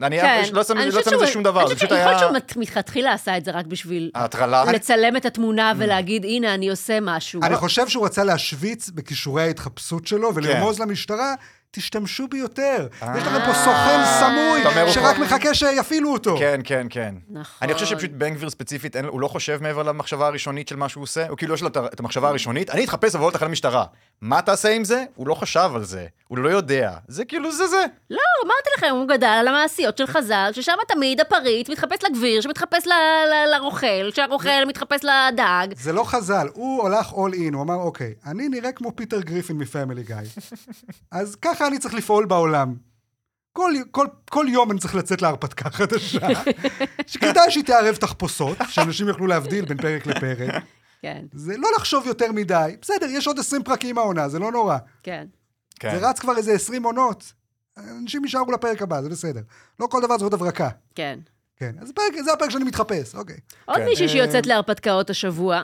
[SPEAKER 3] אני
[SPEAKER 2] כן.
[SPEAKER 3] לא יצא
[SPEAKER 2] אני
[SPEAKER 3] מזה לא
[SPEAKER 2] חושבת
[SPEAKER 3] יצא מזה
[SPEAKER 2] שהוא-
[SPEAKER 3] שום דבר,
[SPEAKER 2] אני
[SPEAKER 3] זה
[SPEAKER 2] חושבת
[SPEAKER 3] פשוט
[SPEAKER 2] שיכול
[SPEAKER 3] היה אה,
[SPEAKER 2] להיות שהוא מלכתחילה עשה את זה רק בשביל
[SPEAKER 3] ההטרלה.
[SPEAKER 2] לצלם את התמונה ולהגיד, הנה, אני עושה משהו.
[SPEAKER 1] אני חושב שהוא רצה להשוויץ בכישורי ההתחפשות שלו
[SPEAKER 3] כן.
[SPEAKER 1] ולרמוז למשטרה, תשתמשו ביותר. יש לכם פה סוכן
[SPEAKER 3] אה, אתה אומר,
[SPEAKER 1] סמוי
[SPEAKER 3] הוא
[SPEAKER 1] שרק
[SPEAKER 3] כבר-
[SPEAKER 1] מחכה שיפעילו אותו.
[SPEAKER 3] כן, כן, כן.
[SPEAKER 2] נכון.
[SPEAKER 3] אני חושב שפשוט בן גביר ספציפית, אין- הוא לא חושב מעבר למחשבה הראשונית של מה שהוא עושה, הוא כאילו יש לו את ה- את המחשבה הראשונית, אני אתחפש לבוא לתחנת משטרה. מה תעשה עם זה? הוא לא חשב על זה, הוא לא יודע. זה כאילו זה זה.
[SPEAKER 2] לא, אמרתי לכם, הוא גדל על המעשיות של חז"ל, ששם תמיד הפריט מתחפש לגביר, שמתחפש ל- ל- לרוכל, שהרוכל מתחפש לדג.
[SPEAKER 1] זה לא חז"ל, הוא הלך אול אין, הוא אמר, אוקיי, אני נראה כמו פיטר גריפין מפמילי גיא.
[SPEAKER 3] [LAUGHS]
[SPEAKER 1] אז ככה אני צריך לפעול בעולם. כל, כל, כל יום אני צריך לצאת להרפתקה
[SPEAKER 3] [LAUGHS]
[SPEAKER 1] חדשה, שכדאי שהיא תערב תחפושות, שאנשים יוכלו להבדיל בין פרק לפרק.
[SPEAKER 2] כן,
[SPEAKER 1] זה לא לחשוב יותר מדי, בסדר, יש עוד 20 פרקים העונה, זה לא נורא.
[SPEAKER 2] כן.
[SPEAKER 3] כן.
[SPEAKER 1] זה רץ כבר איזה 20 עונות. אנשים יישארו לפרק הבא, זה בסדר. לא כל דבר זאת הברקה.
[SPEAKER 2] כן.
[SPEAKER 1] כן, אז פרק, זה הפרק שאני מתחפש, אוקיי.
[SPEAKER 2] עוד
[SPEAKER 3] כן.
[SPEAKER 2] מישהי שיוצאת להרפתקאות השבוע,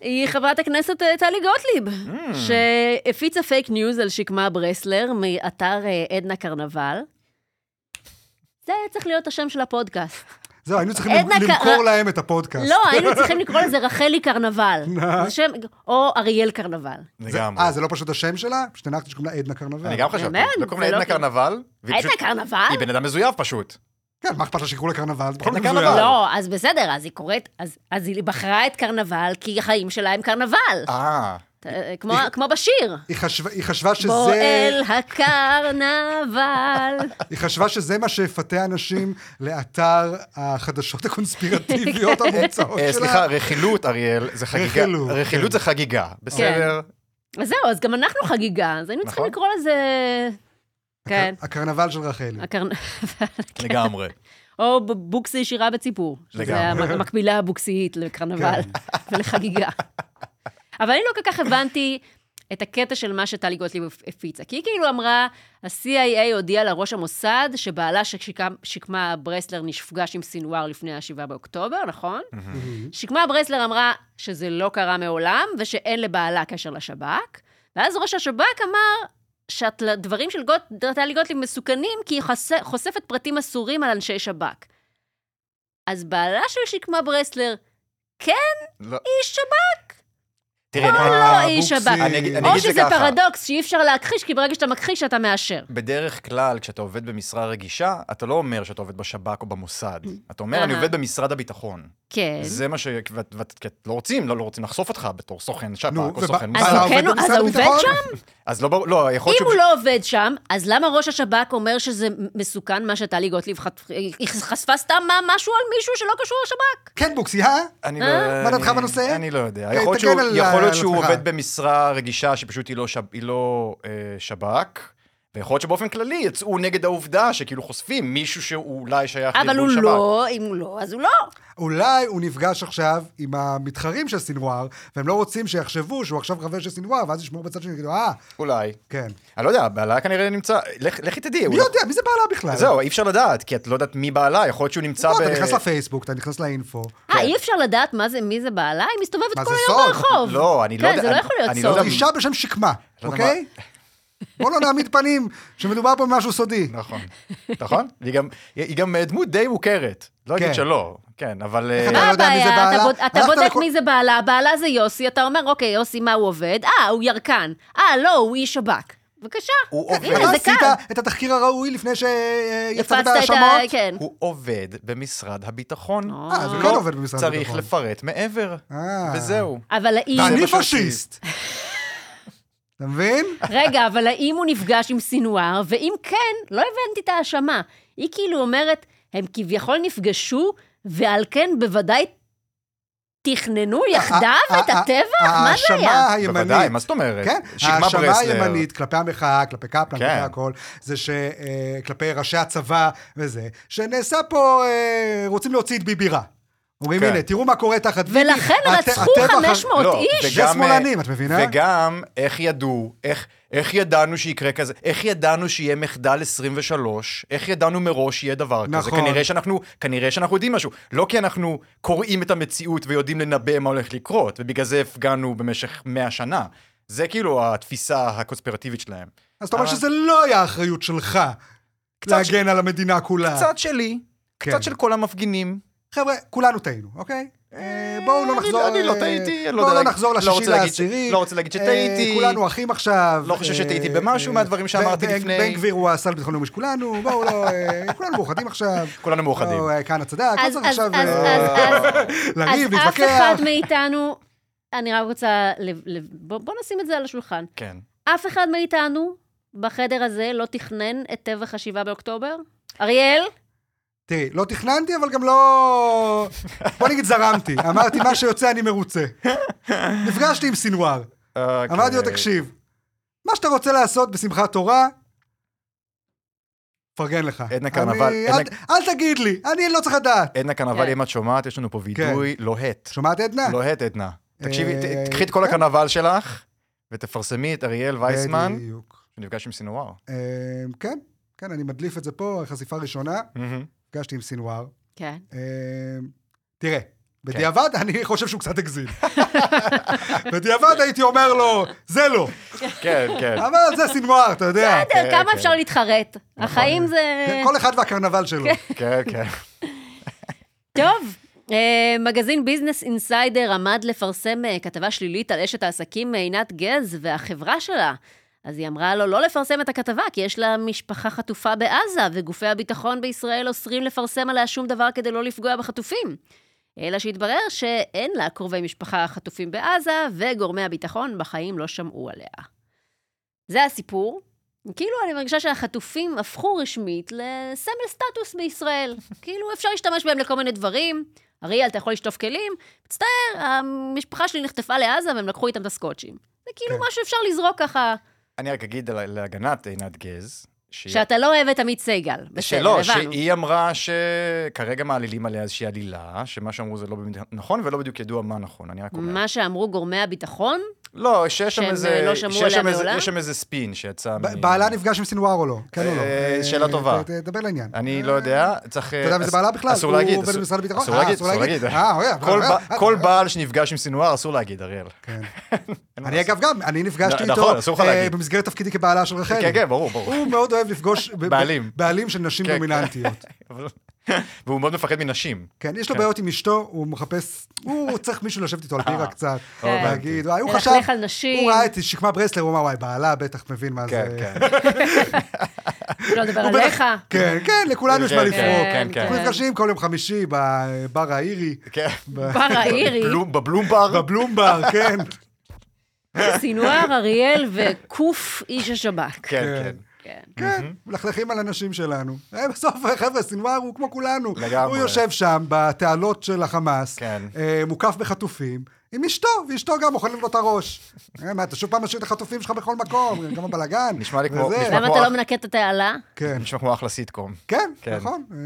[SPEAKER 2] היא חברת הכנסת אה, טלי גוטליב, שהפיצה פייק ניוז על שקמה ברסלר מאתר אה, עדנה קרנבל. זה היה צריך להיות השם של הפודקאסט.
[SPEAKER 1] זהו, היינו צריכים
[SPEAKER 2] עדנה קרא-
[SPEAKER 1] למכור להם את הפודקאסט.
[SPEAKER 2] לא, היינו צריכים לקרוא לזה רחלי קרנבל. זה שם- או אריאל קרנבל.
[SPEAKER 3] לגמרי.
[SPEAKER 1] אה, זה לא פשוט השם שלה? פשוט הנחתי שקוראים לה עדנה קרנבל.
[SPEAKER 3] אני גם חשבתי.
[SPEAKER 2] באמת?
[SPEAKER 3] לא קוראים
[SPEAKER 2] זה
[SPEAKER 3] לה
[SPEAKER 2] לא
[SPEAKER 3] עדנה קרנבל. והיא
[SPEAKER 2] עדנה
[SPEAKER 3] פשוט-
[SPEAKER 2] קרנבל?
[SPEAKER 3] היא בן אדם מזויף פשוט.
[SPEAKER 1] כן, מה אכפת לה שיקראו לה קרנבל? זה בכל
[SPEAKER 3] עדנה
[SPEAKER 1] מקרה
[SPEAKER 3] קרנבל.
[SPEAKER 1] מזויף.
[SPEAKER 2] לא, אז בסדר, אז היא קוראת, אז- אז היא בחרה את קרנבל, כי החיים שלה הם קרנבל.
[SPEAKER 3] אה.
[SPEAKER 2] אה, כמו- כמו בשיר.
[SPEAKER 1] היא חשבה- היא חשבה שזה...
[SPEAKER 2] בועל הקרנבל. [LAUGHS]
[SPEAKER 1] היא חשבה שזה מה שיפתה אנשים לאתר החדשות
[SPEAKER 2] [LAUGHS]
[SPEAKER 1] הקונספירטיביות המומצאות
[SPEAKER 3] אה,
[SPEAKER 1] שלה.
[SPEAKER 3] סליחה, רכילות, אריאל, זה חגיגה.
[SPEAKER 1] אוקיי. רכילות, כן.
[SPEAKER 3] רכילות זה חגיגה, בסדר?
[SPEAKER 2] אז זהו, אז גם אנחנו חגיגה, אז היינו צריכים
[SPEAKER 3] נכון.
[SPEAKER 2] לקרוא לזה... כן.
[SPEAKER 1] הקרנבל של רחלי.
[SPEAKER 3] אה,
[SPEAKER 2] הקרנ-
[SPEAKER 3] לגמרי.
[SPEAKER 2] או ב- בוקסי שירה בציבור.
[SPEAKER 3] לגמרי.
[SPEAKER 2] זה המ- המקבילה הבוקסית לקרנבל [LAUGHS] ולחגיגה. אבל אני לא כל כך הבנתי את הקטע של מה שטלי גוטליב הפיצה. כי היא כאילו אמרה, ה-CIA הודיע לראש המוסד שבעלה ששיקם- שקמה ברסלר נפגש עם סינואר לפני ה-7 באוקטובר, נכון? שקמה ברסלר אמרה שזה לא קרה מעולם ושאין לבעלה קשר לשב"כ, ואז ראש השב"כ אמר שהדברים של גוט- טלי גוטליב מסוכנים כי היא חושף- חושפת פרטים אסורים על אנשי שב"כ. אז בעלה של שקמה ברסלר כן
[SPEAKER 3] לא.
[SPEAKER 2] איש שב"כ,
[SPEAKER 3] תראה,
[SPEAKER 2] או
[SPEAKER 3] אני-
[SPEAKER 2] לא איש
[SPEAKER 1] הבוקסי.
[SPEAKER 2] שב"כ.
[SPEAKER 3] אני אגיד- אני
[SPEAKER 2] או
[SPEAKER 3] אגיד- זה
[SPEAKER 2] שזה
[SPEAKER 3] ככה.
[SPEAKER 2] פרדוקס שאי אפשר להכחיש, כי ברגע שאתה מכחיש אתה מאשר.
[SPEAKER 3] בדרך כלל, כשאתה עובד במשרה רגישה, אתה לא אומר שאתה עובד בשב"כ או במוסד. אתה אומר,
[SPEAKER 2] Mm. אהה.
[SPEAKER 3] אני עובד במשרד הביטחון.
[SPEAKER 2] כן.
[SPEAKER 3] זה מה ש... ואת- ואת- כי את לא רוצים, לא לא רוצים לחשוף אותך בתור סוכן שב"כ
[SPEAKER 1] נו,
[SPEAKER 3] או
[SPEAKER 1] וב-
[SPEAKER 3] סוכן
[SPEAKER 2] אז
[SPEAKER 1] בעלה
[SPEAKER 2] הוא
[SPEAKER 3] מוסד.
[SPEAKER 1] עובד
[SPEAKER 2] כן, אז
[SPEAKER 1] במשרד
[SPEAKER 2] הוא עובד
[SPEAKER 1] הביטחון?
[SPEAKER 2] שם?
[SPEAKER 3] אז לא ברור, לא, יכול להיות
[SPEAKER 2] אם
[SPEAKER 3] שהוא...
[SPEAKER 2] הוא לא עובד שם, אז למה ראש השב"כ אומר שזה מסוכן מה שטלי גוטליב חט- היא חשפה סתם מה- משהו על מישהו שלא קשור לשב"כ?
[SPEAKER 1] כן, בוקסי, אה?
[SPEAKER 3] אני לא...
[SPEAKER 1] מה
[SPEAKER 3] אני-
[SPEAKER 1] דעתך בנושא?
[SPEAKER 3] אני לא יודע.
[SPEAKER 1] אה,
[SPEAKER 3] יכול להיות
[SPEAKER 1] תגן
[SPEAKER 3] שהוא-
[SPEAKER 1] על-
[SPEAKER 3] יכול
[SPEAKER 1] על
[SPEAKER 3] להיות שהוא
[SPEAKER 1] עצמך.
[SPEAKER 3] עובד במשרה רגישה שפשוט היא לא שב- היא לא אה, שב"כ, ויכול להיות שבאופן כללי יצאו נגד העובדה שכאילו חושפים מישהו שאולי שייך
[SPEAKER 2] אבל הוא
[SPEAKER 3] לארגון שב"כ.
[SPEAKER 2] לא, אם הוא לא, אז הוא לא.
[SPEAKER 1] אולי הוא נפגש עכשיו עם המתחרים של סנוואר, והם לא רוצים שיחשבו שהוא עכשיו חבר של סנוואר, ואז ישמעו בצד שני, יגידו, אה,
[SPEAKER 3] אולי.
[SPEAKER 1] כן.
[SPEAKER 3] אני לא יודע, בעלה כנראה נמצא, לך- לכי תדעי. לא
[SPEAKER 1] מי יודע, מי זה בעלה בכלל?
[SPEAKER 3] זהו, אי אפשר לדעת, כי את לא יודעת מי בעלה, יכול להיות שהוא נמצא
[SPEAKER 1] לא,
[SPEAKER 3] ב...
[SPEAKER 1] אתה נכנס לפייסבוק, אתה נכנס לאינפו.
[SPEAKER 3] כן.
[SPEAKER 2] אה, אי אפשר לדעת מה זה, מי זה בעלה? היא מסתובבת
[SPEAKER 1] מה,
[SPEAKER 2] כל
[SPEAKER 1] זה
[SPEAKER 2] היום
[SPEAKER 1] סוד?
[SPEAKER 2] ברחוב.
[SPEAKER 3] לא, אני
[SPEAKER 2] כן,
[SPEAKER 3] לא יודע-
[SPEAKER 2] זה לא
[SPEAKER 3] אני-
[SPEAKER 2] יכול להיות
[SPEAKER 3] אני לא
[SPEAKER 2] סוד.
[SPEAKER 1] זו
[SPEAKER 3] יודע-
[SPEAKER 1] אישה בשם שקמה,
[SPEAKER 3] לא יודע
[SPEAKER 1] אוקיי? בוא לא נעמיד פנים שמדובר פה במשהו סודי.
[SPEAKER 3] נכון, נכון? היא גם- היא גם אה, דמות די מוכרת, לא אגיד
[SPEAKER 1] כן.
[SPEAKER 3] שלא, כן, אבל... אה,
[SPEAKER 1] אתה
[SPEAKER 2] מה
[SPEAKER 1] לא יודע מי זה
[SPEAKER 2] הבעיה? אתה
[SPEAKER 1] בעלה?
[SPEAKER 2] בוד- אתה
[SPEAKER 1] הלכת
[SPEAKER 2] בודק
[SPEAKER 1] לכל-
[SPEAKER 2] מי זה בעלה, בעלה זה יוסי, אתה אומר, אוקיי, יוסי, מה הוא עובד? אה, הוא ירקן. אה, לא, הוא איש שב"כ. בבקשה. כן,
[SPEAKER 3] הוא
[SPEAKER 2] הנה,
[SPEAKER 3] עובד.
[SPEAKER 1] אתה
[SPEAKER 2] זה קל.
[SPEAKER 1] עשית את התחקיר הראוי לפני שיצאת
[SPEAKER 2] הפצת את ה...
[SPEAKER 1] בהאשמות?
[SPEAKER 2] כן.
[SPEAKER 3] הוא עובד במשרד הביטחון. לא
[SPEAKER 1] אה, אז הוא
[SPEAKER 2] אה.
[SPEAKER 1] כן עובד במשרד
[SPEAKER 3] צריך
[SPEAKER 1] הביטחון.
[SPEAKER 3] לפרט מעבר,
[SPEAKER 1] אה.
[SPEAKER 3] וזהו.
[SPEAKER 2] אבל האם...
[SPEAKER 1] ואני
[SPEAKER 3] פשוט
[SPEAKER 1] פשיסט. אתה מבין?
[SPEAKER 2] רגע, אבל האם הוא נפגש עם סינואר? ואם כן, לא הבנתי את ההאשמה. היא כאילו אומרת, הם כביכול נפגשו, ועל כן בוודאי תכננו יחדיו את הטבח? מה זה היה?
[SPEAKER 1] ההאשמה הימנית.
[SPEAKER 3] בוודאי, מה זאת אומרת?
[SPEAKER 1] כן,
[SPEAKER 3] שקמה
[SPEAKER 1] ההאשמה
[SPEAKER 3] ברסלר.
[SPEAKER 1] הימנית כלפי המחאה, כלפי קפלן,
[SPEAKER 3] כן.
[SPEAKER 1] כלפי הכל, זה ש... אה, כלפי ראשי הצבא וזה, שנעשה פה, אה, רוצים להוציא את ביבי רע. אומרים,
[SPEAKER 3] כן.
[SPEAKER 1] הנה, תראו מה קורה תחת ביבי.
[SPEAKER 2] ולכן
[SPEAKER 1] הט-
[SPEAKER 2] רצחו
[SPEAKER 1] הטבח הר-
[SPEAKER 2] 500
[SPEAKER 3] לא,
[SPEAKER 2] איש?
[SPEAKER 1] זה
[SPEAKER 3] וגם,
[SPEAKER 1] שמאלנים,
[SPEAKER 3] אה,
[SPEAKER 1] את מבינה?
[SPEAKER 3] וגם, איך ידעו, איך, איך ידענו שיקרה כזה, איך ידענו שיהיה מחדל 23, איך ידענו מראש שיהיה דבר כזה.
[SPEAKER 1] נכון.
[SPEAKER 3] כנראה שאנחנו, כנראה שאנחנו יודעים משהו. לא כי אנחנו קוראים את המציאות ויודעים לנבא מה הולך לקרות, ובגלל זה הפגנו במשך 100 שנה. זה כאילו התפיסה הקונספירטיבית שלהם.
[SPEAKER 1] אז אתה אומר
[SPEAKER 3] אבל-
[SPEAKER 1] שזה לא היה האחריות שלך להגן על המדינה כולה.
[SPEAKER 3] קצת שלי,
[SPEAKER 1] כן.
[SPEAKER 3] קצת של כל המפגינים.
[SPEAKER 1] חבר'ה, כולנו טעינו, אוקיי? אה, בואו לא
[SPEAKER 3] אני-
[SPEAKER 1] נחזור...
[SPEAKER 3] אני לא
[SPEAKER 1] אה,
[SPEAKER 3] טעיתי, אני
[SPEAKER 1] בואו
[SPEAKER 3] לא יודע
[SPEAKER 1] לא
[SPEAKER 3] להגיד-
[SPEAKER 1] נחזור
[SPEAKER 3] לא
[SPEAKER 1] לשישי
[SPEAKER 3] רוצה להגיד ש-
[SPEAKER 1] לעשירי.
[SPEAKER 3] לא רוצה להגיד
[SPEAKER 1] אה,
[SPEAKER 3] שטעיתי.
[SPEAKER 1] כולנו אחים עכשיו.
[SPEAKER 3] לא חושב שטעיתי
[SPEAKER 1] אה,
[SPEAKER 3] במשהו
[SPEAKER 1] אה,
[SPEAKER 3] מהדברים שאמרתי
[SPEAKER 1] בן-
[SPEAKER 3] לפני.
[SPEAKER 1] בן גביר הוא השר לביטחון לאומי של כולנו, בואו לא...
[SPEAKER 3] [LAUGHS]
[SPEAKER 1] אה, כולנו מאוחדים עכשיו.
[SPEAKER 3] כולנו מאוחדים.
[SPEAKER 1] לא, אה, כהנא צדק, לא
[SPEAKER 2] אז-
[SPEAKER 1] צריך
[SPEAKER 2] אז-
[SPEAKER 1] עכשיו
[SPEAKER 2] אז-
[SPEAKER 1] אה,
[SPEAKER 2] אז- אז-
[SPEAKER 1] [LAUGHS] לריב,
[SPEAKER 2] אז אף אחד
[SPEAKER 1] להתווכח.
[SPEAKER 2] מאיתנו, אני רק רוצה, לב- לב- בוא בוא נשים את זה על השולחן.
[SPEAKER 3] כן.
[SPEAKER 2] אף אחד מאיתנו בחדר הזה לא תכנן את טבח השבעה באוקטובר? אריאל?
[SPEAKER 1] תראי, לא תכננתי, אבל גם לא... בוא נגיד זרמתי. אמרתי, מה שיוצא אני
[SPEAKER 3] [LAUGHS]
[SPEAKER 1] מרוצה. נפגשתי עם סנוואר. אמרתי לו,
[SPEAKER 3] אוקיי.
[SPEAKER 1] תקשיב, מה שאתה רוצה לעשות בשמחת תורה, מפרגן לך.
[SPEAKER 3] עדנה
[SPEAKER 1] אני-
[SPEAKER 3] קרנבל,
[SPEAKER 1] אל-
[SPEAKER 3] עדנה-
[SPEAKER 1] אל תגיד לי, אני לא צריך לדעת.
[SPEAKER 3] עדנה
[SPEAKER 2] כן.
[SPEAKER 3] קרנבל, אם את שומעת, יש לנו
[SPEAKER 1] כן.
[SPEAKER 3] פה וידוי לוהט.
[SPEAKER 1] שומעת, עדנה?
[SPEAKER 3] לוהט, עדנה. תקשיבי, ת-
[SPEAKER 1] אה,
[SPEAKER 3] קחי את כל
[SPEAKER 1] כן.
[SPEAKER 3] הקרנבל שלך, ותפרסמי את אריאל וייסמן,
[SPEAKER 1] בדיוק.
[SPEAKER 3] שנפגש עם סינואר.
[SPEAKER 1] אה, כן, כן, אני מדליף את זה פה, חשיפה ראשונה. נפגשתי עם סנוואר.
[SPEAKER 2] כן.
[SPEAKER 1] אה, תראה,
[SPEAKER 3] כן.
[SPEAKER 1] בדיעבד אני חושב שהוא קצת הגזים. [LAUGHS] בדיעבד הייתי אומר לו, זה לא.
[SPEAKER 3] כן,
[SPEAKER 1] [LAUGHS]
[SPEAKER 3] כן.
[SPEAKER 1] אבל זה סנוואר, אתה
[SPEAKER 3] [LAUGHS]
[SPEAKER 1] יודע.
[SPEAKER 2] בסדר,
[SPEAKER 3] כן.
[SPEAKER 2] כמה אפשר להתחרט? החיים זה...
[SPEAKER 1] נכון. כן, כל אחד והקרנבל שלו.
[SPEAKER 3] כן, כן.
[SPEAKER 2] טוב. אה, מגזין ביזנס אינסיידר עמד לפרסם אה, כתבה שלילית על אשת העסקים אה, עינת גז והחברה שלה. אז היא אמרה לו לא לפרסם את הכתבה, כי יש לה משפחה חטופה בעזה, וגופי הביטחון בישראל אוסרים לפרסם עליה שום דבר כדי לא לפגוע בחטופים. אלא שהתברר שאין לה קרובי משפחה חטופים בעזה, וגורמי הביטחון בחיים לא שמעו עליה. זה הסיפור. כאילו, אני מרגישה שהחטופים הפכו רשמית לסמל סטטוס
[SPEAKER 1] [LAUGHS]
[SPEAKER 2] בישראל. כאילו, אפשר להשתמש בהם לכל מיני דברים. אריאל, אתה יכול לשטוף כלים? מצטער, המשפחה שלי נחטפה לעזה והם לקחו איתם את הסקוטשים. זה כאילו
[SPEAKER 1] כן.
[SPEAKER 2] משהו אפשר לזרוק ככה,
[SPEAKER 3] אני רק אגיד על- להגנת עינת גז, שהיא-
[SPEAKER 2] שאתה לא אוהב את עמית סגל. בסדר,
[SPEAKER 3] שלא,
[SPEAKER 2] הבנו.
[SPEAKER 3] שהיא אמרה שכרגע מעלילים עליה איזושהי עלילה, שמה שאמרו זה לא באמת נכון, ולא בדיוק ידוע מה נכון, אני רק אומר.
[SPEAKER 2] מה שאמרו גורמי
[SPEAKER 1] [LAUGHS]
[SPEAKER 2] הביטחון,
[SPEAKER 3] לא, שיש שם
[SPEAKER 2] שהם,
[SPEAKER 3] איזה...
[SPEAKER 2] אה, לא שמעו
[SPEAKER 3] שיש שם
[SPEAKER 2] עליה
[SPEAKER 3] איזה-
[SPEAKER 2] מעולם?
[SPEAKER 3] יש שם איזה ספין שיצא מ...
[SPEAKER 1] ב- בעלה נפגש עם סנוואר או לא? כן או לא?
[SPEAKER 3] אה, שאלה
[SPEAKER 1] אה,
[SPEAKER 3] טובה.
[SPEAKER 1] ת- תדבר לעניין.
[SPEAKER 3] אני לא יודע, צריך...
[SPEAKER 1] אתה יודע מי זה בעלה בכלל?
[SPEAKER 3] אסור להגיד.
[SPEAKER 1] הוא עובד
[SPEAKER 3] אסור-
[SPEAKER 1] במשרד הביטחון?
[SPEAKER 3] אסור
[SPEAKER 1] אה,
[SPEAKER 3] להגיד,
[SPEAKER 1] אסור
[SPEAKER 3] אסור
[SPEAKER 1] להגיד.
[SPEAKER 3] להגיד.
[SPEAKER 1] אה, אוי, אבל-
[SPEAKER 3] כל
[SPEAKER 1] אה,
[SPEAKER 3] ב-
[SPEAKER 1] אה,
[SPEAKER 3] כל
[SPEAKER 1] אה,
[SPEAKER 3] בעל שנפגש עם סינואר אסור להגיד, אריאל.
[SPEAKER 1] כן.
[SPEAKER 3] אין מה
[SPEAKER 1] אני
[SPEAKER 3] לעשות.
[SPEAKER 1] אגב גם, אני נפגשתי
[SPEAKER 3] נ- נכון,
[SPEAKER 1] איתו
[SPEAKER 3] אסור לך
[SPEAKER 1] אה,
[SPEAKER 3] להגיד.
[SPEAKER 1] במסגרת תפקידי כבעלה של רחל.
[SPEAKER 3] כן, כן, ברור, ברור.
[SPEAKER 1] הוא מאוד אוהב לפגוש... ב- ב-
[SPEAKER 3] בעלים.
[SPEAKER 1] בעלים של נשים
[SPEAKER 3] כן, [LAUGHS]
[SPEAKER 1] דומיננטיות.
[SPEAKER 3] אבל- והוא מאוד מפחד מנשים.
[SPEAKER 1] כן, יש לו
[SPEAKER 3] כן.
[SPEAKER 1] בעיות עם אשתו, הוא מחפש... הוא צריך מישהו לשבת איתו על בירה
[SPEAKER 3] אה,
[SPEAKER 1] קצת.
[SPEAKER 2] כן.
[SPEAKER 1] להגיד, וואי, הוא
[SPEAKER 2] ללכלך
[SPEAKER 1] חשב...
[SPEAKER 2] על נשים.
[SPEAKER 1] הוא ראה את שקמה ברסלר, הוא אמר, וואי, בעלה בטח מבין מה
[SPEAKER 3] כן,
[SPEAKER 1] זה. [LAUGHS]
[SPEAKER 3] כן.
[SPEAKER 2] לא לדבר
[SPEAKER 1] הוא בטח-
[SPEAKER 2] עליך.
[SPEAKER 1] [LAUGHS] כן, כן, לכולנו יש מה
[SPEAKER 3] כן,
[SPEAKER 1] לפרוק.
[SPEAKER 3] כן, כן.
[SPEAKER 1] אנחנו נפגשים כל יום חמישי בבר האירי,
[SPEAKER 3] כן.
[SPEAKER 1] [LAUGHS]
[SPEAKER 2] בר האירי,
[SPEAKER 3] בלום- בבלומבר.
[SPEAKER 1] בבלומבר, [LAUGHS] כן.
[SPEAKER 2] סינואר, אריאל וקוף איש השב"כ.
[SPEAKER 3] כן,
[SPEAKER 1] כן.
[SPEAKER 3] כן.
[SPEAKER 2] כן.
[SPEAKER 1] כן, מלכלכים על הנשים שלנו. אה, בסוף, חבר'ה, סנוואר הוא כמו כולנו. הוא
[SPEAKER 3] לגמרי.
[SPEAKER 1] יושב שם בתעלות של החמאס,
[SPEAKER 3] כן.
[SPEAKER 1] אה, מוקף בחטופים, עם אשתו, ואשתו גם אוכלת לו את הראש. אה, מה, אתה שוב פעם משאיר את החטופים שלך בכל מקום, גם הבלאגן.
[SPEAKER 3] נשמע לי כמו-
[SPEAKER 1] וזה.
[SPEAKER 3] נשמע-
[SPEAKER 2] למה אתה לא מנקה את התעלה?
[SPEAKER 1] כן,
[SPEAKER 3] נשמע כמו אחלה סיטקום.
[SPEAKER 1] כן,
[SPEAKER 3] כן.
[SPEAKER 1] נכון. אה,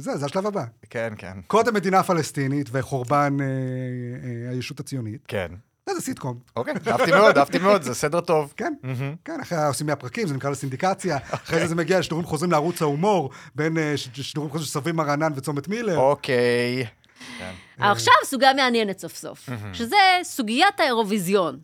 [SPEAKER 1] זה, זה השלב הבא.
[SPEAKER 3] כן, כן.
[SPEAKER 1] קודם מדינה פלסטינית וחורבן אה, אה, הישות הציונית.
[SPEAKER 3] כן.
[SPEAKER 1] זה, זה סיטקום.
[SPEAKER 3] אוקיי, אהבתי מאוד, אהבתי מאוד, זה סדר טוב.
[SPEAKER 1] כן,
[SPEAKER 3] מהמם.
[SPEAKER 1] כן, אחרי עושים 100 פרקים, זה נקרא לסינדיקציה, אחרי זה זה מגיע לשידורים חוזרים לערוץ ההומור, בין אה, ש- שידורים חוזרים של סרבים הרענן וצומת מילר.
[SPEAKER 3] אוקיי.
[SPEAKER 2] אה, עכשיו סוגיה מעניינת סוף סוף, שזה סוגיית האירוויזיון.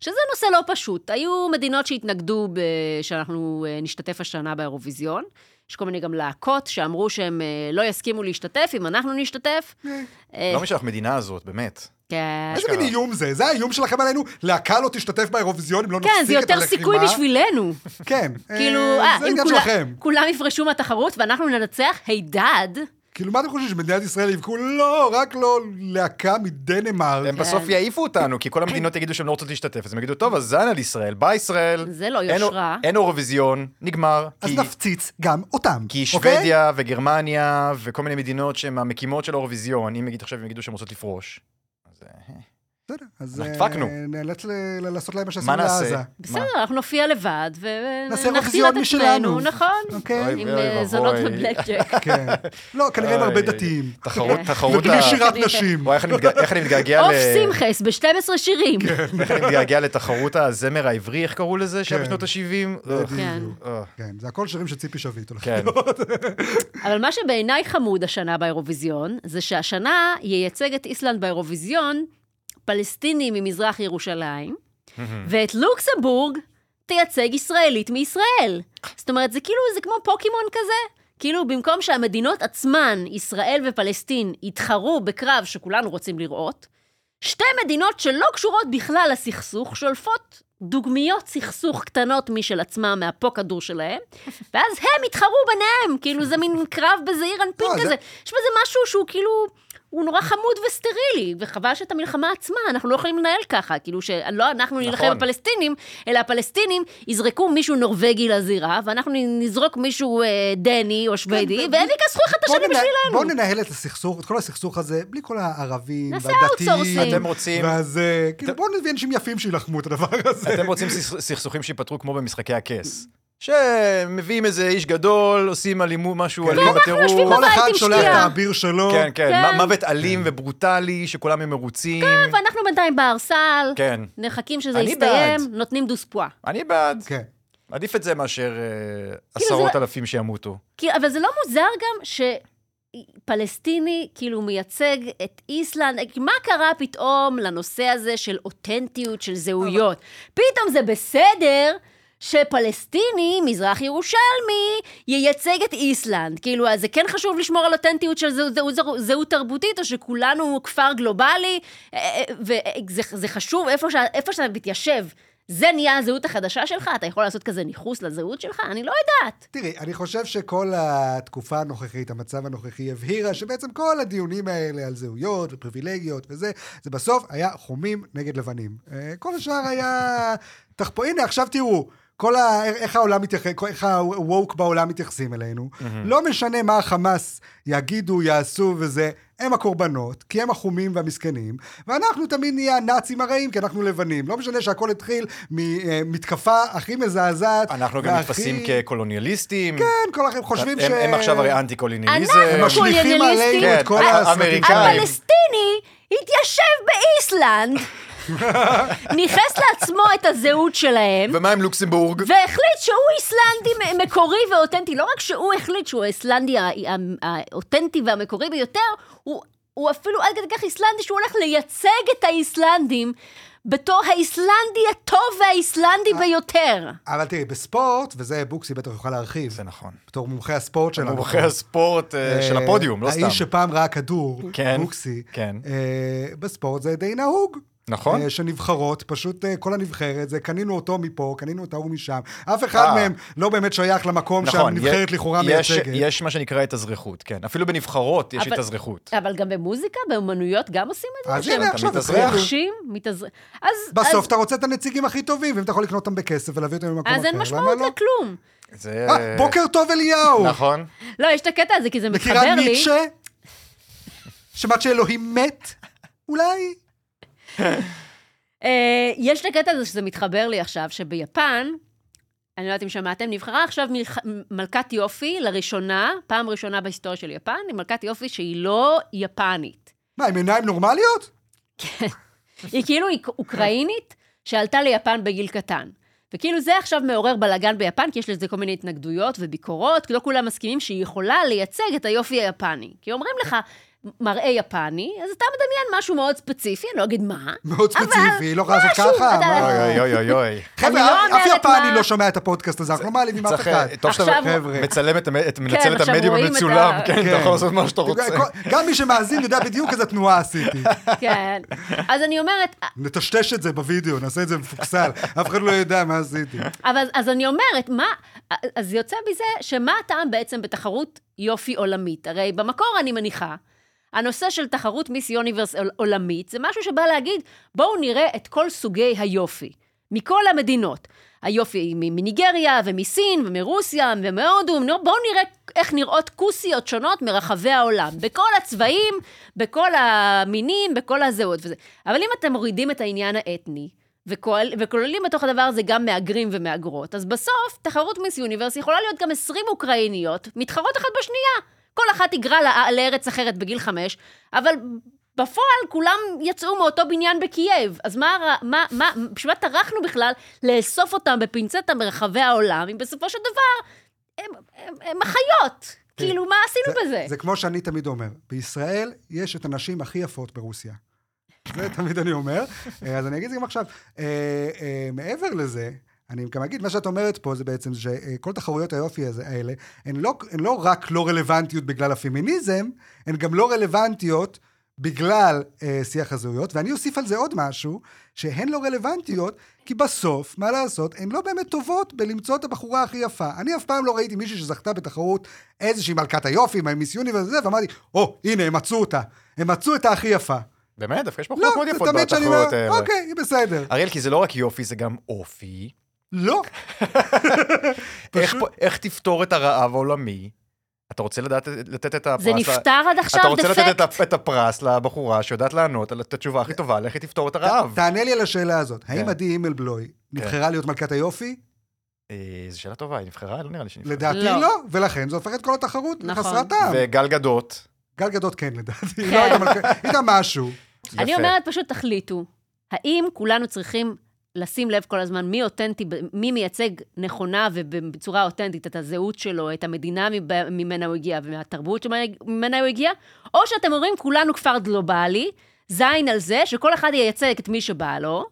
[SPEAKER 2] שזה נושא לא פשוט. היו מדינות שהתנגדו ב... שאנחנו אה, נשתתף השנה באירוויזיון. יש כל מיני גם להקות שאמרו שהם אה, לא יסכימו להשתתף, אם אנחנו נשתתף. אה,
[SPEAKER 3] לא משנה, המדינה הזאת, באמת.
[SPEAKER 2] כן.
[SPEAKER 1] איזה מין
[SPEAKER 3] אשכרה.
[SPEAKER 1] איום זה? זה האיום שלכם עלינו? להקה לא תשתתף באירוויזיון אם לא נפסיק את
[SPEAKER 2] כן, זה
[SPEAKER 1] הלחימה?
[SPEAKER 2] יותר סיכוי בשבילנו.
[SPEAKER 1] כן. אה,
[SPEAKER 2] כאילו, אה,
[SPEAKER 1] זה
[SPEAKER 2] אם
[SPEAKER 1] עניין
[SPEAKER 2] כולה-
[SPEAKER 1] שלכם.
[SPEAKER 2] כולם יפרשו מהתחרות ואנחנו ננצח, הידד.
[SPEAKER 1] כאילו, מה אתם חושבים, שמדינת ישראל יבכו? לא, רק לא להקה מדנמרק.
[SPEAKER 3] הם
[SPEAKER 2] כן.
[SPEAKER 3] בסוף יעיפו אותנו, כי כל המדינות יגידו שהם לא רוצות להשתתף, אז הם יגידו, טוב, אז זן על ישראל, בא ישראל.
[SPEAKER 2] זה לא
[SPEAKER 3] אין-
[SPEAKER 2] יושרה.
[SPEAKER 3] אין אירוויזיון, נגמר.
[SPEAKER 1] אז נכון,
[SPEAKER 3] כי-
[SPEAKER 1] נפציץ גם אותם.
[SPEAKER 3] כי
[SPEAKER 1] אוקיי?
[SPEAKER 3] שוודיה וגרמניה וכל מיני מדינות שהן המקימות של האירוויזיון, אם נגיד עכשיו הם יגידו שהן רוצות לפרוש. אז, אה,
[SPEAKER 1] בסדר, אז
[SPEAKER 3] אנחנו דפקנו.
[SPEAKER 1] אה, נאלץ ל- ל- לעשות להם מה
[SPEAKER 3] מה
[SPEAKER 1] שעשינו לעזה.
[SPEAKER 3] נעשה?
[SPEAKER 2] בסדר,
[SPEAKER 3] מה?
[SPEAKER 2] אנחנו נופיע לבד,
[SPEAKER 1] נעשה
[SPEAKER 2] ונחזיר
[SPEAKER 1] אירוויזיון
[SPEAKER 2] את עצמנו,
[SPEAKER 1] משלנו.
[SPEAKER 2] נכון?
[SPEAKER 1] אוקיי?
[SPEAKER 3] אוי,
[SPEAKER 2] עם
[SPEAKER 3] אוי,
[SPEAKER 2] אה,
[SPEAKER 3] ואבוי.
[SPEAKER 2] זונות ובלק ג'ק.
[SPEAKER 1] כן. לא, כנראה הם הרבה
[SPEAKER 3] אוי,
[SPEAKER 1] דתיים.
[SPEAKER 3] תחרות, תחרות
[SPEAKER 1] ובלי
[SPEAKER 3] ה...
[SPEAKER 1] שירת
[SPEAKER 2] כנראה.
[SPEAKER 1] נשים.
[SPEAKER 3] וואי, איך אני מתגע- איך אני מתגעגע
[SPEAKER 2] אוקיי. אוף
[SPEAKER 3] ל-
[SPEAKER 2] שמחס ב-12 שירים.
[SPEAKER 3] איך אני מתגעגע לתחרות הזמר העברי, איך קראו לזה? שהיה
[SPEAKER 1] כן.
[SPEAKER 3] בשנות ה-70?
[SPEAKER 2] כן.
[SPEAKER 1] [LAUGHS] כן, זה הכל שירים של ציפי שביט. הולכים.
[SPEAKER 3] כן.
[SPEAKER 2] אבל מה שבעיניי חמוד השנה באירוויזיון, זה שהשנה ייצג את איסלנד באירוויזיון פלסטיני ממזרח ירושלים, ואת לוקסמבורג תייצג ישראלית מישראל. זאת אומרת, זה כאילו, זה כמו פוקימון כזה. כאילו, במקום שהמדינות עצמן, ישראל ופלסטין, יתחרו בקרב שכולנו רוצים לראות, שתי מדינות שלא קשורות בכלל לסכסוך, שולפות דוגמיות סכסוך קטנות משל עצמם, מהפו כדור שלהם, ואז הם יתחרו ביניהם, כאילו זה מין קרב בזעיר אנפין
[SPEAKER 1] לא, זה-
[SPEAKER 2] כזה. יש בזה משהו שהוא כאילו, הוא נורא חמוד וסטרילי, וחבל שאת המלחמה עצמה, אנחנו לא יכולים לנהל ככה, כאילו שלא אנחנו נלחם
[SPEAKER 3] נכון.
[SPEAKER 2] בפלסטינים, אלא הפלסטינים יזרקו מישהו נורבגי לזירה, ואנחנו נזרוק מישהו אה, דני או שוודי,
[SPEAKER 3] כן,
[SPEAKER 1] ב-
[SPEAKER 2] והם יכסחו אחד את
[SPEAKER 1] בוא
[SPEAKER 2] השני
[SPEAKER 1] ננה- בוא
[SPEAKER 2] בשבילנו.
[SPEAKER 1] ננהל את הסכסוך, את כל הסכסוך הזה, בלי כל הערבים,
[SPEAKER 2] נעשה
[SPEAKER 1] והדתיים.
[SPEAKER 2] outsourcing.
[SPEAKER 3] אתם רוצים-
[SPEAKER 1] ואז אה, כאילו, בואו נביא אנשים יפים שיילחמו את הדבר הזה.
[SPEAKER 3] אתם רוצים סכס- סכסוכים שייפתרו כמו במשחקי הכס. שמביאים איזה איש גדול, עושים אלימות,
[SPEAKER 1] כן.
[SPEAKER 3] משהו אלים
[SPEAKER 2] כן, יושבים
[SPEAKER 3] בטירוף.
[SPEAKER 1] כל
[SPEAKER 2] בבית
[SPEAKER 1] אחד
[SPEAKER 2] עם
[SPEAKER 1] שולח את
[SPEAKER 2] שתייה.
[SPEAKER 1] האביר שלו.
[SPEAKER 3] כן, כן,
[SPEAKER 2] כן.
[SPEAKER 3] מ- מוות אלים וברוטלי, שכולם הם מרוצים.
[SPEAKER 2] ואנחנו בינתיים בהרסל,
[SPEAKER 3] כן.
[SPEAKER 2] נחכים שזה
[SPEAKER 3] אני
[SPEAKER 2] יסתיים,
[SPEAKER 3] בעד.
[SPEAKER 2] נותנים דוספואה.
[SPEAKER 3] אני בעד.
[SPEAKER 1] כן.
[SPEAKER 3] עדיף את זה מאשר
[SPEAKER 1] כאילו
[SPEAKER 3] אה,
[SPEAKER 2] זה
[SPEAKER 3] עשרות
[SPEAKER 2] לא-
[SPEAKER 3] אלפים שימותו.
[SPEAKER 2] כאילו, אבל זה לא מוזר גם שפלסטיני כאילו מייצג את איסלנד? אה, מה קרה פתאום לנושא הזה של אותנטיות, של זהויות? פתאום זה בסדר. שפלסטיני, מזרח ירושלמי, ייצג את איסלנד. כאילו, אז זה כן חשוב לשמור על אותנטיות של זהות, זהות, זהות, זהות תרבותית, או שכולנו כפר גלובלי, אה, וזה חשוב איפה, שה, איפה שאתה מתיישב. זה נהיה הזהות החדשה שלך? אתה יכול לעשות כזה ניכוס לזהות שלך? אני לא יודעת.
[SPEAKER 1] תראי, אני חושב שכל התקופה הנוכחית, המצב הנוכחי, הבהירה שבעצם כל הדיונים האלה על זהויות ופריבילגיות וזה, זה בסוף היה חומים נגד לבנים. אה, כל השאר היה... תחפו, הנה, עכשיו תראו. כל ה... איך העולם מתייחס, איך ה-woke בעולם מתייחסים אלינו. לא משנה מה החמאס יגידו, יעשו וזה, הם הקורבנות, כי הם החומים והמסכנים, ואנחנו תמיד נהיה הנאצים הרעים, כי אנחנו לבנים. לא משנה שהכל התחיל ממתקפה הכי מזעזעת.
[SPEAKER 3] אנחנו גם
[SPEAKER 1] והכי-
[SPEAKER 3] נתפסים כקולוניאליסטים.
[SPEAKER 1] כן, כל החיים חושבים ש...
[SPEAKER 3] הם- הם עכשיו הרי אנטי קולוניאליזם.
[SPEAKER 2] אנחנו
[SPEAKER 1] הם משליכים
[SPEAKER 2] קולוניאליסטים.
[SPEAKER 1] עלינו
[SPEAKER 3] כן,
[SPEAKER 1] את כל
[SPEAKER 3] ה-
[SPEAKER 1] הסרטים.
[SPEAKER 3] האמריקאים.
[SPEAKER 1] האלה.
[SPEAKER 2] הפלסטיני התיישב
[SPEAKER 1] [LAUGHS]
[SPEAKER 2] באיסלנד, ניכס לעצמו את הזהות שלהם,
[SPEAKER 3] ומה עם לוקסמבורג?
[SPEAKER 2] והחליט שהוא איסלנדי מ- מקורי ואותנטי. לא רק שהוא החליט שהוא האיסלנדי הא- הא- האותנטי והמקורי ביותר, הוא, הוא אפילו עד כדי כך איסלנדי שהוא הולך לייצג את האיסלנדים בתור האיסלנדי הטוב והאיסלנדי
[SPEAKER 1] אה.
[SPEAKER 2] ביותר.
[SPEAKER 1] אבל תראי, בספורט, וזה בוקסי בטח יוכל להרחיב,
[SPEAKER 3] זה נכון.
[SPEAKER 1] בתור מומחה הספורט שלנו.
[SPEAKER 3] מומחי הספורט אה, של
[SPEAKER 1] נכון. אה,
[SPEAKER 3] הפודיום, לא
[SPEAKER 1] האיש
[SPEAKER 3] סתם.
[SPEAKER 1] שפעם ראה כדור,
[SPEAKER 3] כן,
[SPEAKER 1] בוקסי,
[SPEAKER 3] כן.
[SPEAKER 1] אה, בספורט זה די נהוג.
[SPEAKER 3] נכון.
[SPEAKER 1] אה, שנבחרות, פשוט אה, כל הנבחרת, זה קנינו אותו מפה, קנינו את ההוא משם. אף אחד
[SPEAKER 3] אה. נכון,
[SPEAKER 1] מהם לא באמת שייך למקום שהנבחרת
[SPEAKER 3] יה-
[SPEAKER 1] לכאורה
[SPEAKER 3] יש-
[SPEAKER 1] מייצגת.
[SPEAKER 3] יש מה שנקרא התאזרחות, כן. אפילו בנבחרות יש
[SPEAKER 2] אבל-
[SPEAKER 3] התאזרחות.
[SPEAKER 2] אבל גם במוזיקה, באומנויות גם עושים את זה?
[SPEAKER 1] אז
[SPEAKER 2] שהם
[SPEAKER 1] הנה,
[SPEAKER 3] כן, אתה
[SPEAKER 1] עכשיו
[SPEAKER 3] מתאזרח.
[SPEAKER 1] התחילו.
[SPEAKER 2] רוכשים, מתאזרחים. אז...
[SPEAKER 1] בסוף
[SPEAKER 2] אז-
[SPEAKER 1] אתה רוצה את הנציגים הכי טובים, ואם אתה יכול לקנות אותם בכסף ולהביא אותם למקום אחר,
[SPEAKER 2] אז אין
[SPEAKER 1] למה
[SPEAKER 2] משמעות
[SPEAKER 1] לא?
[SPEAKER 2] לכלום.
[SPEAKER 3] זה...
[SPEAKER 1] אה, בוקר טוב אליהו!
[SPEAKER 3] נכון.
[SPEAKER 2] לא, יש את הקטע הזה, כי זה
[SPEAKER 1] מכירה
[SPEAKER 2] מחבר לי.
[SPEAKER 1] ניטשה? שמעת שאלוהים מת? אולי?
[SPEAKER 2] אה, יש את הקטע הזה שזה מתחבר לי עכשיו, שביפן, אני לא יודעת אם שמעתם, נבחרה עכשיו מלח- מלכת יופי לראשונה, פעם ראשונה בהיסטוריה של יפן, היא מלכת יופי שהיא לא יפנית.
[SPEAKER 1] מה, עם עיניים נורמליות?
[SPEAKER 2] היא כאילו אוק- אוקראינית שעלתה ליפן בגיל קטן. וכאילו זה עכשיו מעורר בלאגן ביפן, כי יש לזה כל מיני התנגדויות וביקורות, כי לא כולם מסכימים שהיא יכולה לייצג את היופי היפני. כי אומרים לך, מראה יפני, אז אתה מדמיין משהו מאוד ספציפי, אני לא אגיד מה.
[SPEAKER 1] מאוד
[SPEAKER 2] אבל
[SPEAKER 1] ספציפי, היא לא יכולה לעשות
[SPEAKER 2] משהו,
[SPEAKER 1] ככה,
[SPEAKER 2] אתה-
[SPEAKER 1] מה?
[SPEAKER 3] אוי אוי אוי אוי
[SPEAKER 1] [LAUGHS]
[SPEAKER 3] אוי.
[SPEAKER 2] אני
[SPEAKER 1] חבר'ה,
[SPEAKER 2] לא
[SPEAKER 1] אף- אף
[SPEAKER 2] אומרת
[SPEAKER 1] יפני
[SPEAKER 2] מה-
[SPEAKER 1] לא שומע את הפודקאסט הזה, אנחנו לא מעליבים אף
[SPEAKER 3] צריך,
[SPEAKER 1] אחד. כן,
[SPEAKER 3] אה, טוב שאתה
[SPEAKER 2] עכשיו-
[SPEAKER 1] חבר'ה.
[SPEAKER 3] מצלם את המ- את- מנצל את
[SPEAKER 2] עכשיו
[SPEAKER 3] המדיום
[SPEAKER 2] רואים את
[SPEAKER 3] המצולם,
[SPEAKER 2] ה-
[SPEAKER 3] כן, אתה
[SPEAKER 1] כן.
[SPEAKER 3] יכול לעשות מה שאתה רוצה.
[SPEAKER 1] כל- גם מי שמאזין יודע בדיוק איזה תנועה
[SPEAKER 3] [LAUGHS]
[SPEAKER 1] עשיתי.
[SPEAKER 2] כן. אז אני אומרת,
[SPEAKER 1] נטשטש את זה בווידאו, נעשה את זה מפוקסל, אף אחד לא ידע מה עשיתי.
[SPEAKER 2] אבל אז אני אומרת, מה, אז יוצא מזה שמה הטעם בעצם בתחרות יופי עולמית? הרי במקור אני מניחה, הנושא של תחרות מיס יוניברס עול- עולמית זה משהו שבא להגיד, בואו נראה את כל סוגי היופי, מכל המדינות. היופי מ- מניגריה ומסין ומרוסיה ומהודו, נו, בואו נראה איך נראות כוסיות שונות מרחבי העולם, בכל הצבעים, בכל המינים, בכל הזהות וזה. אבל אם אתם מורידים את העניין האתני, וכול, וכוללים בתוך הדבר הזה גם מהגרים ומהגרות. אז בסוף, תחרות מיס יוניברס יכולה להיות גם 20 אוקראיניות, מתחרות אחת בשנייה. כל אחת היגרה לא- לארץ אחרת בגיל חמש, אבל בפועל כולם יצאו מאותו בניין בקייב. אז מה, הר- מה, מה, בשביל מה טרחנו בכלל לאסוף אותם בפינצטה מרחבי העולם, אם בסופו של דבר הם, הם, הם
[SPEAKER 3] כן.
[SPEAKER 2] החיות? כאילו, מה עשינו בזה?
[SPEAKER 1] זה כמו שאני תמיד אומר, בישראל יש את הנשים הכי יפות ברוסיה. זה תמיד אני אומר, אה, אז אני אגיד את זה גם עכשיו. אה, אה, מעבר לזה, אני גם אגיד, מה שאת אומרת פה זה בעצם שכל תחרויות היופי הזה- האלה, הן לא, הן לא רק לא רלוונטיות בגלל הפמיניזם, הן גם לא רלוונטיות בגלל אה, שיח הזהויות, ואני אוסיף על זה עוד משהו, שהן לא רלוונטיות, כי בסוף, מה לעשות, הן לא באמת טובות בלמצוא את הבחורה הכי יפה. אני אף פעם לא ראיתי מישהי שזכתה בתחרות איזושהי מלכת היופי, מיס יוניברס וזה, ואמרתי, או, oh, הנה, הם מצאו אותה. הם מצאו את הכי יפה.
[SPEAKER 3] באמת, דווקא יש
[SPEAKER 1] לא,
[SPEAKER 3] בחורות מאוד
[SPEAKER 1] זה
[SPEAKER 3] יפות
[SPEAKER 1] תמיד שאני אומר,
[SPEAKER 3] בתחרות האלה.
[SPEAKER 1] אוקיי, היא בסדר.
[SPEAKER 3] אריאל, כי זה לא רק יופי, זה גם
[SPEAKER 1] [LAUGHS]
[SPEAKER 3] אופי.
[SPEAKER 1] לא.
[SPEAKER 3] איך פה- איך תפתור את הרעב העולמי? אתה רוצה לדעת לתת את הפרס...
[SPEAKER 2] זה
[SPEAKER 3] ל-
[SPEAKER 2] נפתר עד עכשיו?
[SPEAKER 3] אתה רוצה לתת
[SPEAKER 2] דפקט?
[SPEAKER 3] את ה- את הפרס לבחורה שיודעת לענות על את התשובה הכי טובה, לכי תפתור את הרעב.
[SPEAKER 1] תענה לי על השאלה הזאת. האם
[SPEAKER 3] כן.
[SPEAKER 1] עדי אימלבלוי נבחרה להיות מלכת היופי?
[SPEAKER 3] אה, זו שאלה טובה, היא נבחרה? לא נראה לי שנבחרה.
[SPEAKER 1] לדעתי
[SPEAKER 2] לא.
[SPEAKER 1] לא, ולכן זה הופך את כל התחרות
[SPEAKER 2] נכון.
[SPEAKER 1] לחסרת טעם.
[SPEAKER 3] וגל גדות.
[SPEAKER 1] גל גדות כן, לדעתי.
[SPEAKER 2] כן.
[SPEAKER 1] לא הייתה מלכה, הייתה משהו.
[SPEAKER 2] אני
[SPEAKER 3] יפה.
[SPEAKER 2] אומרת, פשוט תחליטו, האם כולנו צריכים לשים לב כל הזמן מי אותנטי, מי מייצג נכונה ובצורה אותנטית את הזהות שלו, את המדינה מב- ממנה הוא הגיע ומהתרבות שממנה הוא הגיע, או שאתם אומרים, כולנו כפר גלובלי, זין על זה שכל אחד ייצג את מי שבא לו,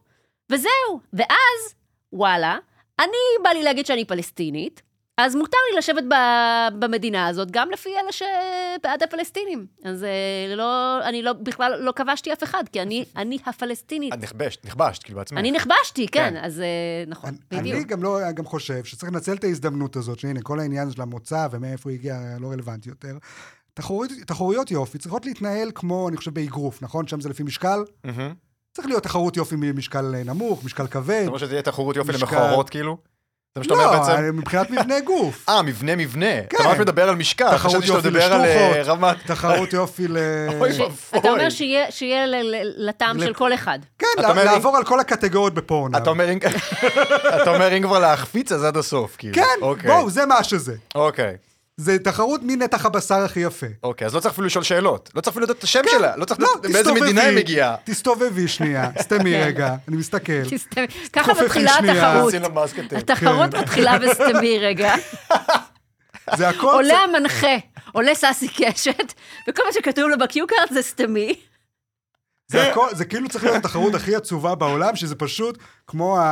[SPEAKER 2] וזהו. ואז, וואלה, אני, בא לי להגיד שאני פלסטינית, אז מותר לי לשבת ב, במדינה הזאת גם לפי אלה שבעד הפלסטינים. אז אה, לא, אני לא, בכלל לא כבשתי אף אחד, כי אני, אני הפלסטינית.
[SPEAKER 3] את נכבשת, אה, נכבשת, כאילו בעצמך.
[SPEAKER 2] אני נכבשתי, כן,
[SPEAKER 3] כן.
[SPEAKER 2] אז אה, נכון,
[SPEAKER 1] אני
[SPEAKER 2] בדיוק.
[SPEAKER 1] גם לא, גם חושב שצריך לנצל את ההזדמנות הזאת, שהנה, כל העניין של המוצא ומאיפה היא הגיעה לא רלוונטי יותר. תחרויות, תחרויות יופי צריכות להתנהל כמו, אני חושב, באגרוף, נכון? שם זה לפי משקל?
[SPEAKER 3] מהמם.
[SPEAKER 1] צריך להיות תחרות יופי ממשקל אה, נמוך, משקל כבד.
[SPEAKER 3] אתה אומר שזה יהיה תחרות יופי
[SPEAKER 1] משקל.
[SPEAKER 3] למכוערות, כאילו? זה מה שאתה אומר
[SPEAKER 1] לא,
[SPEAKER 3] בעצם?
[SPEAKER 1] אה, מבחינת מבנה גוף.
[SPEAKER 3] [LAUGHS] אה, מבנה מבנה. אתה
[SPEAKER 1] כן.
[SPEAKER 3] ממש מדבר על משקל.
[SPEAKER 1] תחרות
[SPEAKER 3] חשבתי שאתה
[SPEAKER 1] יופי
[SPEAKER 3] מדבר על אה,
[SPEAKER 1] לשטוחות.
[SPEAKER 3] רמת...
[SPEAKER 1] תחרות יופי ל...
[SPEAKER 3] [LAUGHS] אוי ואבוי.
[SPEAKER 2] אתה אומר שיהיה, שיהיה ל- ל- לטעם
[SPEAKER 1] ל-
[SPEAKER 2] של כל אחד.
[SPEAKER 1] כן,
[SPEAKER 3] אתה אומר לי-
[SPEAKER 1] לעבור על כל הקטגוריות בפורנו.
[SPEAKER 3] אתה אומר, אם- [LAUGHS] אתה אומר, אם כבר להחפיץ, אז עד הסוף, כאילו.
[SPEAKER 1] כן,
[SPEAKER 3] אוקיי.
[SPEAKER 1] בואו, זה מה שזה.
[SPEAKER 3] אוקיי,
[SPEAKER 1] זה תחרות מי נתח הבשר הכי יפה.
[SPEAKER 3] אוקיי, אז לא צריך אפילו לשאול שאלות. לא צריך אפילו לדעת את השם
[SPEAKER 1] כן,
[SPEAKER 3] שלה. לא צריך לדעת מאיזה
[SPEAKER 1] תסתובבי,
[SPEAKER 3] מדינה היא מגיעה.
[SPEAKER 1] תסתובבי
[SPEAKER 3] [LAUGHS]
[SPEAKER 1] שנייה, סתמי רגע, אני מסתכל.
[SPEAKER 2] תסתכל. ככה מתחילה
[SPEAKER 1] שנייה.
[SPEAKER 2] התחרות.
[SPEAKER 3] אה, עשינו
[SPEAKER 2] כן.
[SPEAKER 3] בסקטים.
[SPEAKER 2] התחרות מתחילה בסתמי רגע.
[SPEAKER 1] זה הכל...
[SPEAKER 2] עולה המנחה, עולה ססי קשת, וכל מה שכתוב לו בקיוקארד זה סתמי.
[SPEAKER 1] זה הכל, זה כאילו צריך להיות התחרות הכי עצובה בעולם, שזה פשוט כמו ה-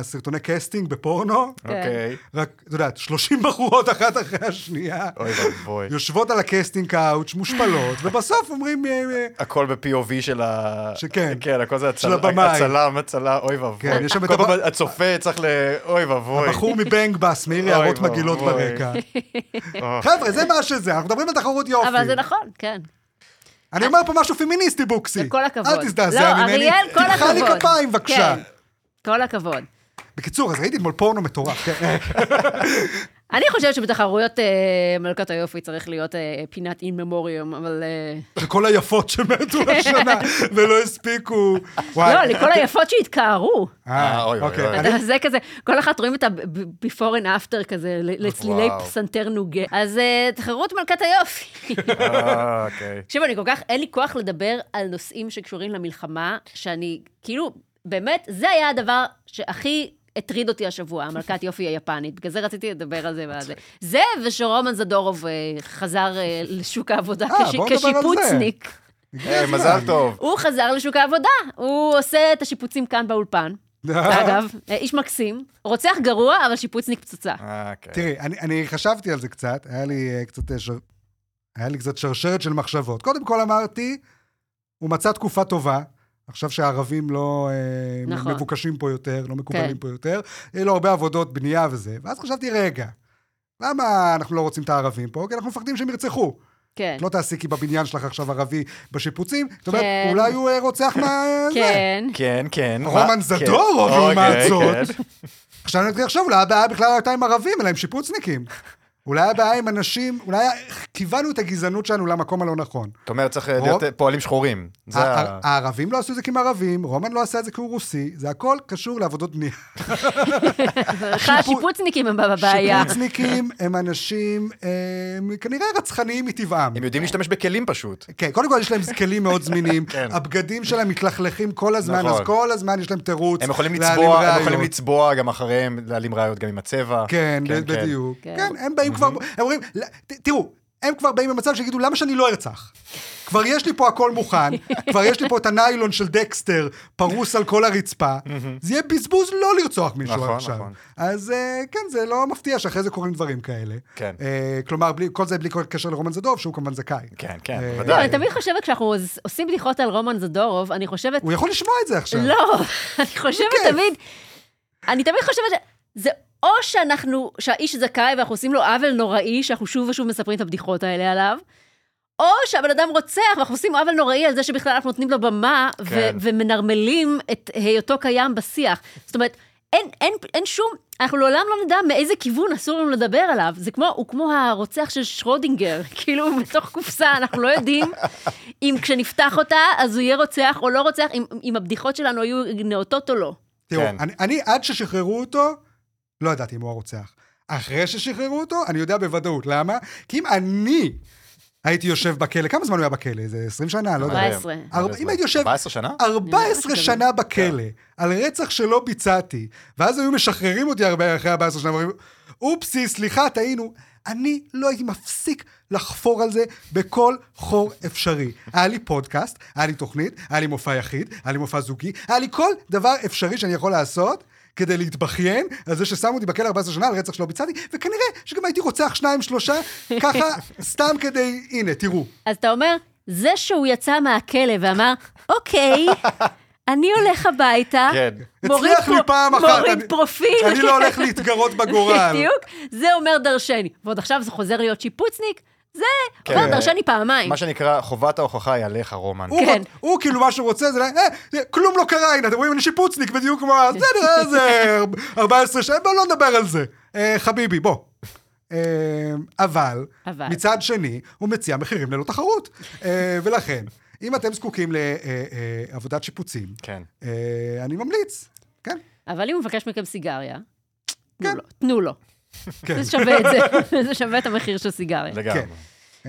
[SPEAKER 1] הסרטוני קסטינג בפורנו,
[SPEAKER 3] אוקיי.
[SPEAKER 1] רק, את יודעת, 30 בחורות אחת אחרי השנייה,
[SPEAKER 3] אוי ואבוי.
[SPEAKER 1] יושבות על הקסטינג קאוץ', מושפלות, ובסוף אומרים, אה, אה,
[SPEAKER 3] הכל ב-POV של ה...
[SPEAKER 1] שכן.
[SPEAKER 3] כן, הכל זה
[SPEAKER 1] של
[SPEAKER 3] הצל...
[SPEAKER 1] הבמאי.
[SPEAKER 3] הצלם, הצלם, אוי ואבוי.
[SPEAKER 1] כן, יש שם את
[SPEAKER 3] כל
[SPEAKER 1] הבא-
[SPEAKER 3] פעם הצופה צריך ל... אוי ואבוי.
[SPEAKER 1] בחור מבנג בס, מעיר הערות
[SPEAKER 3] אוי
[SPEAKER 1] מגעילות
[SPEAKER 3] ואבוי.
[SPEAKER 1] ברקע.
[SPEAKER 3] אה.
[SPEAKER 1] חבר'ה, זה מה שזה, אנחנו מדברים על תחרות יופי.
[SPEAKER 2] אבל זה נכון, כן.
[SPEAKER 1] אני אומר פה משהו פמיניסטי, בוקסי.
[SPEAKER 2] כל הכבוד.
[SPEAKER 1] אוקיי. אל
[SPEAKER 2] לא,
[SPEAKER 1] תזדעזע ממני.
[SPEAKER 2] אריאל, כל
[SPEAKER 1] תמחא לי
[SPEAKER 2] הכבוד.
[SPEAKER 1] כפיים, בבקשה.
[SPEAKER 2] כן, כל הכבוד.
[SPEAKER 1] אה, בקיצור, אז ראיתי אתמול פורנו מטורף. כן.
[SPEAKER 2] אני חושבת שבתחרויות אה, מלכת היופי צריך להיות אה, פינת אין ממוריום, אבל... אה,
[SPEAKER 4] כל היפות שמתו השנה ולא הספיקו. וואי.
[SPEAKER 1] אה,
[SPEAKER 2] לא, לכל היפות שהתקערו.
[SPEAKER 3] אה, אוי, אוי,
[SPEAKER 4] אוקיי.
[SPEAKER 3] אוי.
[SPEAKER 4] אני-
[SPEAKER 2] אתה- זה כזה, כל אחת רואים את ה-before and after כזה, ל- לצלילי
[SPEAKER 3] וואו.
[SPEAKER 2] פסנתר נוגה. אז אה, תחרות מלכת היופי.
[SPEAKER 3] אה, אוקיי.
[SPEAKER 2] תקשיב, אני כל כך, אין לי כוח לדבר על נושאים שקשורים למלחמה, שאני, כאילו, באמת, זה היה הדבר שהכי הטריד אותי השבוע, המלכת יופי היפנית. בגלל זה רציתי לדבר על זה ועל
[SPEAKER 1] [LAUGHS]
[SPEAKER 2] זה. זה ושרומן זדורוב אה, חזר אה, לשוק העבודה
[SPEAKER 1] אה,
[SPEAKER 2] כש-
[SPEAKER 1] בואו נדבר על זה.
[SPEAKER 2] כשיפוצניק.
[SPEAKER 1] הגיע
[SPEAKER 3] היי,
[SPEAKER 1] הזמן.
[SPEAKER 3] אה, מזל טוב.
[SPEAKER 2] הוא חזר לשוק העבודה, הוא עושה את השיפוצים כאן באולפן. אגב, אה, איש מקסים, רוצח גרוע, אבל שיפוצניק פצצה.
[SPEAKER 3] אה,
[SPEAKER 2] כן.
[SPEAKER 3] אוקיי.
[SPEAKER 1] תראי, אני, אני חשבתי על זה קצת, היה לי אה, קצת, אה, שר... היה לי קצת שרשרת של מחשבות. קודם כל אמרתי, הוא מצא תקופה טובה, עכשיו שהערבים לא אה,
[SPEAKER 2] נכון.
[SPEAKER 1] מבוקשים פה יותר, לא מקובלים
[SPEAKER 2] כן.
[SPEAKER 1] פה יותר, יהיו לו הרבה עבודות בנייה וזה. ואז חשבתי, רגע, למה אנחנו לא רוצים את הערבים פה? כי אנחנו מפחדים שהם ירצחו.
[SPEAKER 2] כן.
[SPEAKER 1] את לא תעסיקי בבניין שלך עכשיו ערבי בשיפוצים, זאת אומרת,
[SPEAKER 2] כן.
[SPEAKER 1] אולי הוא אה, רוצח מה... זה.
[SPEAKER 2] כן.
[SPEAKER 3] כן, כן.
[SPEAKER 1] רומן
[SPEAKER 3] מה-
[SPEAKER 1] זדורוב,
[SPEAKER 3] כן.
[SPEAKER 1] לעומת
[SPEAKER 3] אוקיי,
[SPEAKER 1] זאת.
[SPEAKER 3] כן.
[SPEAKER 1] עכשיו אני מתחיל לחשוב, אולי הבעיה בכלל לא הייתה עם ערבים, אלא עם שיפוצניקים. אולי הבעיה עם אנשים, אולי כיוונו את הגזענות שלנו למקום הלא נכון.
[SPEAKER 3] זאת אומרת, צריך
[SPEAKER 1] רוב-
[SPEAKER 3] להיות אה, פועלים שחורים. זה
[SPEAKER 1] הע-
[SPEAKER 3] ה...
[SPEAKER 1] הערבים לא עשו את זה כי הם ערבים, רומן לא עשה את זה כי הוא רוסי, זה הכל קשור לעבודות בנייה. אה,
[SPEAKER 2] בכלל השיפוצניקים הם בבעיה.
[SPEAKER 1] שיפוצניקים הם אנשים אה, כנראה רצחניים מטבעם.
[SPEAKER 3] הם יודעים להשתמש בכלים פשוט.
[SPEAKER 1] כן, קודם כל יש להם כלים מאוד זמינים,
[SPEAKER 3] [LAUGHS] כן.
[SPEAKER 1] הבגדים שלהם מתלכלכים כל הזמן,
[SPEAKER 3] נכון.
[SPEAKER 1] אז כל הזמן יש להם תירוץ.
[SPEAKER 3] הם יכולים
[SPEAKER 1] להעלים
[SPEAKER 3] לצבוע, הם
[SPEAKER 1] ראיות.
[SPEAKER 3] יכולים לצבוע גם אחריהם, להעלים ראיות גם עם הצבע.
[SPEAKER 1] כן,
[SPEAKER 3] כן, כן.
[SPEAKER 1] בדיוק.
[SPEAKER 2] כן.
[SPEAKER 1] כן, הם באים כבר, הם אומרים, "לא, ת- תראו, הם כבר באים במצב שיגידו, למה שאני לא ארצח? כבר יש לי פה הכל מוכן, כבר יש לי פה את הניילון של דקסטר פרוס על כל הרצפה, זה יהיה בזבוז לא לרצוח מישהו
[SPEAKER 3] נכון,
[SPEAKER 1] עכשיו.
[SPEAKER 3] נכון.
[SPEAKER 1] אז אה, כן, זה לא מפתיע שאחרי זה קורים דברים כאלה.
[SPEAKER 3] כן.
[SPEAKER 1] אה, כלומר, בלי- כל זה בלי כל קשר לרומן זדוב, שהוא כמובן זכאי.
[SPEAKER 3] כן, כן,
[SPEAKER 1] אה,
[SPEAKER 2] לא,
[SPEAKER 3] בוודאי.
[SPEAKER 2] אני תמיד חושבת, כשאנחנו עוש- עושים בדיחות על רומן זדורוב, אני חושבת...
[SPEAKER 1] הוא יכול לשמוע את זה עכשיו.
[SPEAKER 2] לא, [LAUGHS] אני חושבת
[SPEAKER 1] בכיף.
[SPEAKER 2] תמיד... אני תמיד חושבת ש... זה או שאנחנו, שהאיש זכאי ואנחנו עושים לו עוול נוראי, שאנחנו שוב ושוב מספרים את הבדיחות האלה עליו, או שהבן אדם רוצח ואנחנו עושים עוול נוראי על זה שבכלל אנחנו נותנים לו במה ו-
[SPEAKER 3] כן.
[SPEAKER 2] ומנרמלים את היותו קיים בשיח. זאת אומרת, אין, אין, אין שום, אנחנו לעולם לא נדע מאיזה כיוון אסור לנו לדבר עליו. זה כמו, הוא כמו הרוצח של שרודינגר, [LAUGHS] כאילו, הוא בתוך קופסה, אנחנו לא יודעים אם כשנפתח אותה, אז הוא יהיה רוצח או לא רוצח, אם, אם הבדיחות שלנו היו נאותות או לא.
[SPEAKER 1] תראו,
[SPEAKER 3] כן.
[SPEAKER 1] אני, אני עד ששחררו אותו, לא ידעתי אם הוא הרוצח. אחרי ששחררו אותו, אני יודע בוודאות. למה? כי אם אני הייתי יושב בכלא, כמה זמן הוא היה בכלא? איזה 20 שנה? לא יודע.
[SPEAKER 2] 14.
[SPEAKER 1] ארבע- אם הייתי יושב
[SPEAKER 3] 14 שנה?
[SPEAKER 1] 14
[SPEAKER 2] כן.
[SPEAKER 1] שנה בכלא, על רצח שלא ביצעתי, ואז היו משחררים אותי הרבה אחרי 14 שנה, ואומרים, אופסי, סליחה, טעינו. אני לא הייתי מפסיק לחפור על זה בכל חור אפשרי. היה לי פודקאסט, היה לי תוכנית, היה לי מופע יחיד, היה לי מופע זוגי, היה לי כל דבר אפשרי שאני יכול לעשות. כדי להתבכיין על זה ששמו אותי בכלא 14 שנה על רצח שלא ביצעתי, וכנראה שגם הייתי רוצח שניים, שלושה,
[SPEAKER 2] [LAUGHS]
[SPEAKER 1] ככה, סתם כדי, הנה, תראו.
[SPEAKER 2] אז אתה אומר, זה שהוא יצא מהכלא ואמר,
[SPEAKER 1] [LAUGHS]
[SPEAKER 2] אוקיי, אני הולך הביתה,
[SPEAKER 3] כן.
[SPEAKER 2] מוריד
[SPEAKER 1] הצליח לי
[SPEAKER 2] פרו-
[SPEAKER 1] פעם אחת,
[SPEAKER 2] מוריד
[SPEAKER 1] אני-
[SPEAKER 2] פרופיל.
[SPEAKER 1] אני לא הולך להתגרות בגורל.
[SPEAKER 2] בדיוק, זה אומר דרשני. ועוד עכשיו זה חוזר להיות שיפוצניק, זה
[SPEAKER 3] כן.
[SPEAKER 2] אומר דרשני פעמיים.
[SPEAKER 3] מה שנקרא, חובת ההוכחה היא עליך, רומן.
[SPEAKER 1] הוא,
[SPEAKER 2] כן.
[SPEAKER 1] כן. הוא כאילו מה שהוא רוצה, זה לא, אה, זה- כלום לא קרה, הנה, אתם רואים, אני שיפוצניק, בדיוק כמו,
[SPEAKER 2] כן.
[SPEAKER 1] ה- אה, זה נראה איזה 14 שנה, בואו לא נדבר על זה. אה, חביבי, בוא. אה, אבל,
[SPEAKER 2] אבל.
[SPEAKER 1] מצד שני, הוא מציע מחירים ללא תחרות. אה, ולכן, אם אתם זקוקים לעבודת שיפוצים,
[SPEAKER 3] כן.
[SPEAKER 1] אה, אני ממליץ. כן,
[SPEAKER 2] אבל אם הוא מבקש מכם סיגריה, תנו
[SPEAKER 1] כן.
[SPEAKER 2] לו, תנו לו.
[SPEAKER 1] כן.
[SPEAKER 2] זה שווה את זה, [LAUGHS] זה שווה את המחיר של סיגריה.
[SPEAKER 3] לגמרי.
[SPEAKER 1] כן.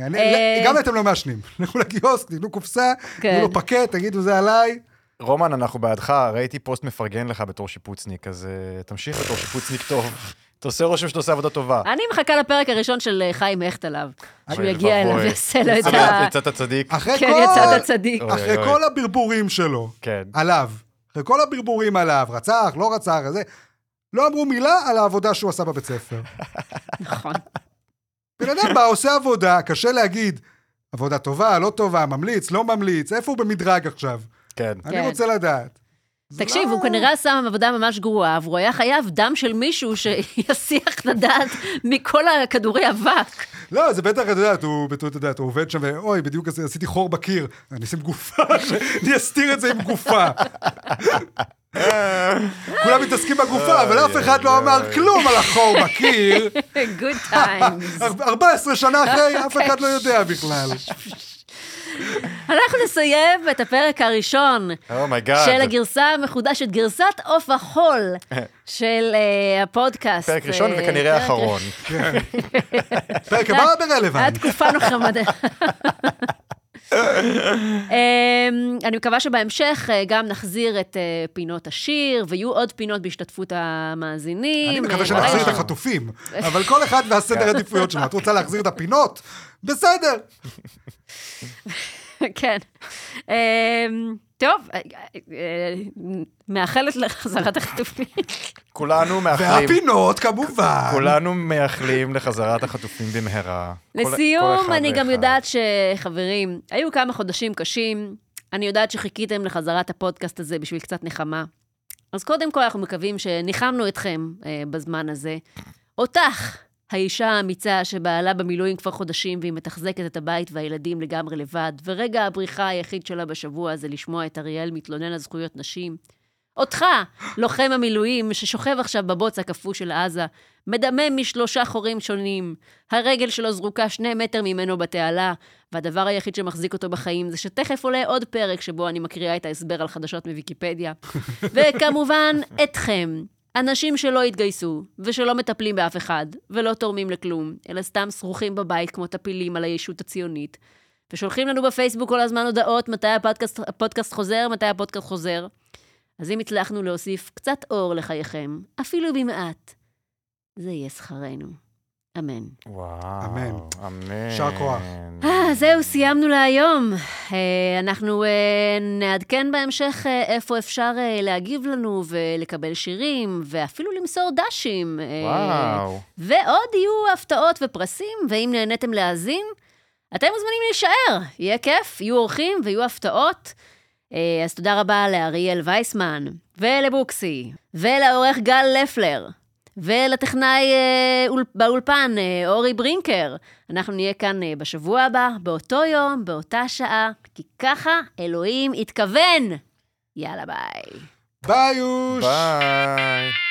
[SPEAKER 1] אני-
[SPEAKER 2] אה,
[SPEAKER 1] גם אם אתם לא מעשנים, [LAUGHS] לכו לקיוסק, תקנו קופסה,
[SPEAKER 2] כן.
[SPEAKER 1] תנו לו פקט, תגידו זה עליי.
[SPEAKER 3] רומן, אנחנו בעדך, ראיתי פוסט מפרגן לך בתור שיפוצניק, אז אה, תמשיך בתור שיפוצניק טוב. אתה עושה רושם שאתה עושה עבודה טובה.
[SPEAKER 2] אני מחכה לפרק הראשון של אה, חיים הכט עליו, שהוא
[SPEAKER 3] אוי
[SPEAKER 2] יגיע אליו
[SPEAKER 3] ואבוי.
[SPEAKER 2] ויעשה לו את ה...
[SPEAKER 3] אה, יצאת צדיק.
[SPEAKER 1] אחרי
[SPEAKER 2] כן,
[SPEAKER 1] כל...
[SPEAKER 2] יצאת צדיק.
[SPEAKER 3] אוי,
[SPEAKER 1] אחרי
[SPEAKER 3] אוי.
[SPEAKER 1] כל הברבורים שלו,
[SPEAKER 3] כן.
[SPEAKER 1] עליו, אחרי כל הברבורים עליו, רצח, לא רצח, זה, לא אמרו מילה על העבודה שהוא עשה בבית ספר.
[SPEAKER 2] נכון.
[SPEAKER 1] בן אדם בא, עושה עבודה, קשה להגיד, עבודה טובה, לא טובה, ממליץ, לא ממליץ, איפה הוא במדרג עכשיו?
[SPEAKER 3] כן.
[SPEAKER 1] אני רוצה לדעת.
[SPEAKER 2] תקשיב, הוא כנראה עשה עבודה ממש גרועה, והוא היה חייב דם של מישהו שיסיח את הדעת מכל הכדורי אבק. [LAUGHS]
[SPEAKER 1] לא, זה בטח, את יודעת, הוא, את יודעת, הוא עובד שם, ואוי, בדיוק [LAUGHS] עשיתי חור בקיר, אני אשים גופה, שאני אסתיר את זה עם גופה. כולם מתעסקים בגופה, אבל אף אחד לא אמר כלום על החור בקיר.
[SPEAKER 2] גוד טיימס.
[SPEAKER 1] 14 שנה אחרי, אף אחד לא יודע בכלל.
[SPEAKER 2] אנחנו נסיים את הפרק הראשון
[SPEAKER 1] אה,
[SPEAKER 3] אומייגאד.
[SPEAKER 2] של הגרסה המחודשת, גרסת עוף החול של אה, הפודקאסט.
[SPEAKER 3] פרק ראשון
[SPEAKER 2] אה,
[SPEAKER 3] וכנראה
[SPEAKER 2] פרק-
[SPEAKER 3] אחרון.
[SPEAKER 1] פרק הבא ברלוונט.
[SPEAKER 2] התקופה נחמדה.
[SPEAKER 1] [LAUGHS]
[SPEAKER 2] אמ, אני מקווה שבהמשך אה, גם נחזיר את אה, פינות השיר, ויהיו עוד פינות בהשתתפות המאזינים.
[SPEAKER 1] אני
[SPEAKER 2] אה, כן.
[SPEAKER 1] מקווה שנחזיר את
[SPEAKER 2] אולי-
[SPEAKER 1] החטופים, אבל כל אחד והסדר עדיפויות שלו. את רוצה להחזיר את הפינות? בסדר.
[SPEAKER 2] [LAUGHS] כן. אמ, טוב, אה, אה, מאחלת לחזרת החטופים.
[SPEAKER 3] כולנו מאחלים.
[SPEAKER 1] והפינות, כמובן.
[SPEAKER 3] כולנו מייחלים לחזרת החטופים במהרה. כל- כל
[SPEAKER 2] לסיום,
[SPEAKER 3] אחד
[SPEAKER 2] אני גם
[SPEAKER 3] ואחד.
[SPEAKER 2] יודעת שחברים, היו כמה חודשים קשים. אני יודעת שחיכיתם לחזרת הפודקאסט הזה בשביל קצת נחמה. אז קודם כל, אנחנו מקווים שניחמנו אתכם אה, בזמן הזה. אותך, האישה האמיצה שבעלה במילואים כבר חודשים והיא מתחזקת את הבית והילדים לגמרי לבד, ורגע הבריחה היחיד שלה בשבוע זה לשמוע את אריאל מתלונן על זכויות נשים. אותך, לוחם המילואים, ששוכב עכשיו בבוץ הקפוא של עזה, מדמם משלושה חורים שונים. הרגל שלו זרוקה שני מטר ממנו בתעלה, והדבר היחיד שמחזיק אותו בחיים זה שתכף עולה עוד פרק שבו אני מקריאה את ההסבר על חדשות מוויקיפדיה. וכמובן, אתכם. אנשים שלא התגייסו, ושלא מטפלים באף אחד, ולא תורמים לכלום, אלא סתם שרוכים בבית כמו טפילים על הישות הציונית. ושולחים לנו בפייסבוק כל הזמן הודעות מתי הפודקאסט, הפודקאסט חוזר, מתי הפודקאסט חוזר. אז אם הצלחנו להוסיף קצת אור לחייכם, אפילו במעט, זה יהיה שכרנו. אמן.
[SPEAKER 3] וואו.
[SPEAKER 1] אמן.
[SPEAKER 3] אמן.
[SPEAKER 1] יישר כוח.
[SPEAKER 2] אה, זהו, סיימנו להיום. אה, אנחנו אה, נעדכן בהמשך אה, איפה אפשר אה, להגיב לנו ולקבל שירים, ואפילו למסור דשים. אה,
[SPEAKER 3] וואו.
[SPEAKER 2] ועוד יהיו הפתעות ופרסים, ואם נהניתם להאזין, אתם מוזמנים להישאר. יהיה כיף, יהיו אורחים ויהיו הפתעות. אה, אז תודה רבה לאריאל וייסמן, ולבוקסי, ולעורך גל לפלר, ולטכנאי אה, אול- באולפן אה, אורי ברינקר. אנחנו נהיה כאן אה, בשבוע הבא, באותו יום, באותה שעה, כי ככה אלוהים התכוון. יאללה, ביי.
[SPEAKER 1] ביי, יוש.
[SPEAKER 3] ביי.